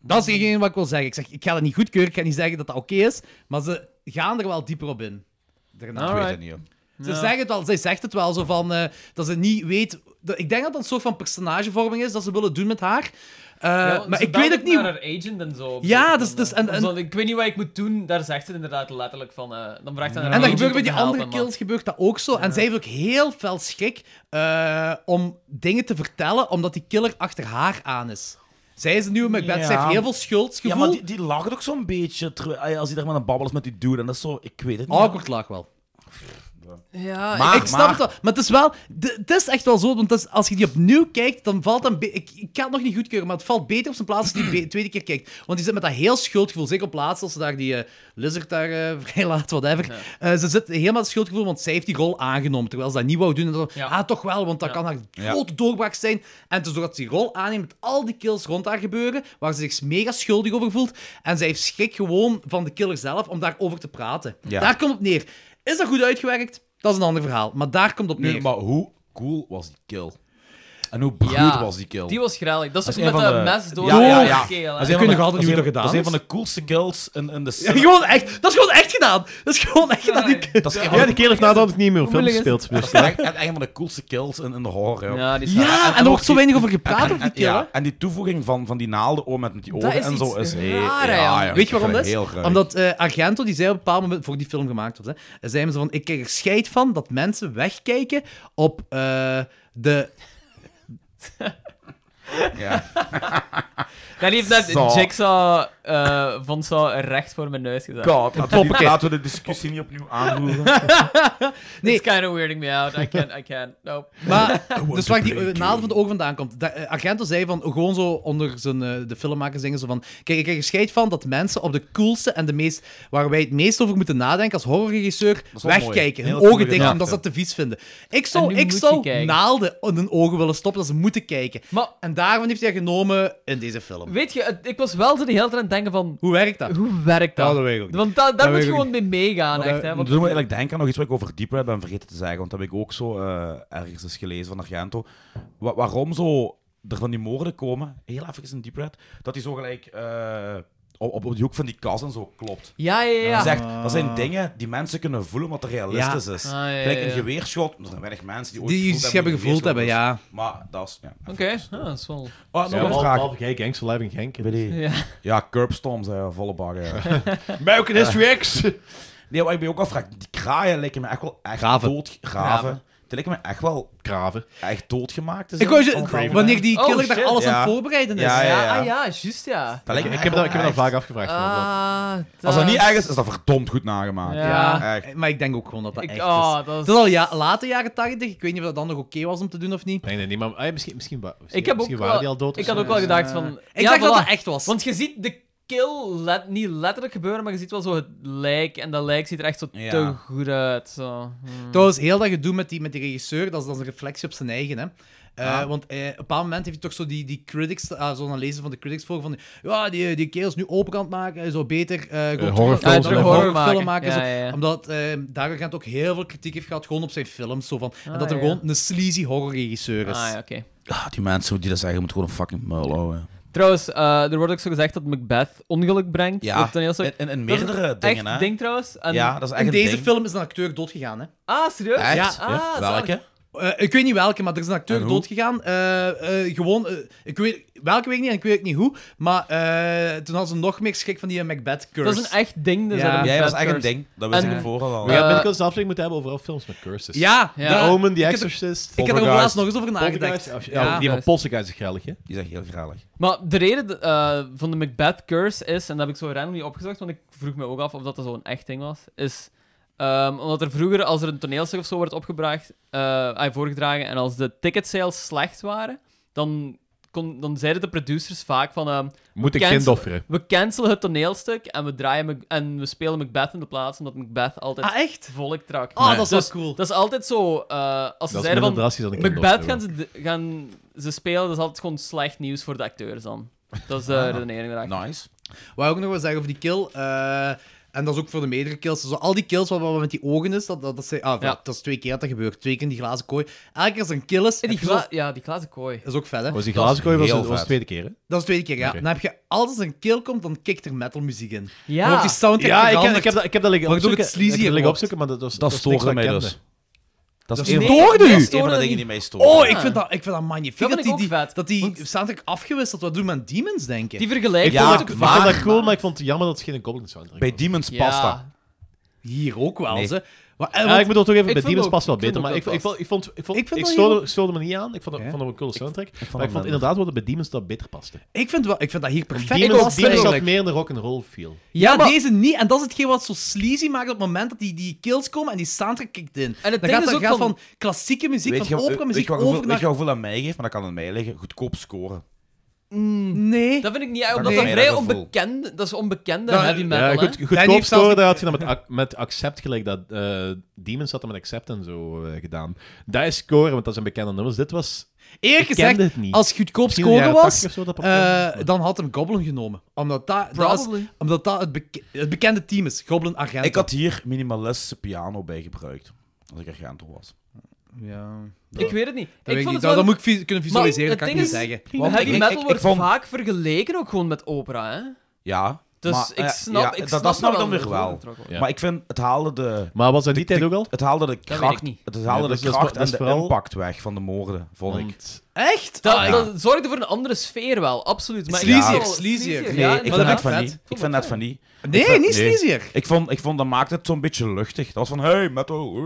Dat is hetgeen wat ik wil zeggen. Ik zeg, ik ga dat niet goedkeuren, ik ga niet zeggen dat dat oké is. Maar ze gaan er wel dieper op in. Daarna.
Ik weet
Alright.
het niet, joh.
Ze zeggen het wel, zij zegt het wel zo van eh, dat ze niet weet. Dat, ik denk dat dat een soort van personagevorming is dat ze willen doen met haar. Eh,
Ja,
maar
ze
ik
belt
weet ook niet.
naar haar agent en zo. op
Ja,
zeker
dus-
van,
dus-
eh,
en- en-
zo, ik weet niet wat ik moet doen, daar zegt ze het inderdaad letterlijk van. eh, dan vraagt ze aan haar
En dat
agent
gebeurt
om
bij die
te helpen,
andere
maar-
kills gebeurt dat ook zo. En zij heeft ook heel veel schrik eh, om dingen te vertellen, omdat die killer achter haar aan is. Zij is een nieuwe Macbeth,
Ja.
zij heeft heel veel
Ja,
schuldgevoel.
maar die, die lacht ook zo'n beetje terwijl- ah, ja, als hij daar met een babbel is met die dude. En dat is zo, ik weet het niet.
Awkward lag wel.
Ja,
Maar-
Oh, ik snap het wel. Maar het is wel... de- Het is echt wel zo, want het is- als je die opnieuw kijkt, dan valt dat... een be- Ik, ik kan het nog niet goedkeuren, maar het valt beter op zijn plaats als je die be- tweede keer kijkt. Want die zit met dat heel schuldgevoel. Zeker op plaats als ze daar die eh, lizard daar eh, vrij laat, whatever. Eh, ze zit helemaal met het schuldgevoel, want zij heeft die rol aangenomen. Terwijl ze dat niet wou doen. En dan,
Ja.
Ah, toch wel, want dat
Ja.
kan haar
Ja.
grote doorbraak zijn. En dus doordat ze die rol aanneemt, met al die kills rond haar gebeuren, waar ze zich mega schuldig over voelt. En zij heeft schrik gewoon van de killer zelf om daarover te praten.
Ja.
Daar komt het op neer. Is dat goed uitgewerkt? Dat is een ander verhaal. Maar daar komt het op
Nu,
neer.
maar hoe cool was die kill? En hoe bruut
Ja,
was die kill?
Die was graalig. Dat is
Dat
ook
is
met
een van
een
de-
mes door
Ja, ja,
de
ja.
keel, hè.
Dat is
kunnen
een van
nog
de-
altijd niet hoe dat
dat is
gedaan
een- Dat is een
is.
van de coolste kills in, in de
Ja,
cinema.
gewoon echt, dat is gewoon echt gedaan. Dat is gewoon echt gedaan. Die kut.
Dat is een van
Ja,
de-
de kerel heeft nadat het niet meer film
moeilijk is
gespeeld.
dat is echt- echt een van de coolste kills in, in de horror. joh.
Ja, die is raar.
Ja, en er wordt zo
die-
weinig over gepraat
en,
over die
en-
kill. hè.
ah, ja, en die toevoeging van, van die naalden oom met die ogen
is
en zo
iets
is heel...
raar, hè,
Ah, ja,
joh.
joh,
Ah, Weet
ik
je waarom
vind
dat
het
is?
Heel raar.
Omdat eh, Argento, die zei op een bepaald moment, voor die film gemaakt wordt, hè, zei hem zo van, ik krijg er scheid van dat mensen wegkijken op eh, de...
Ja.
Daar heeft net
Zo.
Jigsaw eh, van zo recht voor mijn neus gezet.
God, laten we, die- laten we de discussie niet opnieuw aanroeren.
Nee.
It's kind of weirding me out. I can't, I can't. Nope.
Maar, dus waar die eh, naald van de ogen vandaan komt. Da- eh, Argento zei van, gewoon zo onder zijn, eh, de filmmakers zingen zo van, kijk, ik krijg er scheid van dat mensen op de coolste en de meest, waar wij het meest over moeten nadenken als horrorregisseur,
is wel
wegkijken.
mooi.
Hun
Heel
ogen
cool
dicht,
gedaan,
omdat ze
ja.
dat te vies vinden. Ik
En
zou,
nu
ik
moet je
zou
kijken.
naalden in hun ogen willen stoppen, dat ze moeten kijken.
Maar
En daarvan heeft hij genomen in deze film.
weet je, het- ik was wel zo de hele tijd aan het denken van...
Hoe werkt dat?
Hoe werkt dat?
Ja, dat weet ik ook niet.
Want da- daar
weet
moet
ik
je
ook
gewoon mee meegaan, echt. Hè?
Dat
Want
doet me Eh, eigenlijk denken aan nog iets wat ik over Deep Red ben vergeten te zeggen. Want dat heb ik ook zo eh, ergens eens gelezen van Argento. Wa- waarom zo er van die moorden komen, heel even in Deep Red, dat die zo gelijk eh, op, op, op die hoek van die kast en zo klopt.
Ja, ja, ja.
Dat, is echt- dat zijn dingen die mensen kunnen voelen wat er realistisch is.
Ah, ja, ja,
Gelijk een
ja.
geweerschot, er zijn weinig mensen die ooit
Die
gevoeld
iets hebben
hoe een
gevoeld hebben,
geweerschot
ja.
is. Maar dat is... Ja,
Oké, ah, dat is wel...
Ah, nog
dus- Ja,
een vraag.
behalve jij Gangs Live in Genk.
Bij die-
Ja.
Ja, curbstorms, hè, volle baggen.
American History X!
Nee, wat ik me ook afvraag, die kraaien lijken me echt wel echt
Graven.
dood... Graven. Die lijken me echt wel
Kraven.
echt doodgemaakt te
Ik
zijn.
wou
Van
je,
Craven.
wanneer die
Oh,
killer daar
shit,
alles aan
ja.
het voorbereiden is.
Ja, ja, ja.
Ah ja, juist ja.
Dat lijkt me
Ik heb
echt
dat, ik heb
wel
dat vaak
echt.
afgevraagd. want
Ah,
Als dat niet erg is, is dat verdomd goed nagemaakt.
Ja.
Ja,
Echt.
maar ik denk ook gewoon dat dat
Ik-
echt
oh,
is.
dat is-
Het is al ja, late jaren 80. Ik weet niet of dat dan nog oké was om te doen of niet.
dat- Nee, nee, nee, maar ah, ja, misschien, misschien, wa- misschien,
Ik heb ook
misschien waren die al dood.
Ik
of
had
zo.
ook wel gedacht van...
Ik
ja,
dacht dat
voilà.
dat echt was.
Want je ziet de kill let, niet letterlijk gebeuren, maar je ziet wel zo het lijk. En dat lijk ziet er echt zo
Ja.
te goed uit. Zo. Hm.
Trouwens, heel dat gedoe met die, met die regisseur, dat is, dat is een reflectie op zijn eigen. Hè. Eh,
Ah.
Want eh, op een bepaald moment heeft hij toch zo die, die critics, ah, zo zo'n lezer van de critics voor van ja, die, die kerel is nu open aan het maken, hij zou beter eh gewoon
horrorfilms
terug-
maken.
terug
Horror maken.
horrorfilm maken.
Ja,
zo.
ja, ja.
Omdat eh Dagen ook heel veel kritiek heeft gehad gewoon op zijn films. Zo van, en
Ah,
dat er
ja.
gewoon een sleazy horrorregisseur is.
Ah, ja, oké.
Ah, die mensen die dat zeggen, moeten gewoon een fucking muil houden.
Trouwens, eh, er wordt ook zo gezegd dat Macbeth ongeluk brengt.
Ja,
op toneelstuk.
En, en, en
Dat is
meerdere
echt
dingen, hè.
ding trouwens. En-
Ja, dat is echt
In
een
deze
ding.
film is een acteur doodgegaan. Hè?
Ah, serieus?
Echt?
Ja.
Ja.
Ah, zalig.
Welke?
Eh, ik weet niet welke, maar er is een
En
acteur
hoe?
doodgegaan. Eh, eh, gewoon, eh, ik weet welke weet ik niet en ik weet ook niet hoe. Maar eh, toen hadden ze nog meer schrik van die Macbeth-curse.
Dat is een echt ding. Dus
Ja.
dat
Ja,
een
dat is
bad
echt een
curse.
ding. Dat wist
En-
ik me vooral al.
We gaan
Eh,
binnenkort een aflevering moeten hebben over al films met curses.
Ja,
Ja.
daar-
The Omen, The
ik heb-
Exorcist.
Ik heb er
Poltergeist.
laatst nog eens over nagedacht.
Poltergeist. Ja,
Ja.
die van
juist.
Poltergeist is geldig, hè?
Die is echt heel gralig.
Maar de reden eh, van de Macbeth curse is, en dat heb ik zo random niet opgezocht, want ik vroeg me ook af of dat, dat zo'n echt ding was, is ehm, omdat er vroeger, als er een toneelstuk of zo werd opgebracht, eh, ah, voorgedragen, en als de ticket sales slecht waren, dan, kon, dan zeiden de producers vaak van, ehm,
Moet ik
Cancel.
kind offeren.
we cancelen het toneelstuk en we, draaien Mac- en we spelen Macbeth in de plaats, omdat Macbeth altijd
Ah, echt?
volk trak.
Ah, dat is wel
Dus
cool.
Dat is altijd zo, eh, als ze
Dat is
zeiden
minder
van,
drastisch dan ik
Macbeth gaan ze, de- gaan ze spelen, dat is altijd gewoon slecht nieuws voor de acteurs dan. Dat is de redenering erachter.
Nice.
Wou ik nog wel zeggen over die kill. eh, en dat is ook voor de meerdere kills. Dus al die kills wat, wat met die ogen is, dat, dat, dat, zijn- ah,
Ja.
dat is twee keer dat dat gebeurt. Twee keer in die glazen kooi. Elke keer als er een kill
En Eh,
is...
die
heb je zo-
gla- ja, die glazen kooi.
Dat is ook vet, hè?
Was die
Dat is
glazenkooi was,
heel
was, was de
vet.
tweede keer, hè?
Dat is de tweede keer, ja.
Oké.
Dan heb je... Altijd als een kill komt, dan kikt er metalmuziek in. Dan
Ja,
wordt die soundtrack
Ja, ik heb,
veranderd.
ik heb dat, ik heb dat liggen
Waardoor
opzoeken.
het sleazier
Ik heb dat liggen
wordt.
opzoeken, maar dat was
Dat
was niks
stoorde mij
ik kende.
dus. Dat is
Dat
een
is
van-
stoorde u?
dat
een van
stoorde
de dingen
niet.
die mij storen.
Oh,
Ja.
ik vind dat, ik vind dat magnifiek.
Dat
Dat,
vind
die,
ik
die,
ook vet.
dat die
Want-
soundtrack afgewisseld. Wat doen we aan demons denken?
Die
Ik
vergelijking
Ja,
wordt
vond, het,
ook
ik vond
vaak.
dat cool, maar ik vond het jammer dat het geen Goblin soundtrack
Bij
was.
Demons
Ja.
Pasta.
Hier ook wel,
Nee.
ze. Maar, eh,
Ja,
want-
ik bedoel toch even, bij
vond
Demons
ook-
past wel
ik vond
beter,
ook
maar ik,
dat
ik, vond, ik, vond, ik, vond,
Ik
ik,
vind dat
stoorde, stoorde me niet aan. Ik vond, ik
Ja.
vond het een coole soundtrack. maar
hem
ik vond
minder.
inderdaad wel dat bij Demons dat beter paste.
ik, vind wel, ik vind dat hier perfect
Demons,
past,
Demons had
eigenlijk.
meer in de rock'n'roll feel.
Ja,
maar-
deze niet. En dat is hetgeen wat zo sleazy maakt op het moment dat die, die kills komen en die soundtrack kikt in.
En het
dan
ding
gaat
is
dat
ook
gaat
van-
van... klassieke muziek,
Weet je
van
wat-
opera
weet je
muziek,
wat gevoel-
over
weet
naar...
je wat gevoel aan mij geeft? Maar dat kan aan mij liggen. Goedkoop scoren.
Nee.
Dat vind ik niet uit,
Dat
omdat
is
dat
mij
vrij
dat gevoel.
onbekend... Dat is onbekende
Nou,
heavy metal,
ja,
hè.
goed, goedkoop
heeft zelfs
scoren,
niet-
daar had je dan met, ac- met Accept gelijk. Dat, eh, Demons had dat met Accept en zo eh, gedaan. Dat is scoren, want dat zijn bekende nummers. Dit was...
Eerlijk
ik
gezegd,
kende het niet.
als het goedkoop
Misschien in de
scoren
jaren
was,
80 of zo dat
eh,
populair was.
dan had hem Goblin genomen. Omdat dat, dat, is-
Probably.
omdat dat het, beke- het bekende team is. Goblin Argento.
Ik had hier minimalistische piano bij gebruikt. Als ik Argento was.
Ja,
Ik weet het niet.
dat,
ik
weet ik
vond
niet.
het
Nou, dat,
wel...
dat moet ik vis- kunnen
Maar
visualiseren, dat
het
kan ik
ding
niet
is-
zeggen.
Want
heavy
ik- ik-
metal
ik
wordt
vond-
vaak vergeleken ook gewoon met opera, hè.
Ja.
Dus
maar,
ik
eh,
snap...
ja,
ik
dat, dat snap ik
wel
dan weer
dat het
wel.
aangetrokken wordt.
Ja.
Maar ik vind, het haalde de...
Maar was dat die
de-
tijd
de-
ook al?
Het haalde de
weet ik
kracht,
niet.
het haalde
Ja, dus dat is-
de
dat is-
kracht
dat is
en de
vooral-
impact weg van de moorden, vond ik.
Want-
Echt?
Dat,
Ah, ja.
dat zorgde voor een andere sfeer wel, absoluut. Maar ik
Sleazier,
vond wel-
sleazier.
Nee,
ja, inderdaad.
ik vind net van
vet.
niet. Ik vind net van niet.
Nee,
vind-
niet
nee.
sleazier.
Ik vond, ik vond dat maakte het zo'n beetje luchtig. Dat was van, hey, metal. eh.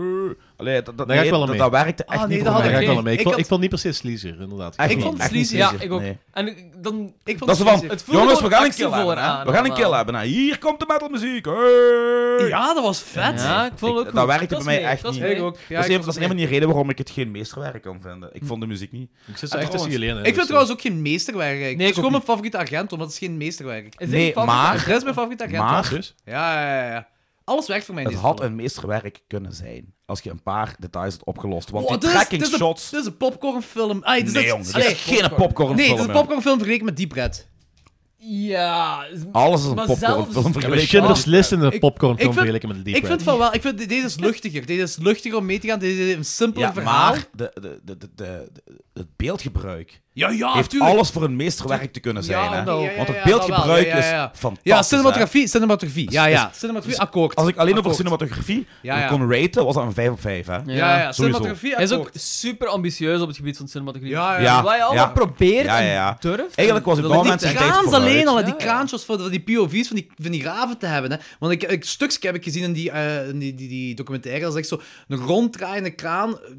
Allee, dat,
Daar
dat,
ga ik
nee,
wel aan
dat,
mee.
dat werkte echt
Ah, nee,
niet
dat
voor
had
Daar ga
mij.
ik wel aan mee. Ik,
Ik
vond,
had-
ik vond niet per se sleazer, inderdaad.
Echt
Ik
niet,
vond het
echt niet
sleazy.
Ja,
sleazy.
ik ook.
Nee.
En ik- dan...
Ik vond
Dat ze
het
van,
sleazy.
voelde
jongens, we
gewoon
gaan een
extra
kill hebben.
voor
hè.
aan
We gaan een
allemaal.
kill hebben. hè. Hier komt de metalmuziek. Hey.
Ja, dat was vet.
Ja, ik vond het ook
dat
goed.
werkte bij
is
mij
mee,
echt
dat is
niet.
mee.
Ik ook. Ja,
dat is,
ik
een, dat is een van die redenen waarom ik het geen meesterwerk kan vinden. Ik vond de muziek niet.
Ik zit zo echt
trouwens,
tussen jullie in. hè,
Ik vind
dus,
het trouwens ook geen meesterwerk. Nee,
Nee,
het
ik
is
ook
gewoon mijn favoriete Argento, maar dat is geen meesterwerk.
Is dit
Nee,
je favoriete-
maar-
Dat is mijn favoriete Argento.
Maar-
eh, dus.
Ja, ja, ja, ja. Alles werkt voor mij in
Het
deze
had
film.
een meesterwerk kunnen zijn. Als je een paar details had opgelost. Want
Oh,
die
dit is-
tracking
dit is een-
shots...
Dit is een popcornfilm. Ai, dit is
Nee,
echt-
jongen. Dit
Allee,
is geen popcornfilm.
Nee, dit is een
hè.
popcornfilm vergeleken met Deep Red.
Ja. is-
Alles is een
Maar
popcornfilm.
zelfs-
Ja, maar
vergeleken.
Schindler's List in de
Ik-
popcorn
ik
film
vind-
vergeleken met de Deep
Ik vind
Red.
van wel, ik vind, deze is luchtiger. Deze is luchtiger om mee te gaan. Deze is een simpeler
Ja,
verhaal.
maar de, de, de, de, de- de- het beeldgebruik
ja, ja,
heeft
Ah, tuurlijk.
alles voor een meesterwerk te kunnen zijn. hè.
omdat- ja, ja,
Want het
ja,
beeldgebruik
dat wel. Ja, ja, ja.
is fantastisch.
Ja,
hè.
cinematografie, cinematografie. Ja, ja. Cinematografie, akkoord.
Als ik alleen over
Akkoord.
cinematografie
Ja, ja.
kon raten, was dat een 5 op 5. Hè?
Ja, ja,
sowieso.
cinematografie,
Hij is ook
akkoord.
super ambitieus op het gebied van cinematografie.
Ja, ja.
Ja.
Wat je allemaal
ja.
probeert
Ja, ja, ja.
en durft.
Ah. Eigenlijk was ik
dat
wel
lukt
mensen
echt.
tijd
kraans
vooruit.
alleen al,
Ja,
die
ja.
kraantjes voor die POV's van die, van die raven te hebben. Hè. Want ik, ik stukje heb ik gezien in die, eh, in die, die, die documentaire, dat ze echt zo een ronddraaiende kraan eh,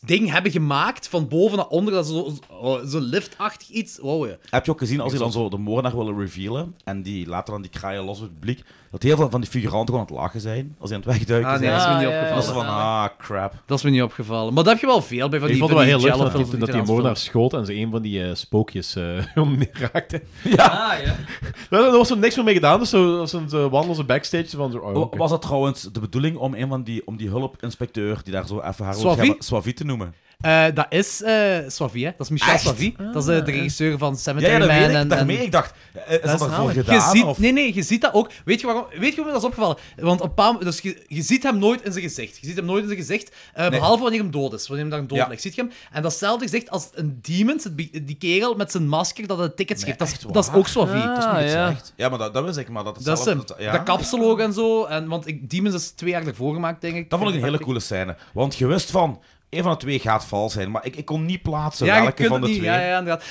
ding hebben gemaakt, van boven naar onder, dat ze zo- zo- zo'n zo'n liftachtig iets. Wow, ja.
Heb je ook gezien, als die dan zo de moordenaar willen revealen en die laten dan die kraaien los op het publiek, dat heel veel van die figuranten gewoon aan het lachen zijn als die aan het wegduiken
Ah, nee,
zijn.
dat is me niet
Ah, ja, ja,
En
opgevallen.
dat ze van, ah, crap.
Dat is me niet opgevallen. Maar dat heb je wel veel bij van
Ik
die
vond het wel heel leuk
jello
dat, die- dat die moordenaar schoot en ze een van die eh, spookjes eh omraakte.
Ja, Ah, ja.
Daar daar was er niks meer mee gedaan, dus zo, zo, zo wandelen ze backstage van zo... Oh, oké.
Was dat trouwens de bedoeling om een van die, om die hulpinspecteur, die daar zo even haar wil
Swavi?
schermen- Swavi te noemen?
Eh, dat is eh Swavi, hè? Dat is Michel
Ah, Echt? Ah.
Swavi. Dat is eh, de regisseur van
Ja,
Cemetery
ja, dat
Man.
weet ik.
en,
daarmee.
en-
Ik dacht, eh, is dat ervoor
zalig.
gedaan?
Je ziet,
of...
Nee, nee, je ziet dat ook. Weet je waarom, weet je waarom me dat is opgevallen? Want een paar, dus je, je ziet hem nooit in zijn gezicht. Je ziet hem nooit in zijn gezicht, eh, behalve wanneer hem dood is. Wanneer hem daar dood
Ja.
ligt, ziet je hem. En datzelfde gezicht als een demon, het be- die kerel met zijn masker dat het tickets geeft. Dat, is- dat is ook Swavi. dat,
Ah, ja.
Ja, maar dat, dat wist ik, maar dat
is
het
dat is
zelf-
hem.
dat- ja.
Dat kapsel ook en zo. En, want ik, Demons is twee jaar ervoor gemaakt, denk ik.
Dat vond ik een hele coole scène. Want je wist van, een van de twee gaat vals zijn. Maar ik, ik kon niet plaatsen
Ja, je
welke
kunt
van
het
de
niet.
twee.
Ja, ja, inderdaad.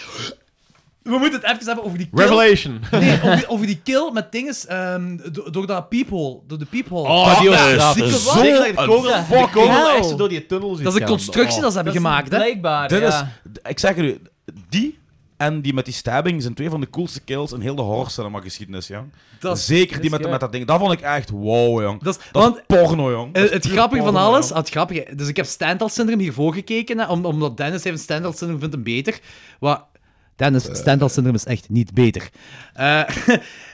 We moeten het even hebben over die kill.
Revelation!
Nee, over, die, over die kill met dinges ehm, do- door dat peephole. Door de peephole.
Oh, die was
dat
zieke
is
wat.
zo
Ik denk dat de kogel-
een
de kogel
hell.
echt zo door die tunnel ziet
Dat is een
gaan.
constructie
Oh.
dat ze hebben gemaakt, hè?
Blijkbaar,
Dit
ja.
is, d- ik zeg het u, die en die met die stabbing zijn twee van de coolste kills in heel de horror cinema geschiedenis, ja.
Dat is-
Zeker
is
die met,
gek.
met dat ding. Dat vond ik echt wow, jong.
Dat is-
Dat
want-
is porno, jong. Dat
Eh,
is
het
puur
grappige van
porno,
alles,
jong.
ah, het grappige, dus ik heb Stendhal-syndroom hiervoor gekeken, hè, om- omdat Dennis heeft Stendhal-syndroom vindt hem beter. Wat, Dennis, Stendhal-syndroom is echt niet beter. Eh,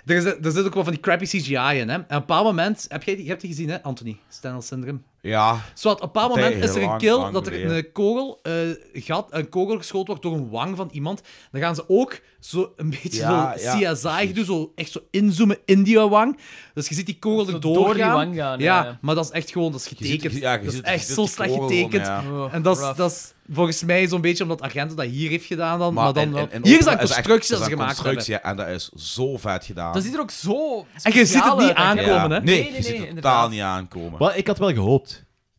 er, is, er zit ook wel van die crappy CGI in. Hè. En op een bepaald moment, heb jij die, je hebt die gezien, hè, Anthony? Stendhal-syndroom.
Ja,
Zwat, op een bepaald
Tij-
moment is er
heel
een
lang,
kill
lang
dat er
geleden.
een kogel, eh, gat, een kogel geschoten wordt door een wang van iemand. Dan gaan ze ook zo een beetje
Ja,
zo
ja,
CSI doen, zo echt zo inzoomen in die wang. Dus je ziet die kogel erdoor
door die
gaan.
wang gaan,
ja,
ja, ja.
maar dat is echt gewoon, dat is getekend.
ziet- ja, je
dat is
ziet- je
echt
ziet
zo
die
slecht
kogel
getekend.
gewoon,
ja.
En dat is,
Rough.
dat is volgens mij zo'n beetje omdat Argento dat hier heeft gedaan dan. Maar, dan
en-
wel-
en- en
Hier is
ook-
dat een
echt-
constructie dat
is
ze
een
gemaakt hebben.
constructie, ja, en dat is zo vet gedaan.
Dat ziet er ook zo
En je ziet het
speciaal
niet
uit, hè.
aankomen,
Ja.
hè?
Nee,
Nee, nee,
je
nee,
ziet het totaal
inderdaad.
niet aankomen.
Maar ik had wel gehoopt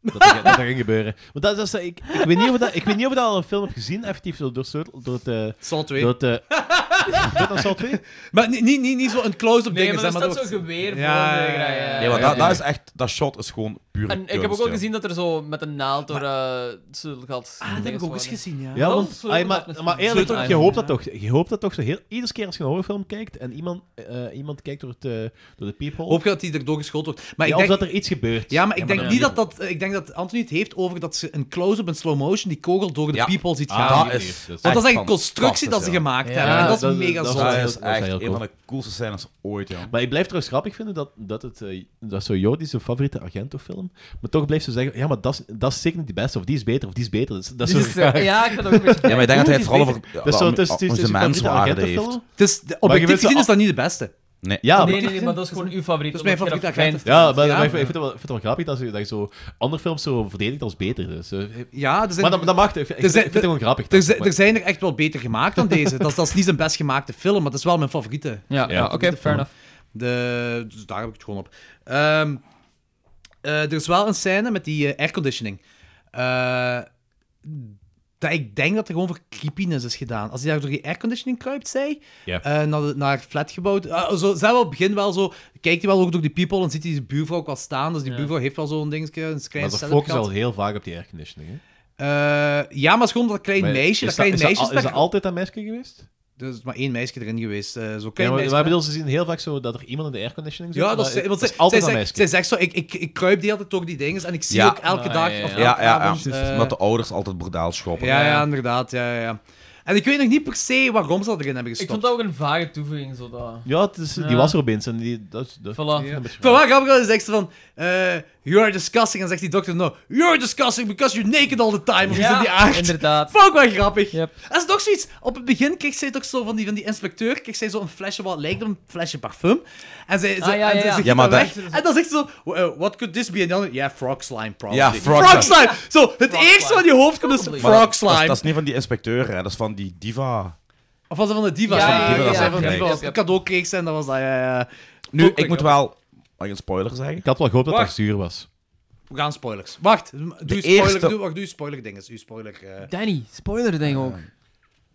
dat dat, dat dat ging gebeuren. Want dat, is- dat is, ik, ik, weet niet of dat, ik weet niet of je dat al een film hebt gezien, effectief, zo door, door, door het... eh,
Zal twee.
door het eh, door het Saw 2?
Maar niet, niet, niet, niet zo'n close-up
Nee,
ding.
maar
hè,
er
maar
staat
dat
zo'n geweer voor.
Ja,
de-
ja, ja, ja.
ja,
nee, maar
ja,
dat,
ja.
dat is echt... Dat shot is gewoon puur
En ik heb ook
kunst,
al
ja.
gezien dat er zo met een naald door eh zulke gat.
Ah, dat heb ik ook eens gezien, ja.
Ja,
dat
want,
is zo
ai,
inderdaad
maar,
met
maar
zo'n
eerlijk,
sleutel.
je hoopt dat toch. Je hoopt dat toch zo heel, iedere keer als je een horrorfilm kijkt en iemand, eh, iemand kijkt door, het, eh, door de peephole,
Hoop je dat die erdoor geschoten wordt. Maar
ja,
ik
of
denk,
dat er iets gebeurt.
Ja, maar ik denk
dan-
niet dat dat... Ik denk dat Anthony het heeft over dat ze een close-up in slow motion die kogel door de
Ja.
people ziet
Ah,
gaan.
die-
Dat
die-
is...
Want dat is echt een
fantastisch,
constructie dat ze
ja.
gemaakt
Ja,
hebben. En dat,
dat-
is mega
dat-
zonde.
dat
Dat
heel-
is
dat is
echt
heel
een
cool.
van de coolste scènes ooit, jong.
Maar ik blijf trouwens grappig vinden dat, dat, het, eh, dat zo Jordi zijn favoriete Argento-film, maar toch blijft ze zeggen, ja, maar dat is- dat is zeker niet de beste, of die is beter, of die is beter. Dat is, dat is
Dit
zo
is,
raar.
eh, Ja, ik vind het ook een beetje...
Ja, maar ik denk dat hij het vooral
beter.
over
Dat
eh,
is zo
om-
tussen
om zijn
tussen favoriete
menswaarde
Argento-film.
Dus de,
je weet
objectief
ze
gezien
al-
is dat niet de beste.
Ja,
Nee,
maar-
nee, nee, maar dat is gewoon uw favoriet.
Dat is mijn favoriete agent.
Ja, maar, maar
maar-
ik vind het wel, ik vind het wel grappig dat je, dat je zo andere films zo verdedigt als beter. Dus, eh,
Ja, er zijn,
maar dat, dat mag. Ik, ik,
zijn-
vind het gewoon grappig.
er,
dat-
zijn,
maar-
er zijn er echt wel beter gemaakt dan deze. Dat, is- dat is niet zijn best gemaakte film, maar dat is wel mijn favoriete.
Ja, ja, oké, fair enough.
De, dus daar heb ik het gewoon op. Ehm, eh, er is wel een scène met die eh, airconditioning. Eh, dat ik denk dat er gewoon voor creepiness is gedaan. Als hij daar door die airconditioning kruipt, zei
Ja.
eh, naar, de- naar het flatgebouw. eh, zo, zelf op het begin wel zo. Kijkt hij wel ook door die people en ziet hij de buurvrouw ook wel staan. Dus die
Ja.
buurvrouw heeft wel zo'n dingetje, een klein
Maar ze
setup
focussen
gehad.
al heel vaak op die airconditioning. Hè?
Eh, ja, maar het is gewoon dat klein
Maar
meisje.
is
Dat klein
is
meisje
al-
is
is er
daar-
altijd dat meisje geweest?
Er is maar één meisje erin geweest. eh zo
Ja,
klein
maar,
meisje.
maar ik bedoel, ze zien heel vaak zo dat er iemand in de airconditioning zit.
Ja, dat
maar
is, want
het
zij,
altijd
zij,
een
zegt-
meisje.
zij zegt zo, ik, ik, ik kruip die altijd door die dingen en ik zie
Ja.
ook elke
Ah,
dag
ja, ja,
of
ja.
elke
Ja, ja,
avond...
ja.
eh,
Omdat de ouders altijd bordaal schoppen.
ja, ja, inderdaad, ja, ja, ja. En ik weet nog niet per se waarom ze dat erin hebben
Ik
gestopt.
vond dat ook een vage toevoeging, zo dat...
Ja, het is, die
Ja.
was er opeens. En die, dat, is- dat,
Voilà.
een beetje-
Van waar grappig was, zegt ze van, eh, you are disgusting, en zegt die dokter, no, you are disgusting because you're naked all the time, of iets in die aard.
inderdaad.
Vond ik wel grappig.
Yep.
Dat is nog zoiets. Op het begin kreeg zij toch zo van die, van die inspecteur, kreeg zij zo een flesje wat lijkt op een flesje parfum. En zij, ze,
Ah, ja,
en
ja,
ze-
ja.
ze giet
Ja, maar
dat
dat-
weg. En dan zegt ze zo, "Well, eh, what could this be? En dan, ja, frog slime probably.
Ja, frog slime.
Zo, het
Frog
eerste
slime.
wat je hoofd komt is
Probably.
Maar dat-
frog
Dat, is-
slime.
dat is niet van die inspecteur, hè. dat is van die diva.
Of was dat van de diva?
Ja,
ja,
ja,
dat
ja,
zijn van
ja,
diva.
ja.
Als ik een cadeau kreeg ze en dat eh, was dat, ja, ja. ja.
Nu, ik moet wel... Mag ik een spoiler zeggen?
Ik had wel gehoopt dat
Wacht.
dat zuur was.
We gaan spoilers. Wacht, doe je spoiler,
eerste-
doe, wacht, doe je spoiler dinges, doe je spoiler... eh.
Danny, spoiler ding ook.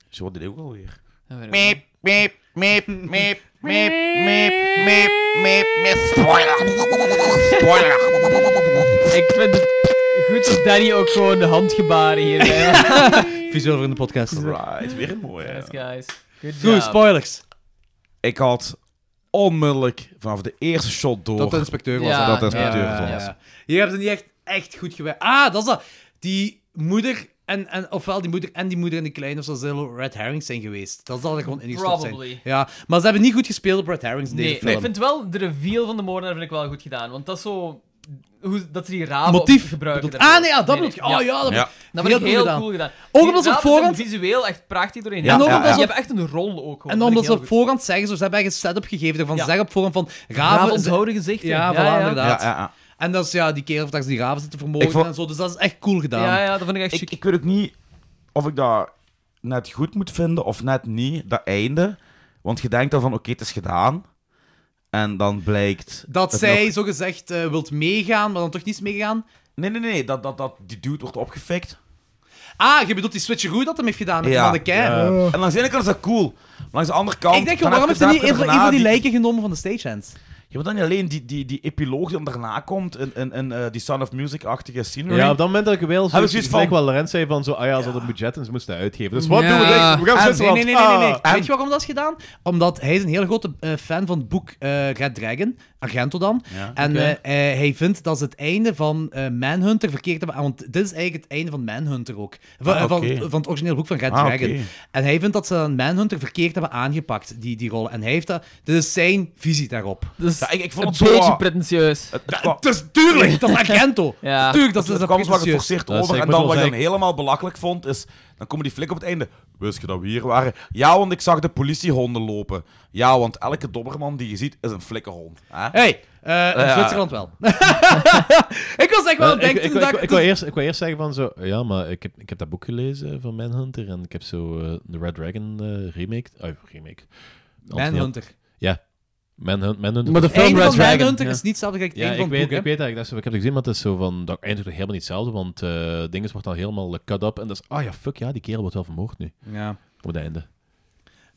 Zo, wat deed ik ook alweer?
Ja, weet ik ook.
Meep, meep, meep, meep, meep, meep, meep, meep, meep. Spoiler. Spoiler.
Ik vind het goed dat Danny ook gewoon de handgebaren hierbij had.
Visueel voor in de podcast.
Right, Ah, weer een mooie.
Nice guys. Good
Goed,
job.
spoilers.
Ik had onmiddellijk vanaf de eerste shot door
Dat de inspecteur was.
Ja,
hè?
dat de inspecteur
Ja,
het
ja,
was.
ja. Hier hebben ze niet echt, echt goed gewerkt. Ah, dat is dat. Die moeder en, en ofwel die moeder en die moeder en die kleine of zo zullen red herrings zijn geweest. Dat zal er gewoon in gestopt zijn.
Probably.
Ja, maar ze hebben niet goed gespeeld op red herrings in deze
Nee,
film.
ik vind wel de reveal van de moordenaar vind ik wel goed gedaan. Want dat is zo... Hoe, dat ze die raven
Motief.
op- gebruiken.
bedoelt-
daarvoor.
ah, nee, ja, dat bedoel ik. Oh ja, dat,
Ja.
Dat vind ik heel
gedaan.
cool gedaan.
Ook
Die
omdat ze op
raven zijn
voorhand-
visueel echt prachtig doorheen.
Ja, En ook ja, omdat ja.
ze
Je
op-
hebt echt een rol ook.
En omdat ze op voorhand zeggen, zo, ze hebben echt een setup gegeven ervan. Ze
Ja.
zeggen op voorhand van raven...
Raven onthouden gezichten.
Ja, voilà,
Ja,
inderdaad.
ja, ja.
En dat is ja, die kerel dat ze die raven zitten vermogen
Ik vond-
en zo. Dus dat is echt cool gedaan.
Ja, ja, dat vind ik echt
ik,
chic.
ik weet ook niet of ik dat net goed moet vinden of net niet, dat einde. Want je denkt dan van, oké, het is gedaan. En dan blijkt...
Dat
het
zij,
nog-
zo zogezegd, eh, wilt meegaan, maar dan toch niet is meegegaan.
Nee, nee, nee, dat, dat, dat die dude wordt opgefikt.
Ah, je bedoelt die switcheroo dat hem heeft gedaan met
Ja.
die van de kei.
En langs de ene kant is dat cool. Maar langs de andere kant...
Ik denk,
dan
waarom
heb
heeft
je
hij
daar
niet een van, een
daarna
van die lijken genomen van de stagehands?
Ja, maar dan niet alleen die, die, die epiloog die dan daarna komt, in, in, in eh, die Sound of Music-achtige scenery.
Ja, op dat moment dat ik wel
Heb ik
zoiets
zoiets
gelijk
van-
wat Laurent zei van zo, ah ja, ze hadden budget en ze moesten uitgeven. Dus wat doen we?
Ja.
dit? We gaan
En-
Zwitserland.
nee, nee, nee, nee, nee.
Ah.
Weet je waarom dat is gedaan? Omdat hij is een hele grote eh, fan van het boek eh, Red Dragon, Argento dan.
Ja.
En eh, eh, hij vindt dat ze het einde van eh, Manhunter verkeerd hebben. Want dit is eigenlijk het einde van Manhunter ook. Van,
Ah,
eh,
oké.
van, van het originele boek van Red
Ah,
Dragon.
oké.
En hij vindt dat ze dan Manhunter verkeerd hebben aangepakt, die, die rol. En hij heeft dat... Dit is zijn visie daarop.
Dus
Ja, ik, ik vond
een
het zo...
beetje
wat-
pretentieus.
het- het kwam-
is Oh. Dus tuurlijk, dat is Argento.
Ja.
Tuurlijk, dat is
Het
dat
kwam
is
zwaar
precies.
geforceerd
Dat is
over.
zeker,
En dan
ik
wat
moet
ik
wel
dan helemaal belachelijk vond, is... Dan komen die flikken op het einde. Wist je dat we hier waren? Ja, want ik zag de politiehonden lopen. Ja, want elke dobberman die je ziet, is een flikkenhond. Hè?
Hey, eh, in
ja.
Zwitserland wel. ik was echt wel aan het
Eh, ik-
denken
ik-
toen dat
ik- Ik wou eerst- ik wou eerst zeggen van zo, ja, maar ik heb, ik heb dat boek gelezen van Manhunter en ik heb zo eh, de Red Dragon eh, remake, oh, remake.
Manhunter.
Manhunter. Manhunter.
Maar de
Het einde
film Red
van
Dragon.
Manhunter
ja.
is niet hetzelfde als het
ja,
einde
ik
van het
weet,
boek, hè.
ik weet dat ik dat zo- ik heb het gezien, maar het is zo van, dat eindigt toch helemaal niet hetzelfde, want eh dingen wordt dan helemaal cut up en dat is, ah ja, fuck ja, die kerel wordt wel vermoord nu,
Ja.
op het einde.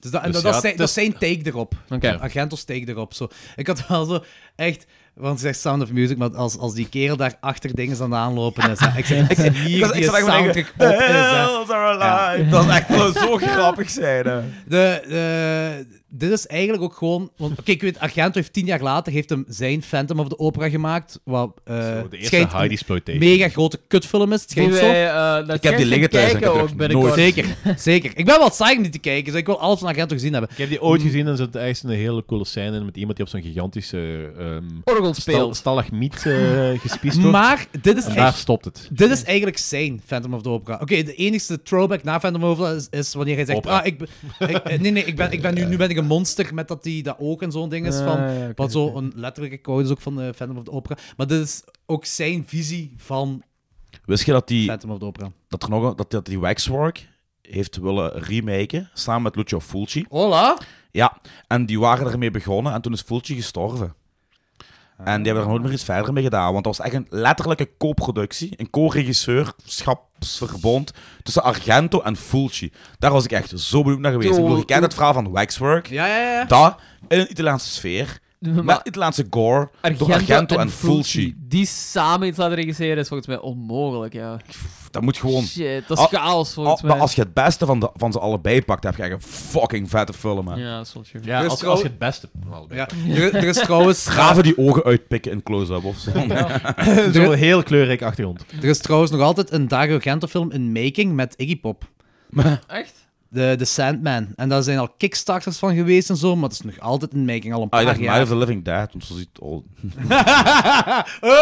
Dus dat, en
Dus
dat,
ja,
dat, is zijn,
het
dat
is-
is zijn take erop.
Oké.
Ja. Argento's take erop. Zo. Ik had wel zo echt... Want ze zegt Sound of Music, maar als, als die kerel daar achter dingen aan het aanlopen is... Hè, ik zeg, ik zeg hier,
Ik zat- ik
die
zat echt maar
soundtrack
denken,
op is.
"The
Hè.
Hells are alive." Dat is echt wel zo grappig zijn. Hè.
De, de- dit is eigenlijk ook gewoon... want- Oké, ik weet, Argento heeft tien jaar later heeft hem zijn Phantom of the Opera gemaakt. Wat eh
Zo, de eerste
schijnt
Heidi
een
exploitation.
mega grote kutfilm is. Het
Die
schijnt zo.
wij, eh, dat
Ik heb die liggen thuis en ik
kijken
heb er
ook
nog
binnenkort.
nooit-
Zeker, zeker. Ik ben wel saai om die te kijken, dus ik wil alles van Argento gezien hebben.
Ik heb die ooit gezien en er zit echt een hele coole scène in met iemand die op zo'n gigantische ehm
Orgel
stal,
speelt.
stalagmiet eh gespiest wordt.
Maar dit is
en daar
echt...
stopt het.
Dit is eigenlijk zijn Phantom of the Opera. Oké, de enige throwback na Phantom of the Opera is, is wanneer hij zegt...
Opera.
Ah, ik, ben- ik- eh, nee, nee, ik ben, ik ben nu, nu ben ik een monster met dat, die, dat ook en zo'n ding is. Van,
Ah, ja, oké,
Wat zo een letterlijke code is ook van eh, Phantom of the Opera. Maar dit is ook zijn visie van
Wist je dat, die,
Phantom of the Opera.
dat, er nog een- dat, dat die Waxwork heeft willen remaken, samen met Lucio Fulci?
Hola!
Ja, en die waren ermee begonnen en toen is Fulci gestorven. En die hebben er nooit meer iets verder mee gedaan. Want dat was echt een letterlijke co-productie. Een co-regisseurschapsverbond tussen Argento en Fulci. Daar was ik echt zo benieuwd naar geweest. Ik bedoel, je kent het verhaal van Waxwork.
Ja, ja, ja.
Dat in een Italiaanse sfeer. Met Italiaanse gore. door Argento en, Fulci.
Die samen iets laten regisseren is volgens mij onmogelijk, ja.
Dat moet gewoon...
Shit, dat is
Ah,
chaos volgens
Al- maar
mij.
als je het beste van, de, van ze allebei pakt, heb je echt een fucking vette film. Hè.
Ja, dat is wel true.
Ja,
Dus
als,
trouw-
als je het beste...
ja. Er, er is trouwens...
Graven die ogen uitpikken in close-up of zo. Ah,
Zo'n heel kleurrijk achtergrond.
Er is trouwens nog altijd een Dario Argento film in making met Iggy Pop.
Echt?
De, de Sandman. En daar zijn al kickstarters van geweest en zo, maar het is nog altijd in making, al een
Ah,
paar
ik dacht, Night
jaar.
of the Living Dead, want zo ziet al
oh!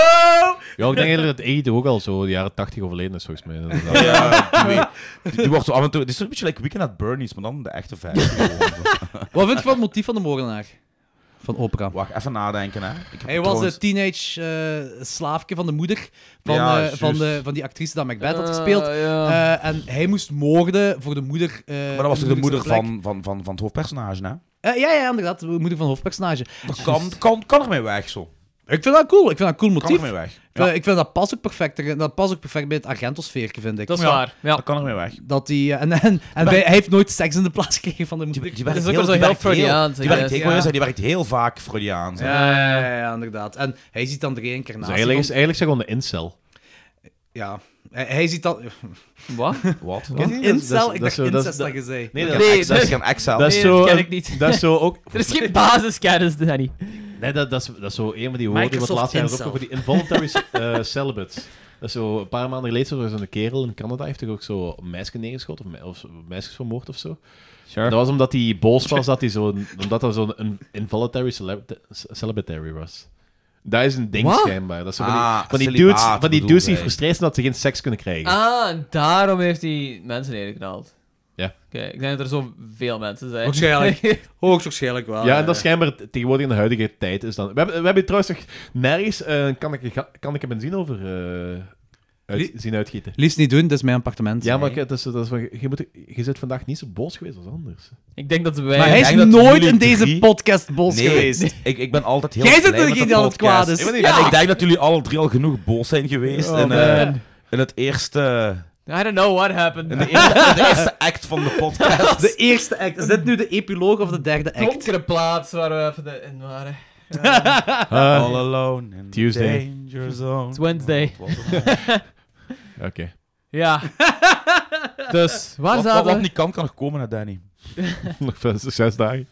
Ja, ik denk eigenlijk dat Eid ook al zo de jaren 80 overleden is, volgens mij. inderdaad.
Ja, die, die wordt zo af en toe... Het is een beetje like Weekend at Bernie's, maar dan de echte vijf.
Wat vind je van het motief van de moordenaar? Van opera.
Wacht, even nadenken, hè. Ik heb
Hij was
trouwens-
het teenage eh, slaafje van de moeder van,
Ja,
eh,
juist.
van, de, van die actrice dat Macbeth had
Eh,
gespeeld.
ja.
Eh, en hij moest moorden voor de moeder. eh,
Maar dat was toch de moeder
zijn plek.
van, van, van, van het hoofdpersonage, hè?
Eh, ja, ja, inderdaad. De moeder van de hoofdpersonage.
Dat kan, kan, kan ermee weg, zo.
Ik vind dat cool. Ik vind dat een cool
Kan
motief.
ermee weg.
Ik vind-
Ja,
Ik vind dat past ook perfect. er- Dat past ook perfect bij het Argento-sfeertje, vind ik.
Dat is
Ja.
waar. Ja.
dat kan ermee weg.
Dat die, eh, en en, en bij- hij heeft nooit seks in de plaats gekregen van de moeder.
Dat is ook wel zo heel Freudiaans,
Die
I
werkt
guess.
heel,
Ja.
die werkt heel vaak Freudiaans. hè.
ja, ja, ja, ja, inderdaad. En hij ziet dan de reïncarnatie.
Dus eigenlijk is
van-
eigenlijk is hij gewoon de incel.
Ja. Hij, hij ziet dat...
Wat?
Wat?
Ken je die? Dat is- dat
Incel?
is-
Ik
dat
dacht
is zo- dat is-
incest dat je zei.
Nee, dat,
Nee,
Ex- dat is geen Excel.
dat is
nee,
zo.
dat ken ik niet.
Dat is zo ook.
Er is geen basiskennis, Danny.
Nee, dat, dat, is, dat is zo een van die woorden die we het
Microsoft
laatste jaar ook
incel.
over die involuntary eh, celibates. Dat is zo een paar maanden geleden zo- zo'n kerel in Canada heeft toch ook zo een meisje neergeschoten of, me- of meisjes vermoord of zo.
Sure.
Dat was omdat hij boos was dat hij zo'n omdat dat zo'n in- involuntary celibata- ce- celibatary was. Dat is een ding
Wat?
schijnbaar. Dat is zo van die,
Ah,
van die
celibaat
dudes, van die
bedoelt
dudes die
hij.
gefrustreerd zijn dat ze geen seks kunnen krijgen.
Ah, en daarom heeft hij mensen neergeknald.
Ja.
Oké, ik denk dat er zo veel mensen zijn.
Waarschijnlijk. Hoogstwaarschijnlijk wel.
Ja, en dat
eh.
is schijnbaar t- tegenwoordig in de huidige tijd is dan. We hebben, we hebben trouwens nog nergens eh kan, ik, ga- kan ik een benzine over eh, uit-
Li-
zien uitgieten.
Liefst niet doen, dat is mijn appartement.
Ja, maar kijk, dat is, dat is, wel- je, moet, je zit vandaag niet zo boos geweest als anders.
Ik denk dat wij...
Maar hij
ik
is
denk dat
nooit
jullie
in deze
drie-
podcast boos
Nee,
geweest.
Ik, ik ben altijd heel
Jij zit
blij met
degene
de
die altijd
podcast.
kwaad is. Oh,
Ik ben-
Ja.
En ik denk dat jullie alle drie al genoeg boos zijn geweest in, eh, in het eerste,
I don't know what happened.
in de eerste, in de eerste act van de podcast.
De eerste act. Is dit nu de epiloog of de derde act?
donkere plaats waar we even de- in waren.
Ah,
All alone in
Tuesday.
the danger zone.
It's Wednesday.
Wat- wat-
Oké.
Ja. dus, waar
Wat, wat,
zaten
wat
we?
niet kan, kan nog komen naar Danny.
Nog vijf- zes dagen.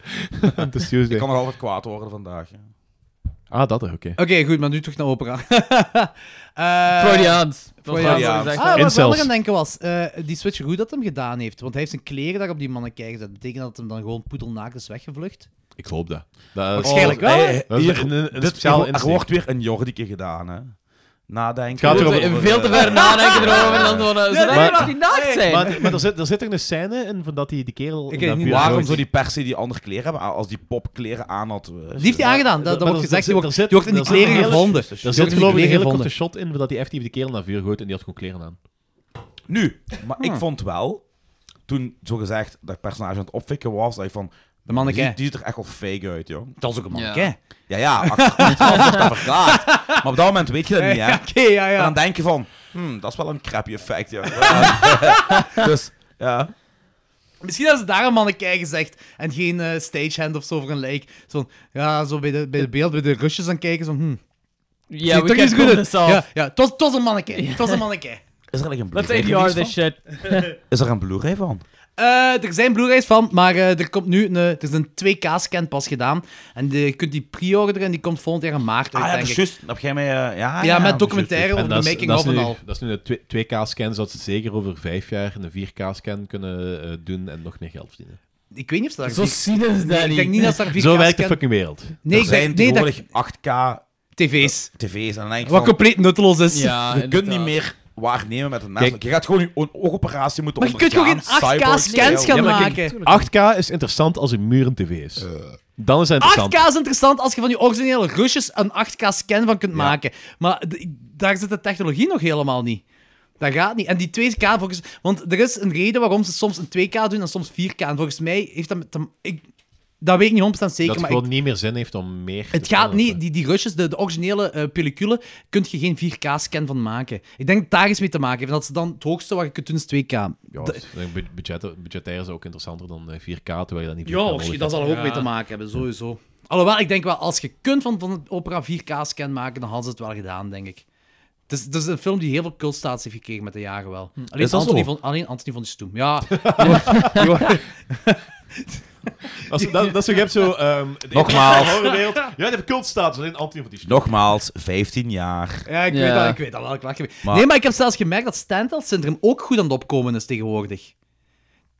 Het is
Ik
Tuesday.
kan nog altijd kwaad worden vandaag. hè.
Oh,
Ah, dat er, oké.
Oké, goed, maar nu terug naar opera. Eh,
Freudiaans. Dat was wat
Freudiaans.
ik
Ah,
gezegd
Ah,
had.
wat ik wel
Incels.
nog aan denken was, eh, die switch goed dat hem gedaan heeft. Want hij heeft zijn kleren daar op die mannequin gezet. betekent dat hem dan gewoon poedelnaakt is weggevlucht.
Ik hoop dat. dat
Waarschijnlijk
Oh,
wel,
hey,
hè?
Dat is
hier-
een, een, een
dit-
speciale
er
instinct.
wordt weer een Jordieke gedaan, hè. Nadenken.
Het gaat eh,
We
erom-
moeten veel te ver nadenken erover en dan zo van, eh, zou
maar-
hij misschien naakt zijn?
Maar, maar er, zit, er zit er een scène in van dat die, die kerel...
Ik
in
weet
dat
niet
vuur
Waarom
gooit.
zou die per se die andere kleren hebben als die pop kleren aan had? eh,
Die heeft hij aangedaan, dat, dat
Maar
wordt gezegd.
er
Die
zit- er
wordt,
zit-
die wordt in die
er zit een
kleren
hele-
gevonden. Die
Er
wordt in
zit
die
geloof ik een
kleren
hele korte
gevonden.
shot in dat die effectief die kerel naar vuur gooit en die had gewoon kleren aan.
Nu, maar
Hmm.
ik vond wel, toen zogezegd dat personage aan het opfikken was, dat ik van...
De
Die,
mannequin.
die ziet er echt wel fake uit, joh.
Dat is ook een
Ja.
mannequin.
Ja, ja, achteraf wordt dat verklaard. Maar op dat moment weet je dat niet, hè.
Ja,
En
oké, ja, ja.
dan denk je van, hmm, dat is wel een crappy effect, joh. dus, ja.
Misschien hebben ze daar een mannekei gezegd en geen eh, stagehand of zo voor een lijk. Zo van, ja, zo bij de, bij de beeld, bij de rushes aan kijken. Zo, hm,
Ja,
ziet er
we
niet
can
zo goed
pull
uit.
this off.
Ja, ja, het was, het was een mannekei. Het was een mannekei.
Is er eigenlijk een
Let's
Blu-ray
ADR
release
this
van?
shit.
Is er een Blu-ray van?
Eh, er zijn Blu-rays van, maar eh, er komt nu een, er is een 2K-scan pas gedaan. En de- je kunt die pre-orderen en die komt volgend jaar in maart
Ah
uit,
ja, dat
denk
is
ik.
juist. Dat heb jij mij... eh, ja,
ja,
dat
met
is
documentaire
juist.
over de
dat is-
making
dat is
of en
nu-
al.
Dat is nu de 2K-scan, zodat ze zeker over vijf jaar een 4K-scan kunnen eh, doen en nog meer geld verdienen.
Ik weet niet of ze daar...
Zo cynisch,
Nee,
Danny.
ik denk niet dat ze daar 4K
Zo werkt de
scan-
fucking wereld.
Nee,
er
ik denk
zijn
nee, dat...
tegenwoordig 8K
TV's.
tv's. En dan denk ik
Wat
van,
compleet nutteloos is.
Ja,
je kunt niet
eh,
inderdaad.
meer waarnemen met een menselijk. Je gaat gewoon je o- oogoperatie moeten
Maar je kunt gewoon geen
ondergaan.
8K-scans gaan
Ja, maar kijk,
maken.
8K is interessant als een muur een tv is.
Eh.
Dan is het interessant.
8K is interessant als je van die originele rushes een 8K-scan van kunt maken. Maar d- daar zit de technologie nog helemaal niet. Dat gaat niet. En die 2K, volgens... Want er is een reden waarom ze soms een 2K doen en soms 4K. En volgens mij heeft dat... Met te- ik, dat weet ik niet 100% zeker,
dat het
maar
gewoon
ik-
niet meer zin heeft om meer te
het gaat
vertellen.
niet. Die, die rushes, de, de originele eh pellicule, kun je geen 4K-scan van maken. Ik denk dat daar iets mee te maken heeft. En dat ze dan het hoogste wat je kunt doen is 2K.
Ja,
Dat-
dus, eh, bu- budgetten- budgetair is ook interessanter dan eh, 4K, terwijl je dat niet 4K
Ja,
nodig
misschien, dat
hebt.
zal er ook mee te maken hebben, sowieso. Alhoewel, ik denk wel, als je kunt van, van het opera 4K-scan maken, dan hadden ze het wel gedaan, denk ik. Het is, het is een film die heel veel cultstatus heeft gekregen met de jaren wel. Alleen,
Is dat
Anthony
zo?
van, alleen Anthony van de Stoem. Ja,
Als, dat, dat is zo, je hebt zo... ehm, de
Nogmaals.
horrorwereld. Ja, je hebt cultstatus, alleen Anthony van die Stoep.
Nogmaals, 15 jaar.
ja, ik, Weet
Ja.
dat, ik weet dat wel. Ik lach ermee.
Maar-
Nee, maar ik heb zelfs gemerkt dat Stendhal-syndroom ook goed aan het opkomen is tegenwoordig.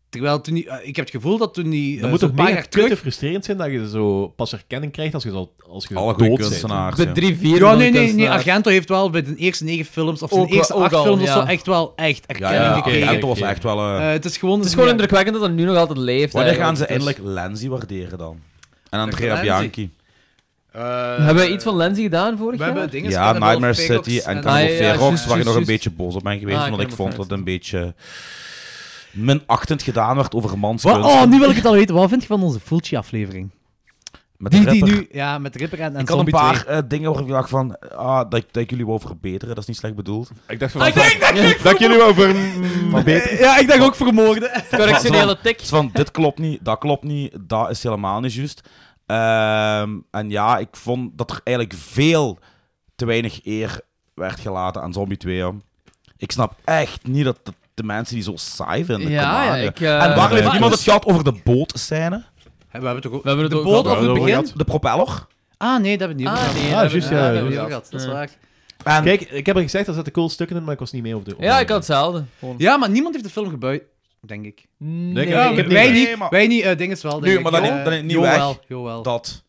Terwijl toen die, eh, ik heb het gevoel dat toen die... eh,
Dat moet
zo'n
toch
paar
mega
jaar
kut en frustrerend zijn dat je zo pas erkenning krijgt als je, al, als je
Alle goede
dood bent.
kunstenaars.
De
ja.
drie, vier eh.
Ja,
van
nee,
de
nee, nee.
kunstenaar.
Argento heeft wel bij de eerste negen films, of
Ook
zijn
wel-
eerste
ook
acht
al,
films of
ja.
zo, echt wel echt
Ja,
erkenning
ja,
gekregen.
Argento was echt wel... eh,
Eh, het is gewoon...
Het is gewoon indrukwekkend dat dat nu nog altijd leeft.
Wanneer gaan
eigenlijk.
ze
Dus-
eindelijk Lenzi waarderen dan? En Andrea
Lenzi?
Bianchi.
Hebben we iets van Lenzi gedaan vorig
Eh, We
jaar?
hebben dingen
Ja, Nightmare City en
Ah, ja,
Carnival
ja,
Ferox,
juist,
waar ik nog een
juist,
beetje boos op ben geweest,
Ah,
omdat ik
Carnival
vond dat
Ferox.
het een beetje minachtend gedaan werd over manskunst.
Oh, nu wil ik het al weten. Wat vind je van onze Fulci-aflevering?
Met de
Die, die
rapper.
nu... Ja, met Ripper en, en
Ik had een
Zombie
paar
2.
eh, dingen waarvan ik dacht van, ah, dat, ik- dat ik jullie wou verbeteren, dat is niet slecht bedoeld.
Ik
Ah,
dacht van... dat ik jullie over... mm, beter-
Ja, ik dacht ook vermoorden.
Correctionele tik.
Het is van, dit klopt niet, dat klopt niet, dat is helemaal niet juist. Ehm, en ja, ik vond dat er eigenlijk veel te weinig eer werd gelaten aan Zombie 2. hoor. Ik snap echt niet dat dat de mensen die zo saai vinden.
Ja,
come on,
ja,
ja.
ik, eh,
en waar
Ja,
heeft
ik-
niemand het gehad over de bootscène?
Hè, We hebben toch ook...
We hebben het
de
ook
boot
al-
of het
hebben we
begin?
gehad.
De propeller?
Ah, nee, dat hebben we niet
Ah,
over
nee,
gehad.
dat hebben we-
juist,
Ja,
ja,
dat
ja,
hebben we niet
ja.
over gehad, dat is
Ja.
waar.
En
Kijk, ik heb er gezegd, er zaten cool stukken in, maar ik was niet mee op de...
Ja, ik had hetzelfde. Gewoon.
Ja, maar niemand heeft de film gebuit, denk ik.
Nee.
Ja, ik heb
wij
niet-
niet,
Nee, maar-
wij niet, eh, ding is wel.
Nu,
denk ik.
maar dan
Eh,
niet- dan niet
Jo
weg.
wel, Jo wel.
dat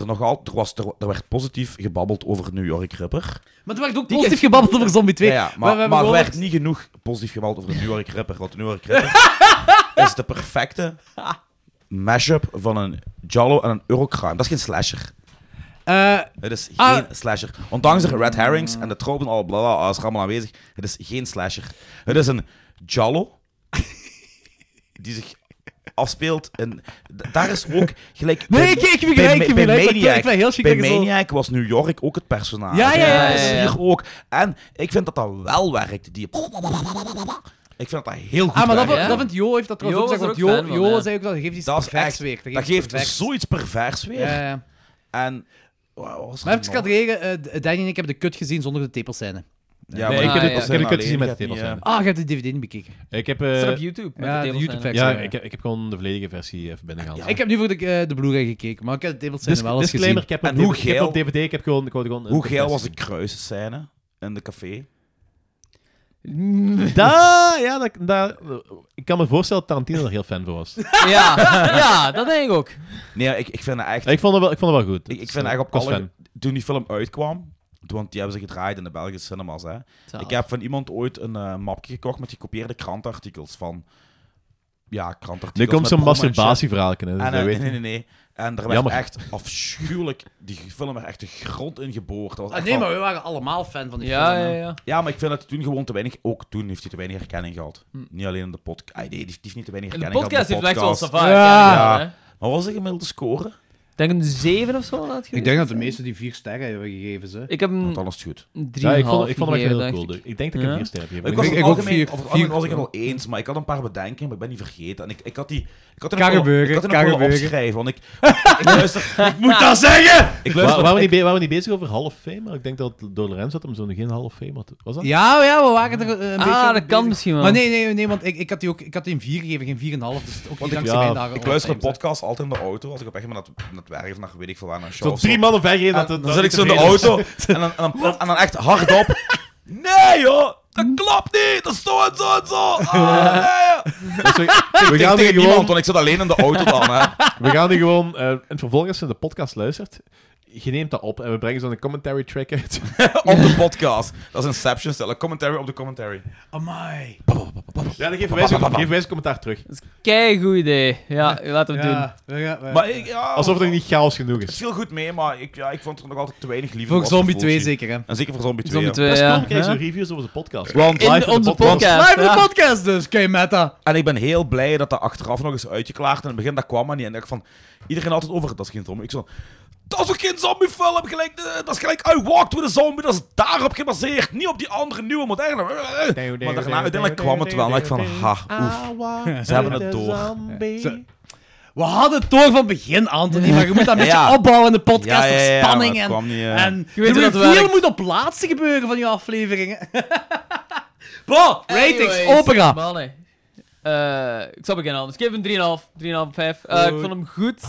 er nog al, er, was, er, er werd positief gebabbeld over New York Ripper.
Maar er werd ook positief gebabbeld over Zombie 2.
Ja, ja,
we
maar,
hebben
maar, er
gewoon-
werd niet genoeg positief gebabbeld over de New York Ripper. Want de New York Ripper is de perfecte mashup van een Jallo en een Eurocrime. Dat is geen slasher.
Eh,
Het is dus geen
Ah.
slasher. Ondanks de red herrings en de tropen al bla bla, alles er allemaal aanwezig. Het is geen slasher. Het is een Jallo die zich afspeelt. En daar is ook gelijk.
Nee,
bij-
ik- ik begrijp,
bij-
ik
bij
begrijp, maar ik
Maniac-
wil- ik wil heel chic
Bij
denken zo-
Maniac was New York ook het personage.
Ja, ja, ja,
Dat is
ja, ja.
Hier ook. En ik vind dat dat wel werkt. Die... Ik vind dat dat heel goed
ah, maar dat,
werkt.
vo- dat vindt Jo heeft dat
Jo
trouwens ook
was
gezegd.
er
want
ook
Jo,
fan van,
Jo
ja.
zei ook dat geeft iets
Dat is
perfects
echt,
weer.
dat
iets
geeft
perfects.
zoiets pervers weer.
Ja, ja.
En. Wow, was er
Eh, Maar even
nog?
kadreren, eh Danny en ik hebben de kut gezien zonder de tepelscène.
Ja,
Nee,
maar
ik heb
Nou, die
het-
percent
ik heb
het
alleen,
gezien met
ik
de
heb niet,
tepels,
eh,
Ah, je hebt de DVD bekeken.
Ik heb...
Het
eh,
staat op YouTube. Met de
ja, de
table
YouTube
scène.
facts.
ja,
ja.
ik, heb- ik heb gewoon de volledige versie even binnengehaald.
Ik heb nu voor de, eh, de Blu-ray gekeken, maar ik heb de tepelscène
Dis-
wel eens
disclaimer,
gezien.
ik heb, op
En hoe
DVD, ik heb op
geil-
DVD, ik heb gewoon... Ik had gewoon een
Hoe geil was
versie.
de kruisscène in de café?
Daar, ja, dat, daar, ik kan me voorstellen dat Tarantino er heel fan van was.
Ja, ja, dat denk ik ook.
Nee, ik, ik vind het echt...
Ik vond het wel, ik vond het wel goed.
Ik, ik vind echt op
was
alle-
fan.
Toen die film uitkwam, want die hebben ze gedraaid in de Belgische cinemas, hè. Ik heb van iemand ooit een eh, mapje gekocht met gekopieerde krantartikels van... Ja, krantartikels
Nu komt
met
zo'n
promo en shit.
masturbatieverhaal. hè, Dus
En,
dat
eh,
weet
nee, nee, nee. En er werd
Jammer.
echt afschuwelijk... Die film werd echt de grond in geboord. Dat was
Ah,
echt
nee,
van-
maar we waren allemaal fan van die
Ja,
film.
ja,
hè.
ja.
Ja, maar ik vind dat hij toen gewoon te weinig... Ook toen heeft hij te weinig herkenning gehad. Niet alleen in de podcast. Ah, nee, die heeft, die heeft niet te weinig
En de
herkenning
podcast heeft
gehad. in de
echt wel
podcast.
safari.
Ja.
hè.
Maar wat was de gemiddelde score?
Ik denk een 7 of zo. laat
Ik denk dat de meesten die vier sterren hebben gegeven. Ze.
Ik heb een
Want dan is
Hm.
het goed.
3,5
Ja, ik vond, ik vond hem echt
gegeven,
heel cool.
dacht ik.
dude. Ik denk dat ik
Ja.
een 4 sterren heb
Ik,
gegeven.
was
Ik-
het
ik ook
algemeen,
vier-
of, of,
vier-
was ik het wel eens, maar ik had een paar bedenkingen, maar ik ben niet vergeten. En ik, ik had die... Ik had er
Kan
nog wel-
gebeuren,
ik had er
kan
nog wel
gebeuren.
opschrijven, want ik... Ik luister... Ik moet dat zeggen! Ik
Wa- waren,
luister...
we
ik-
niet, be- waren we niet bezig over half fame? Maar ik denk dat door Lorenz had hem zo'n geen half fame had. Was dat?
Ja, ja, we waren er eh, een
dus.
beetje...
Ah, dat
bezig.
kan misschien wel.
Maar nee, nee, nee, want ik, ik had die ook ik had die een 4 gegeven, geen 4,5. Dus het is ook niet dankzij
ja,
mijn dagen.
Ik luister een
overtimes, hè.
podcast altijd in de auto, als ik op weg ben naar het- naar het werk of naar weet ik veel waar, naar een show
Zo'n
of zo.
drie mannen vergeven dat het...
Ah, Dan zit ik zo in de auto en dan, en dan, en dan echt hardop. Nee joh, dat klopt niet, dat is zo en zo en zo. Ah, nee, joh.
We
Ik
gaan hier
denk tegen niemand,
gewoon...
want ik zit alleen in de auto dan. Hè.
We gaan die gewoon eh, in het vervolg, als je de podcast luistert, je neemt dat op en we brengen zo'n commentary track uit.
op de podcast. Dat is Inception stellen, commentary op de commentary.
Amai.
Ja, dan geven wij zo'n geven wij zo'n commentaar terug.
Kei goed idee. Ja, laten we het doen.
Ja, we gaan- we-
Maar ik, ja,
Alsof er niet chaos genoeg
Het
is.
viel goed mee, maar ik, ja, ik vond het nog altijd te weinig liefde.
Voor
was
Zombie 2
Fulci.
zeker, hè.
En zeker voor Zombie 2.
Zombie
ja.
2,
Dat is cool,
ja.
we krijgen
Ja.
zo reviews over de podcast.
Want-
Live
In
van de
onze
podcast.
podcast.
Live in de
ja.
podcast dus, kei meta.
En ik ben heel blij dat dat achteraf nog eens uitgeklaagd. En in het begin, dat kwam maar niet. En ik van, iedereen altijd over, dat is geen zombie. Ik zo, dat is ook geen zombiefilm. Gelijk, eh, dat is gelijk I Walked with a Zombie. Dat is daarop gebaseerd. Niet op die andere nieuwe moderne. Maar daarna, uiteindelijk kwam het wel. En ik van, ha, oef.
Ah,
Ze hebben het door.
Zo. We hadden het door van begin, Anthony, maar je moet dat een beetje
Ja.
opbouwen in de podcast,
Ja, ja, ja,
voor
ja,
spanning
maar het
en...
kwam niet, eh.
en
Je weet
de
hoe dat
reveal
werkt.
moet op laatste gebeuren van die afleveringen. Bo, ratings,
Anyways,
opera.
mannen. Eh, ik snap het geen anders. Ik geef hem 3,5. 3,5, 5. Eh, ik
Oei.
vond hem goed,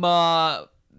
maar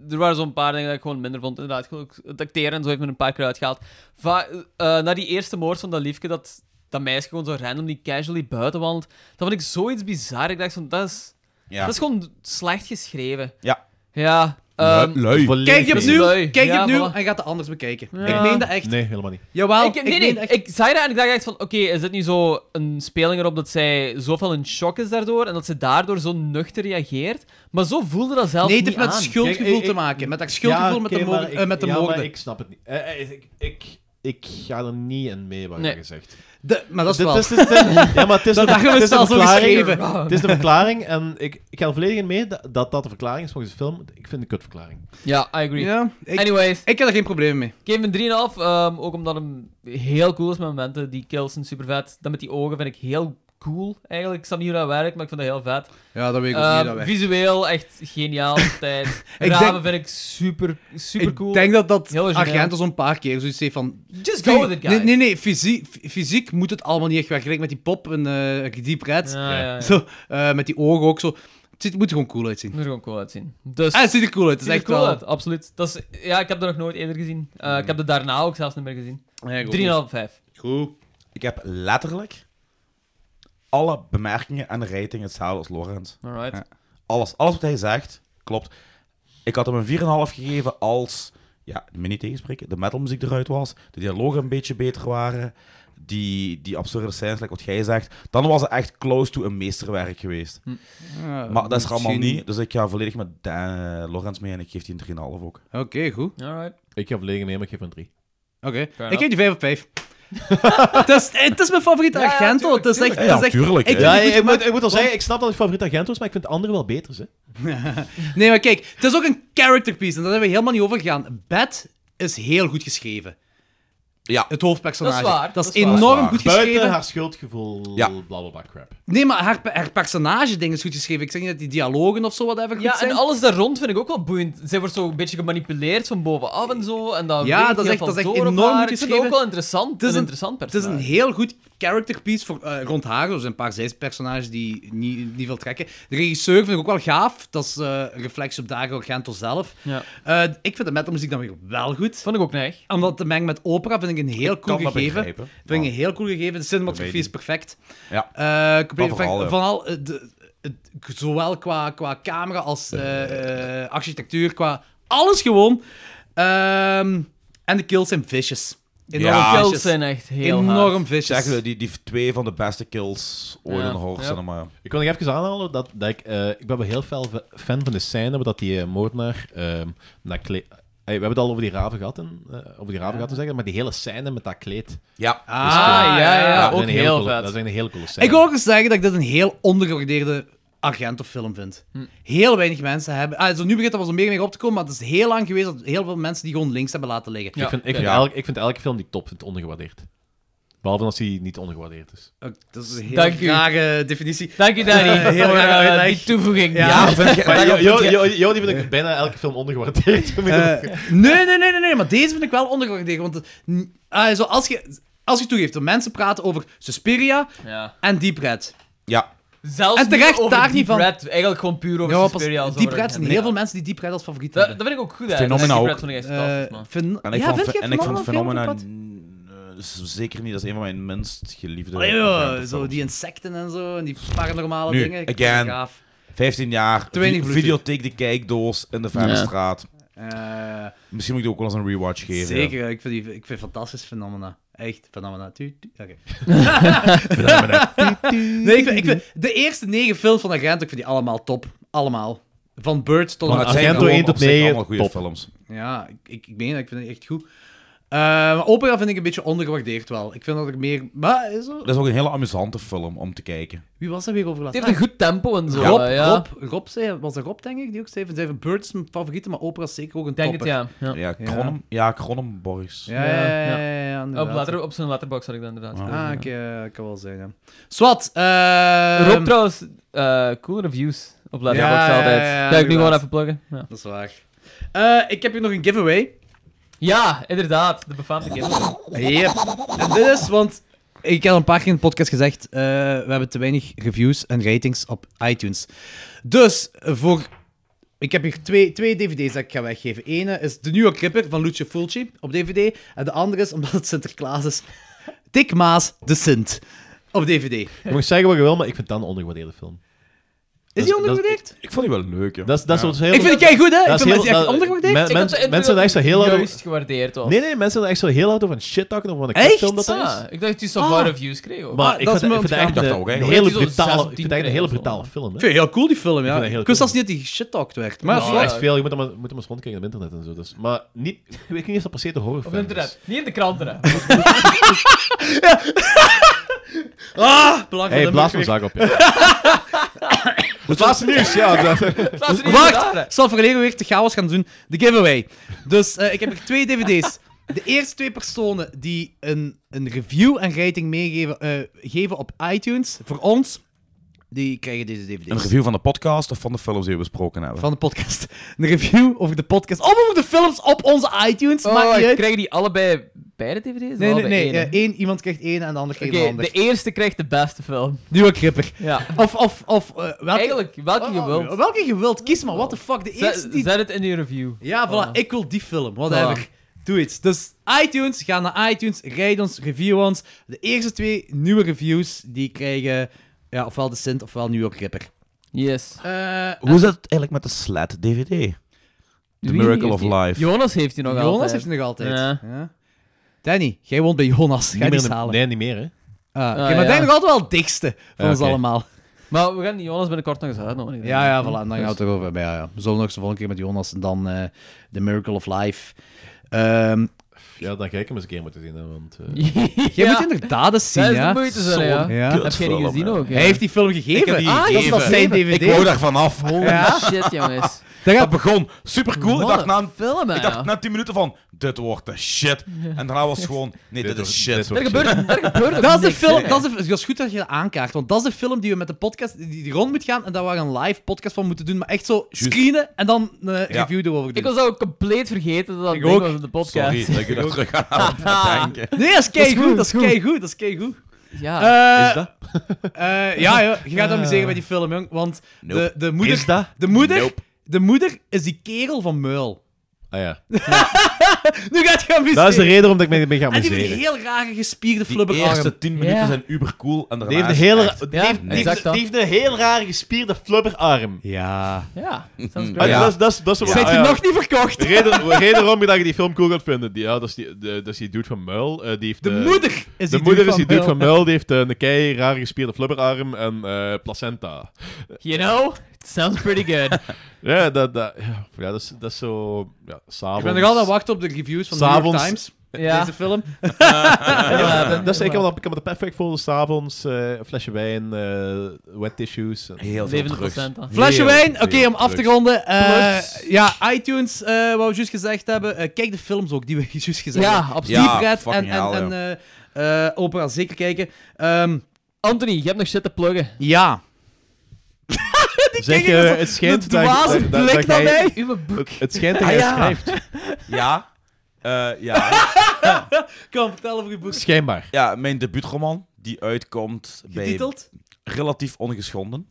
er waren zo'n paar dingen dat ik gewoon minder vond. Inderdaad, gewoon ook het acteren en zo heeft me een paar keer uitgehaald. Va eh, na die eerste moord van dat liefje, dat, dat meisje gewoon zo random die casually buiten wandelt, dat vond ik zoiets bizar. Ik dacht van, dat is,
Ja.
dat is gewoon slecht geschreven.
Ja.
Ja. ehm,
Lui.
Kijk je opnieuw,
Lui.
kijk je
Ja,
opnieuw
voilà.
en gaat het anders bekijken.
Ja.
Ik meen dat echt.
Nee, helemaal niet.
Jawel,
ik, nee,
meen
nee,
dat echt.
ik zei dat en ik dacht echt van, oké, is dit nu zo een speling erop dat zij zoveel in shock is daardoor en dat ze daardoor zo nuchter reageert? Maar zo voelde dat zelf
Nee, het
niet
heeft met
aan.
schuldgevoel
Kijk, ik-
te maken. Met dat schuldgevoel
Ja,
met
oké,
de, moorden-
maar ik-
eh, met de
ja, maar
moorden.
ik snap het niet. Eh, eh, ik, ik, ik ga er niet in mee wat
Nee.
je gezegd.
De- maar dat is
Dit
wel.
is- dit is- dit- Ja, maar het is een-
daarom
het
is
is
het
een
al zo
verklaring.
geschreven.
Het is de verklaring en ik, ik ga er volledig in mee dat dat, dat de verklaring is volgens de film. Ik vind het een kutverklaring.
Ja, I agree.
Ja, ik,
Anyways,
ik heb er geen probleem mee.
ik geef hem 3,5. ehm, ook omdat hem heel cool is met momenten. Die kills zijn super vet. Dat met die ogen vind ik heel cool, eigenlijk. Ik snap niet hoe dat werkt, maar ik vind dat heel vet.
Ja, dat weet ik ook
Ehm,
Eh,
niet. Dat werkt.
visueel echt geniaal tijd.
denk-
Ramen vind ik super, super
ik
cool.
denk dat dat
Heel origineel.
Argento zo'n paar keer zoiets heeft van...
Just go with it, guys.
Nee, nee, nee fysiek, fysiek moet het allemaal niet echt werken. Gelijk met die pop en eh die pret.
Ja, ja, ja.
Zo, eh, met die ogen ook zo. Het ziet- moet er gewoon cool uitzien.
moet er gewoon cool uitzien. Dus,
Ah, het ziet er cool uit. Het
ziet
is
er
echt
cool
wel...
uit, absoluut. Dat is, ja, ik heb dat nog nooit eerder gezien. Eh, Ik heb dat daarna ook zelfs niet meer gezien. 3,5, 5.
Goed. Ik heb letterlijk alle bemerkingen en de rating hetzelfde als Lorenz.
Alright.
Ja. Alles, alles wat hij zegt, klopt. Ik had hem een 4,5 gegeven als, ja, me niet tegenspreken, de metalmuziek eruit was, de dialogen een beetje beter waren, die, die absurde scènes, like wat jij zegt, dan was het echt close to een meesterwerk geweest.
Ja,
maar dat is er allemaal
Ah, Mm, misschien-
niet, dus ik ga volledig met eh, Lorenz mee en ik geef die een 3,5 ook.
Oké, goed.
Alright.
Ik heb verlegen mee, maar ik geef een 3.
Oké.
enough.
Ik geef die 5 op 5. het, is, het is mijn favoriete
Ja, ja,
Argento.
tuurlijk,
het is echt...
Ja,
het is echt-
tuurlijk.
ik-
hè.
Ja,
vind het
ik,
goed
moet,
gemaakt,
ik moet al zeggen, ik snap dat het favoriet Argento is, maar ik vind de andere wel beter. Hè.
Nee, maar kijk, het is ook een character piece en daar zijn we helemaal niet over gegaan. Bad is heel goed geschreven.
Ja.
Het hoofdpersonage.
Dat is waar, dat is waar.
enorm
Dat
goed
is
Buiten
geschreven.
haar schuldgevoel,
Ja.
bla bla bla crap.
Nee, maar haar, pe- haar personage-ding is goed geschreven. Ik zeg niet dat die dialogen of zo whatever goed
Ja,
zijn.
en alles daar rond vind ik ook wel boeiend. Zij wordt zo een beetje gemanipuleerd van bovenaf en zo. En dat
Ja,
werkt
dat
heel
is echt-
veel
dat is echt
door op
enorm
haar.
goed
Ik vind het
geschreven.
ook wel interessant. Het is een, interessant
het is
personage.
een heel goed character piece voor, eh, rond haar. Er zijn een paar zijspersonages die niet, niet veel trekken. De regisseur vind ik ook wel gaaf. Dat is eh, een reflectie op Dario Argento zelf.
Ja.
Eh, ik vind de metalmuziek dan weer wel goed.
Vond ik ook neig.
Omdat te mengen met opera vind ik een heel cool
kan dat
gegeven.
begrijpen.
Vind ik een heel cool gegeven. De cinematografie is
Comedie.
perfect.
Ja.
Eh, compleet
Maar
perfect.
vooral, ja.
Vooral, eh, de- het- zowel qua, qua camera als eh, eh, architectuur, qua alles gewoon. Ehm, en de kills zijn vicious. Enorm
Ja.
vicious.
Kills zijn echt heel
Enorm
hard.
vicious.
Zeggen we, eh, die, die twee van de beste kills ooit
Ja.
in de horror
Ja.
cinema.
Ik wil nog even aanhalen dat, dat ik... eh, ik ben wel heel fel v- fan van de scène waar dat die eh, moordenaar... ehm, naar kle- Hey, we hebben het al over die raven gehad, en, eh, over die raven gehad te zeggen, maar die hele scène met dat kleed.
Ja.
Ah,
is
Ah, ja, ja,
dat is
ook
een hele
heel
coole-
vet.
Dat is een hele coole scène.
Ik wil ook eens zeggen dat ik dit een heel ondergewaardeerde Argento-film vind.
Hm.
Heel weinig mensen hebben... Ah, zo nu begint dat wel zo meer en meer op te komen, maar het is heel lang geweest dat heel veel mensen die gewoon links hebben laten liggen.
Ja.
ik, vind, ik,
oké.
vind
Ja.
elke, ik vind elke film die ik top vind ondergewaardeerd. Behalve als die niet ondergewaardeerd is.
Ook- Dat is een heel
Dank u.
rare definitie.
Dank je, Danny,
Eh, heel
voor
graag
eh,
uitleg.
die toevoeging.
Ja.
Ja, vind je-
Maar
vind
Jo-
je-
Jo- Jo- Jo, die vind ik bijna elke film ondergewaardeerd.
Eh, nee, nee, nee, nee, nee, maar deze vind ik wel ondergewaardeerd. Want mm, ah, zo, als, je, als je toegeeft dat mensen praten over Suspiria
Ja.
en Deep Red.
Ja.
Zelfs
En terecht,
niet over
daar
Deep
niet van.
Red, eigenlijk gewoon puur over
Ja, pas,
Suspiria. als
Deep
over
Red zijn
Argento.
heel veel mensen die Deep Red als favoriet
Dat, dat
hebben.
vind ik ook goed, hè.
Phenomena
Deep
ook.
Red vond ik echt fantastisch,
Eh,
man.
Phen-
En ik
ja,
vond,
vind je
en ik vond
Phenomena
Phenomena
veel op
eh, is zeker niet, dat is een van mijn minst geliefde. eh,
het pad? Allee, joh,
films.
Oh, zo die insecten en zo, en die paranormale
Nu,
dingen. Ik vind
again.
dat gaaf.
15 jaar,
Te weinig
vi-
bloed.
videotheek de kijkdoos in de
Ja.
Verstraat.
Eh,
Misschien moet ik die ook wel eens een rewatch geven.
zeker, ik vind, die, ik vind het fantastisch Phenomena. Echt, Phenomena. Tu- tu- Oké. Nee, ik vind, ik vind de eerste negen films van Agent, ik vind die allemaal top. Allemaal. Van Bird tot
Van
aan-
Maar het zijn
Argento
gewoon
1 tot
op zich
9,
allemaal goede
top.
films.
Ja, ik- ik, ik meen dat. Ik vind het echt goed. Eh, maar opera vind ik een beetje ondergewaardeerd wel. Ik vind dat er meer... Maar, is er-
Dat is ook een hele amusante film om te kijken.
Wie was er weer over laatst?
Die heeft een goed tempo en zo.
Ah, Rob,
eh, ja.
Rob, Rob zei, was dat Rob, denk ik, die ook zei, van- zei van Bird is mijn favoriete, maar opera is zeker ook een
Ik denk het,
topper.
ja. ja.
Ja, Kronem, ja. Cronenborgs.
Ja, ja, ja,
Ja,
ja, ja, ja,
Op,
inderdaad.
letter, op zijn letterbox had ik dat inderdaad. gezien,
Ah,
ja.
oké, eh, kan wel zijn, ja. Swat, eh,
Rob trouwens, eh coole reviews op letterbox
Ja, ja,
altijd.
ja, ja,
Ga ik nu gewoon
inderdaad.
even pluggen. Ja,
Dat is waar. Eh, ik heb hier nog een giveaway.
ja inderdaad. De befaamde game.
Yep. En dit is, want ik heb al een paar keer in de podcast gezegd, eh, we hebben te weinig reviews en ratings op iTunes. Dus, eh, voor... Ik heb hier twee, twee dvd's dat ik ga weggeven. Ene is De Nieuwe Cripper van Lucio Fulci op dvd. En de andere is, omdat het Sinterklaas is, Dick Maas de Sint op dvd.
Je mag zeggen wat je wil, maar ik vind dat een ondergewaardeerde film.
Is die
dat-
ondergewaardeerd?
Ik vond die wel leuk, joh.
Dat is, dat is
Ja.
wat heel...
Ik vind het goed, hè? Ik
dat
vind
is
mensen
heel-
echt
dat-
ondergewaardeerd.
men-
Ik had
mensen-
de indruk
mensen
dat
zijn echt zo heel...
het
hard-
Juist gewaardeerd was.
Nee, nee, mensen zijn echt zo heel hard over shit talken over wat een
Echt?
film dat dat is.
Ah, ik dacht dat je zo'n
Ah.
paar reviews kreeg ook.
Maar
Ah,
ik
dat
vind
is me
ik vind het echt
ontgaan.
een,
Ik dacht dat
een
ook, eigenlijk.
hele
Die zo'n zes
brutale,
op tien
ik vind het echt een hele
krijgen of
brutale
zo.
film.
Ik
Hè?
vind het heel cool, die film,
vind
ja.
dat
Ik
heel
wist
cool.
zelfs niet dat die shit-talked werd. Maar
Nou,
zo-
Ja,
Ja.
echt veel. Je moet hem, moet hem eens rondkijken op internet en zo. Dus. Maar niet, ik weet niet of dat per se de horrorfilm
Op internet. Niet in de kranten, hè.
Ah, belangrijk.
Hé, hey,
dat
blaas
moet
mijn
ik
zak op. ja. Het laatste nieuws, ja. dat-
Dat is niet
Wacht,
gedaan, hè.
ik zal verleden weer te chaos gaan doen. De giveaway. Dus eh, ik heb er twee dvd's. De eerste twee personen die een, een review en rating meegeven eh, geven op iTunes, voor ons, die krijgen deze DVD's.
Een review van de podcast of van de films die we besproken hebben?
van de podcast. Een review over de podcast. Of over de films op onze iTunes.
Oh,
maakt niet uit.
krijgen die allebei beide DVD's?
Nee, nee,
Allebei
nee.
één, hè?
eh, één, iemand krijgt één en de ander krijgt
Oké,
de ander.
de eerste krijgt de beste film.
Nieuwe kripper.
Ja.
Of, of, of eh, welke...
Eigenlijk, welke
Oh,
je
oh,
wilt.
Welke je wilt. Kies maar, what the fuck. De
Zet,
eerste die...
zet het in je review.
Ja, voilà.
Voilà.
Ik wil die film. Whatever. Doe iets. Dus iTunes, ga naar iTunes, rijd ons, review ons. De eerste twee nieuwe reviews, die krijgen ja, ofwel de Sint ofwel New York Ripper.
Yes.
Eh,
Hoe is dat eigenlijk met de Slat DVD? The
Wie
Miracle
heeft
of
die?
Life.
Jonas heeft die nog
Jonas
altijd.
heeft ze nog altijd.
Ja.
Ja. Danny, jij woont bij Jonas. Ga
Niet
die
meer
eens
in de-
halen.
nee, niet meer, hè.
Ah, oké,
Ah, ja.
maar denk nog altijd wel het dichtste van
Ah,
ons
oké.
allemaal.
Maar we gaan die Jonas binnenkort nog eens uitnodigen.
Ja, ja, voilà. En dan
Dus-
gaan we het erover hebben. Ja, ja. We zullen nog eens de volgende keer met Jonas en dan eh, The Miracle of Life. Ehm,
Ja, dan ga ik hem eens een keer moeten zien. Hè, want, eh,
jij
Ja,
moet inderdaad eens zien,
Dat is de
ja.
moeite, zo, ja.
Ja.
Heb jij die gezien ook? ja?
Hij heeft die film gegeven.
heb die
ah, dat is nog zijn
gegeven.
DVD.
Ik wou daar vanaf.
Holy
Ja.
shit, jongens.
Daar
Dat
gaat-
begon super cool. Ik
Wat
dacht, na,
een film, hè,
ik dacht
ja.
na 10 minuten van, dit wordt de shit. En daarna was het gewoon, nee, dit
wordt-
is
dit
shit.
wordt
Er gebeurt, er gebeurt ook
dat is de
niks,
film.
hè.
Dat is, de- dat is goed dat je dat aankaart. Want dat is de film die we met de podcast die, die rond moet gaan. En daar we een live podcast van moeten doen. Maar echt zo screenen en dan een
Ja.
review erover
Ik
doen.
was ook compleet vergeten dat dat
Ik
ding
ook.
was in de podcast.
Sorry dat ik je daar terug aan aan het denken.
Nee, dat is keigoed.
goed,
Dat is
goed.
keigoed. Dat is keigoed.
Ja.
Eh,
is dat?
eh, ja, joh, je gaat amuseren bij die film, jong. Want
Nope.
de, de moeder...
Is dat?
De moeder,
Nope.
de moeder is die kerel van Muil.
Ah ja.
Nu gaat je amuseren.
Dat is de reden waarom dat ik me mee ga
En die heeft een
amuseren.
heel rare gespierde
De
flubberarm.
eerste 10 minuten
Ja.
zijn ubercool. En daarna
Die heeft een
is
heel,
echt-
die
Ja,
heeft- die
exact
heeft- die heeft een heel raar gespierde flubberarm.
Eh, Ja.
ja. Sounds
Ah,
great.
hmm. Ja.
Dat is- dat is- dat is-
Zijn
ah,
die
ja.
nog niet verkocht?
Reden, reden waarom je dat je die film cool gaat vinden. Die, ja, dat, is die, de, dat is die dude van Muil. eh, die heeft,
De
eh,
moeder is
de
die
moeder
dude
is die
van
dude van
Muil.
Muil. Die heeft eh, een kei raar gespierde flubberarm en eh, placenta.
You know, it sounds pretty good.
Ja, dat, dat, ja, ja, dat, is, dat is zo... Ja, s'avonds.
Ik ben nog altijd aan het wachten op de reviews van de New York
S'avonds.
Times.
ja.
Deze film.
Ja,
Ja,
dat is, ik, kan, me- ik kan me dat perfect voor s'avonds. eh een flesje wijn, eh, wet tissues. en-
Heel veel drugs.
70%. dan.
Flesje
Heel
wijn. Oké,
veel
om af te
drugs.
ronden. eh,
Plus.
ja, iTunes, eh, wat we juist gezegd hebben. Eh, kijk de films ook die we juist gezegd
Ja,
hebben.
absoluut.
Ja,
Deep Red en,
fucking
en,
hell,
en eh, eh, Opera zeker kijken. Ehm,
Anthony, je hebt nog shit te pluggen.
ja.
Zeg,
kijken,
eh,
dat is
het schijnt dat,
dus dwaze
dat, dat,
blik
dat
naar
jij-
mij.
Uwe boek.
Het, het schijnt dat
Ah,
jij
ja.
schrijft.
Ja. Eh, ja.
Kom, vertel over je boek.
Schijnbaar.
ja, mijn debuutroman die uitkomt bij
Getiteld.
Relatief Ongeschonden.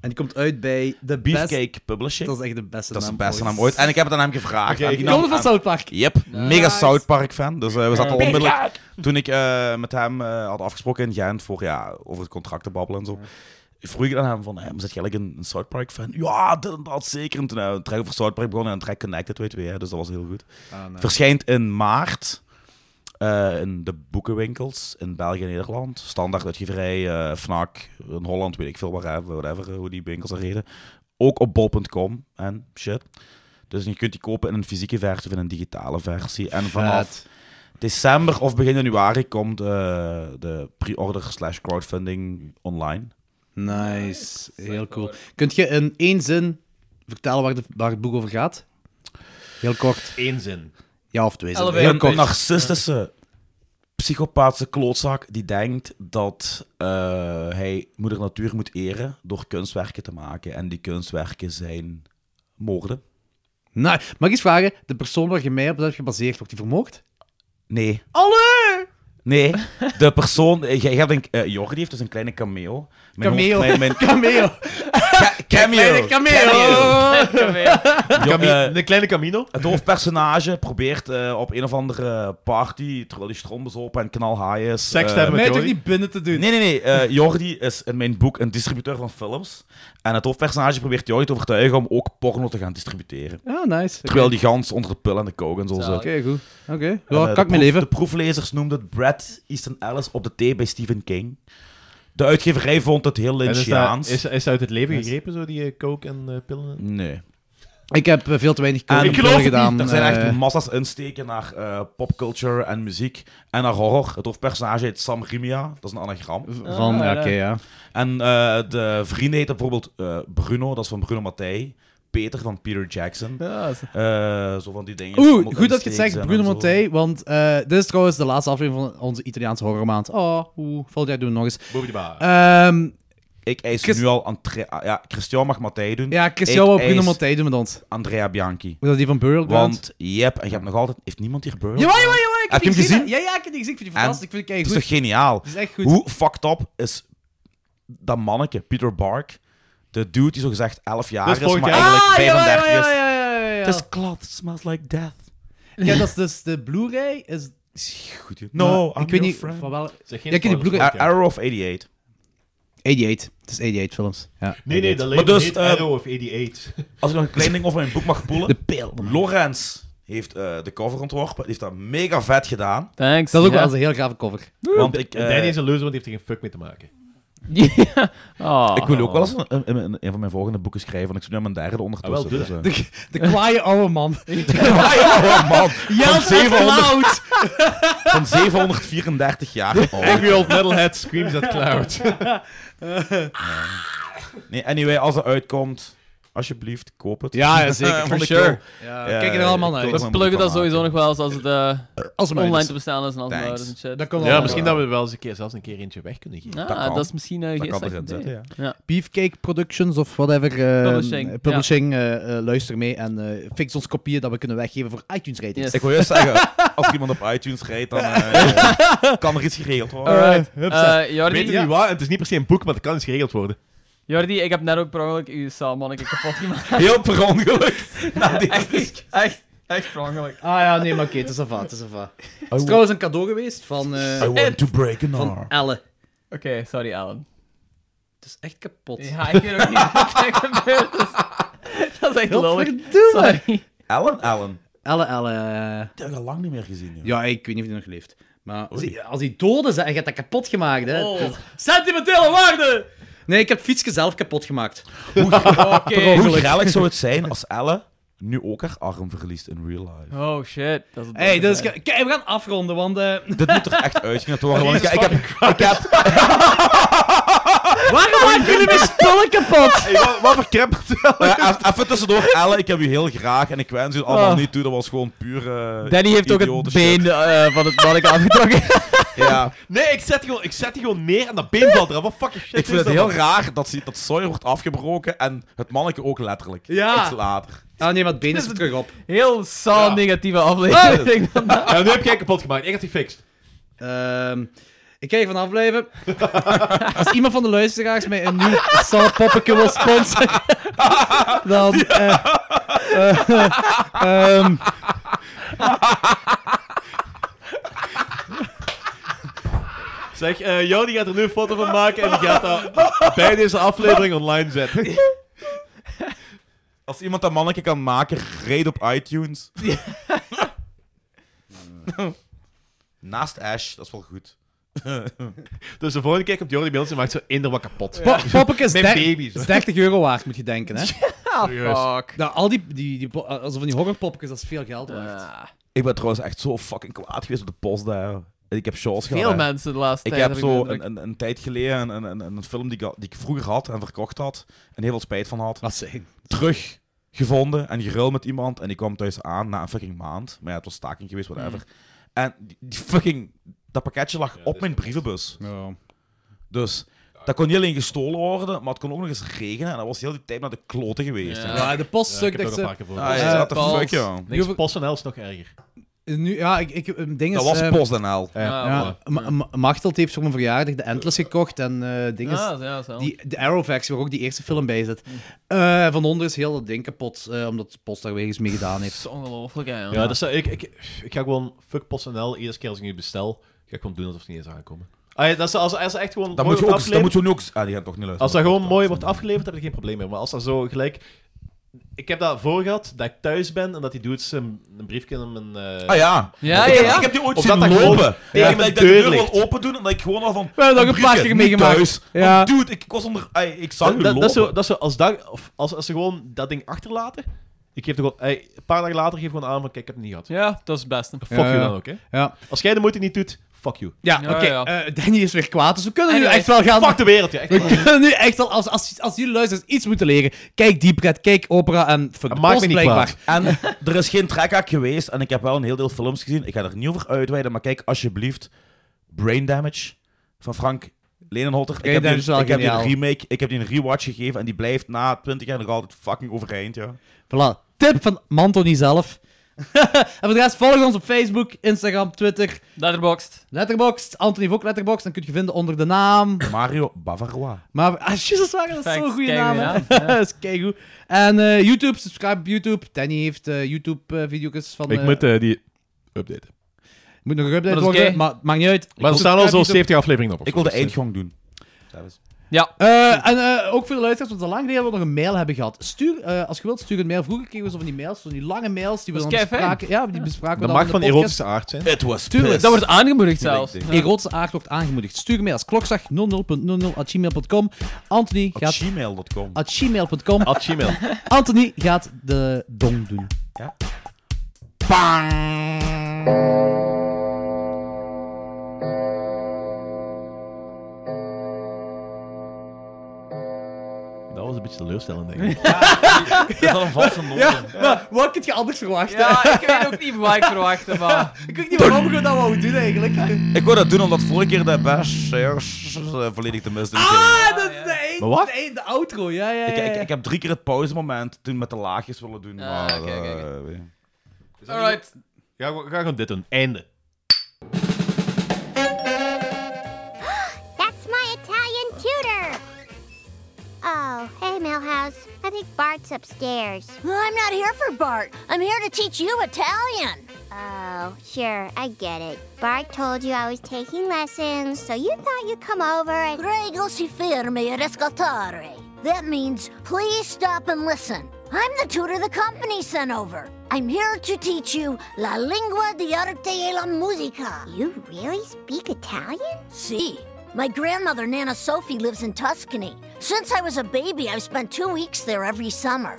En die komt uit bij de beste.
Beefcake Publishing.
Dat is echt de beste
Dat is de
naam
beste naam ooit. En ik heb het aan hem gevraagd.
Oké,
En
ik
die
Die
nam
komt
Nou,
van
aan-
South Park.
Yep, mega South Park fan. Dus eh, we zaten al onmiddellijk. Toen ik eh, met hem eh, had afgesproken in Gent vorig jaar over het contract te babbelen en zo. Vroeg ik aan hem van, hey, zit je eigenlijk een, een South Park fan? Ja, dit en dat zeker. En toen hebben we een track over South Park begonnen en een track Connected, weet je, hè, dus dat was heel goed. Verschijnt in maart eh, in de boekenwinkels in België en Nederland. Standaard uitgeverij, eh FNAC, in Holland, weet ik veel waar, hè, whatever, eh, hoe die winkels er reden. Ook op bol.com en shit. Dus je kunt die kopen in een fysieke versie of in een digitale versie. En vanaf december of begin januari komt eh, de pre-order slash crowdfunding online.
Nice. Heel cool. Kunt je in één zin vertellen waar, de, waar het boek over gaat? Heel kort.
Eén zin.
Ja of twee zinnen.
Allebei.
Heel
een
kort.
narcistische, psychopaatse klootzak die denkt dat eh, hij moeder natuur moet eren door kunstwerken te maken. En die kunstwerken zijn moorden.
Nou, mag ik eens vragen? De persoon waar je mij op hebt gebaseerd, wordt die vermoord?
Nee,
Alle!
nee. De persoon... eh, Jij hebt een... eh, Jordi heeft dus een kleine cameo. Mijn
Cameo.
hoofd- mijn, mijn,
Cameo.
ca- cameo.
Kleine cameo.
Jo- eh,
een kleine Camino.
Het hoofdpersonage probeert eh, op een of andere party, terwijl hij strombezopen en knalhaai is...
Seks te
eh,
hebben
Mij toch
Sorry?
niet binnen te doen?
Nee, nee, nee. eh, Jordi is in mijn boek een distributeur van films. En het hoofdpersonage probeert Jordi te overtuigen om ook porno te gaan distributeren.
Ah, nice. Oké,
Terwijl die gans onder de pil en de kook en zo zit.
Oké, goed. Oké.
En,
Ja, kan
eh, de
ik mee
proef-
leven.
De proeflezers noemden het Brad Easton Ellis op de thee bij Stephen King. De uitgeverij vond het heel
En is, dat,
Lynchiaans.
is, is dat uit het leven
Yes.
gegrepen, zo, die eh, coke en eh, pillen?
Nee.
Ik heb eh, veel te weinig
En
koken
ik geloof het
gedaan.
niet. Er zijn echt
eh,
massa's insteken naar eh, popculture en muziek en naar horror. Het hoofdpersonage heet Sam Rimia. Dat is een anagram.
van,
Ah,
ja,
ja.
oké, ja.
En eh, de vrienden heten bijvoorbeeld eh, Bruno, dat is van Bruno Mattei. Peter van Peter Jackson.
Ja, is-
Eh, zo van die dingen.
Oeh,
Allemaal
goed dat je het
insteeks
zegt,
en
Bruno
zo.
Montey. Want eh, dit is trouwens de laatste aflevering van onze Italiaanse horrormaand. Oh, oeh, volgend jaar doen we nog eens.
Boobiedebaar.
Ehm,
Ik eis
Chris-
nu al... Antre- ah, ja, Christian mag Matthij doen.
ja, Christian
Ik
wil Bruno
eis-
Montey doen met ons.
Andrea Bianchi.
Moet dat die van Burial Ground?
Want, yep, en je hebt nog altijd... Heeft niemand hier Burl?
Jawel, jawel, jawel. Ik
Heb je
die
hem gezien?
hè? Ja, ja, ik heb die gezien. Ik vind die
En-
fantastisch. Ik vind die
Het
kei
is
goed.
toch geniaal?
Die is echt goed.
Hoe fucked up is dat manneke, Peter Bark, de dude die zogezegd 11 jaar
Dat
is,
is vorig
maar
jaar.
eigenlijk
ah, jawel,
35
jawel,
is.
jawel, jawel, jawel,
Het is klad, it smells like death.
jawel. Ja, dat is dus de Blu-ray. Is...
Goed, joh. no,
Maar
I'm
Nou, ik weet
your
niet
friend.
van wel.
Zeg geen
Ja, ik heb die
spoilers,
broek-
want, ja.
Arrow of 88.
88. Het is 88 films. Ja.
Nee, nee, dat
Maar
leek
dus,
niet
eh,
Arrow of 88.
Als ik nog een klein ding over mijn boek mag
De
poelen.
pil.
Lorenz heeft eh, de cover ontworpen. Die heeft dat mega vet gedaan.
Thanks.
Dat is ook wel
ja.
eens een heel gave cover.
Want ik, eh,
Danny is een leuze, want die heeft er geen fuck mee te maken.
Ja. Oh.
ik wil ook wel eens een, een, een, een van mijn volgende boeken schrijven. Want ik zit nu aan mijn derde ondertussen.
Ah, wel, doe
dus, eh.
De, de kwaaie oude man.
Ja, ja, man. Van,
Jans en Cloud.
700, van 734 jaar Oh. oud.
Angry old metalhead screams at clouds.
Nee, anyway, als het uitkomt, alsjeblieft, koop het.
Ja, ja, zeker,
Eh,
for
want ik
sure.
wil-
Ja, kijk er allemaal naar
ik
uit.
wil er
We pluggen
een boek
dat
van maken.
sowieso nog wel eens als het eh,
Als het
online
online
te bestaan is en als het
Thanks.
ouders en shit.
Dat kan wel.
Ja, misschien dat we wel eens een keer, zelfs een keer eentje weg kunnen geven.
Ah,
dat
dat,
kan.
is misschien eh
Dat kan
geestig
erin
idee.
zitten, ja.
Ja.
Beefcake Productions of whatever. eh,
Publishing,
eh, publishing eh, eh, luister mee en eh, fix ons kopieën dat we kunnen weggeven voor iTunes ratings.
Yes.
Ik wil juist zeggen, als iemand op iTunes rijdt, dan eh, kan er iets geregeld worden.
Alright.
Hup,
Eh,
Ik weet
Jordi,
het niet waar, en het is niet per se een boek, maar dat kan eens geregeld worden.
Jordi, ik heb net ook per ongeluk uw salmonneke kapot gemaakt.
Heel per ongeluk. Nou, die-
echt, echt, echt per ongeluk.
Ah ja, nee, maar oké, het is afva, het is afva. Het is trouwens een cadeau geweest van, eh,
I want to break an
van
arm.
Elle.
Oké, sorry Alan.
Het is echt kapot.
Ja, ik weet ook niet wat er gebeurd is. Dat is echt lollig.
Godverdomme.
Sorry.
Ellen, Ellen.
Elle, Elle. eh,
Die heb ik al lang niet meer gezien. joh.
Ja, ik weet niet of die nog leeft. Maar zie- als hij dood is, hè, je hebt dat kapot gemaakt. Hè.
Oh.
Sentimentele waarde! Nee, ik heb het fietsje zelf kapot gemaakt.
Oké.
Hoe grillig zou het zijn als Ellen nu ook haar arm verliest in real life?
Oh shit. Dat is
hey, dus, kijk, we gaan afronden, want... eh,
Dit moet er echt uitgeknipt worden, want ik, ik heb... Ik heb
waarom maken jullie mijn spullen kapot?
Wat voor crap
eh, even- even tussendoor, Ellen, ik heb u heel graag en ik wens u het allemaal niet toe. Dat was gewoon puur... eh,
Ah. Danny heeft ook
idiote
het
shit.
been eh, van het manneke afgetrokken.
Ja,
Nee, ik zet, die gewoon, ik zet die gewoon neer en dat been valt eraf. Wat fucking shit
ik vind
is
het
dat dan?
heel raar dat, ze- dat Sawyer wordt afgebroken en het manneke ook letterlijk.
Ja.
Iets later.
Ah nee, maar het been is er terug op.
Heel saal negatieve aflevering.
Ja, nu heb jij kapot gemaakt. Ik had die fixed.
Ehm, ik ga hier vanaf blijven. Als iemand van de luisteraars mij een nieuw salpoppetje wil sponsoren, dan... eh, eh, ehm,
Zeg, eh jou die gaat er nu een foto van maken en die gaat dat bij deze aflevering online zetten.
Als iemand dat manneke kan maken, reed op iTunes. Naast Ash, dat is wel goed.
Dus de volgende keer komt Jordi bij ons en maakt zo eender wat kapot.
Po- Poppeke is
Met
der-
baby's, hoor.
is 30 euro waard, moet je denken. Hè?
Serieus.
Fuck.
Nou, al die, die, die, po- eh, alsof van die horrorpoppetjes, dat is veel geld waard.
Ah,
Ik ben trouwens echt zo fucking kwaad geweest op de post daar. Ik heb shows gehad.
veel
hè.
mensen de laatste
Ik
tijd.
heb
de
zo
indruk.
een, een, een tijd geleden een, een, een, een film die ik, al- die ik vroeger had en verkocht had en heel veel spijt van had,
Wat zijn?
teruggevonden en geruild met iemand. En die kwam thuis aan na een fucking maand. Maar ja, het was staking geweest,
Mm.
whatever. En die, die fucking... Dat pakketje lag op mijn brievenbus. Dus dat kon niet alleen gestolen worden, maar het kon ook nog eens regenen. En dat was heel die tijd naar de kloten geweest.
Ja.
hè.
Ja, de post
Ja, ik
sukt
heb
echt
ook een
ze...
paar keer voor.
Ah,
Eh,
ja, what the
Pauls.
fuck, joh.
Niks PostNL is nog erger.
Nu, ja, ik, ik, een ding
Dat
is,
was
eh,
PostNL.
Ah,
Ja,
voilà.
Ma- Ma- Machteld heeft voor mijn verjaardag de Endless gekocht en eh ding is...
Ah, ja, zo.
Die, de Arrowfax, waar ook die eerste film bij zit.
Mm.
Eh, van onder is heel dat ding kapot, eh, omdat de post daar weer eens mee gedaan
Dat
heeft.
is ongelooflijk, hè.
Ja, dus, eh, ik, ik, ik ga gewoon fuck PostNL. Eerste keer als ik nu bestel, ga ik gewoon doen alsof ze niet eens aankomen. Ah, ja, dat is, als, als ze echt gewoon
Dat
mooi
moet, je
wordt
ook, dat
afgeleverd-
moet je nu ook... Ah, die gaat toch niet luisteren.
Als dat gewoon mooi wordt afgeleverd, heb ik geen probleem meer. Maar als dat zo gelijk... Ik heb dat voor gehad, dat ik thuis ben en dat die dudes een, een briefje in mijn... eh,
Ah ja.
Ja,
ik,
ja,
heb-
ja.
ik heb die ooit
Of dat
zien
dat gewoon
lopen.
tegen
Ja, dat
mijn
ik de deur
deur
wil
ligt.
open doen en dat ik gewoon al van...
We hebben dat ook een paar
briefje,
keer
niet
meegemaakt.
thuis.
Ja.
Want dude, ik was onder... ai, ik zag u
dat, dat,
lopen.
is zo, dat is zo, als, dat, of als, als ze gewoon dat ding achterlaten, ik geef er gewoon, ey, een paar dagen later geef ik gewoon aan van, kijk, ik heb het niet gehad.
Ja, dat is het beste.
Fuck
Ja,
you
ja.
dan ook, hè.
Ja.
Als jij de moeite niet doet, Fuck you.
Ja,
Ja,
oké.
ja,
eh, Danny is weer kwaad, dus we kunnen nu
Anyway,
echt wel gaan...
Fuck de wereld, ja. Echt
We
waar.
kunnen nu echt al, als, als, als jullie luisteren, iets moeten leren. Kijk die pret, kijk opera en fuck de
Maak me
post
niet
blijkbaar.
En er is geen trekhaak geweest en ik heb wel een heel deel films gezien. Ik ga er niet over uitweiden, maar kijk alsjeblieft Brain Damage van Frank Lenenhotter.
Brain
ik heb, die,
Damage is wel
ik heb die een
geniaal.
remake, ik heb die een rewatch gegeven en die blijft na 20 jaar nog altijd fucking overeind, ja.
Voilà. Tip van Mantoni zelf. en voor de rest, volg ons op Facebook, Instagram, Twitter,
Letterboxd.
Letterboxd. Anthony heeft ook Letterboxd, dan kun je vinden onder de naam.
Mario Bavarois.
Maar, ah, jezus, waar, dat is
Perfect.
zo'n goede
Keigoed,
naam. hè.
ja. Ja.
dat is keigoed. En eh, YouTube, subscribe op YouTube. Danny heeft YouTube-video's van...
Ik
eh,
moet eh, die updaten.
moet nog geüpdate
dat is
worden,
oké.
maar maakt niet uit.
Maar er staan al zo'n
subscribe,
70 afleveringen op. of
Ik
zo,
wil de
dus, eh,
eindgang doen.
Eh, en eh, ook voor de luisteraars, want al lang geleden we nog een mail hebben gehad. Stuur, eh, als je wilt, stuur een mail. Vroeger kregen we zo van die mails, zo van die lange mails die we
Dat
dan
is kei fijn.
bespraken. Ja, die bespraken we
Dat
dan
mag
in
van
de podcast.
erotische aard zijn.
Het was
Tuurlijk.
Dat wordt aangemoedigd zelfs.
denk
Erotische aard wordt aangemoedigd. Stuur een mail als klokslag00.00@gmail.com. Anthony
Op
gaat
gmail.com.
at gmail.com.
At Gmail.
Anthony gaat de dong doen.
Dat was een beetje teleurstellend, denk ik.
Dat is al een valse noot.
Maar wat kun je anders verwachten?
Ja, ik weet ook niet wat ik verwachtte, maar...
Ik weet niet waarom we dat wou doen eigenlijk.
Ik wou dat doen omdat vorige keer de best volledig te mis
Ah, dat is de, een,
Maar wat?
de, een- de outro. Ja, ja, ja.
Ik,
ja.
ik, ik heb drie keer het pauzemoment toen met de laagjes willen doen.
Ah,
maar,
oké, oké, oké.
eh, weet je.
Alright.
Ga, gewoon- ga gewoon dit doen. Einde.
That's my Italian tutor. Oh, hey, Millhouse. I think Bart's upstairs.
I'm not here for Bart. I'm here to teach you Italian.
Oh, sure, I get it. Bart told you I was taking lessons, so you thought you'd come over and.
Prego si fermi ad ascoltare. That means please stop and listen. I'm the tutor the company sent over. I'm here to teach you la lingua di arte e la musica.
You really speak Italian?
See, my grandmother, Nana Sophie, lives in Tuscany. Since I was a baby, I've spent two weeks there every summer.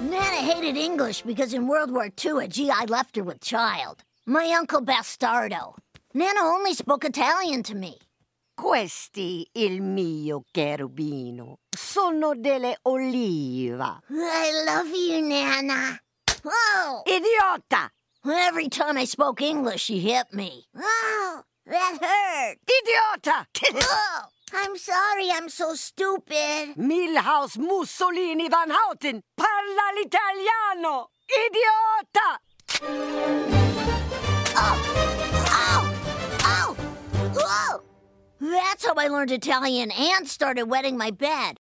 Nana hated English because in World War II, a GI left her with child. My uncle Bastardo. Nana only spoke Italian to me.
Questi, il mio cherubino, sono delle oliva.
I love you, Nana. Oh!
Idiota!
Every time I spoke English, she hit me. Oh, that hurt.
Idiota!
Oh, I'm sorry, I'm so stupid.
Milhouse Mussolini Van Houten, parla l'italiano! Idiota!
Oh, Ow! oh, Ow! Whoa! That's how I learned Italian and started wetting my bed.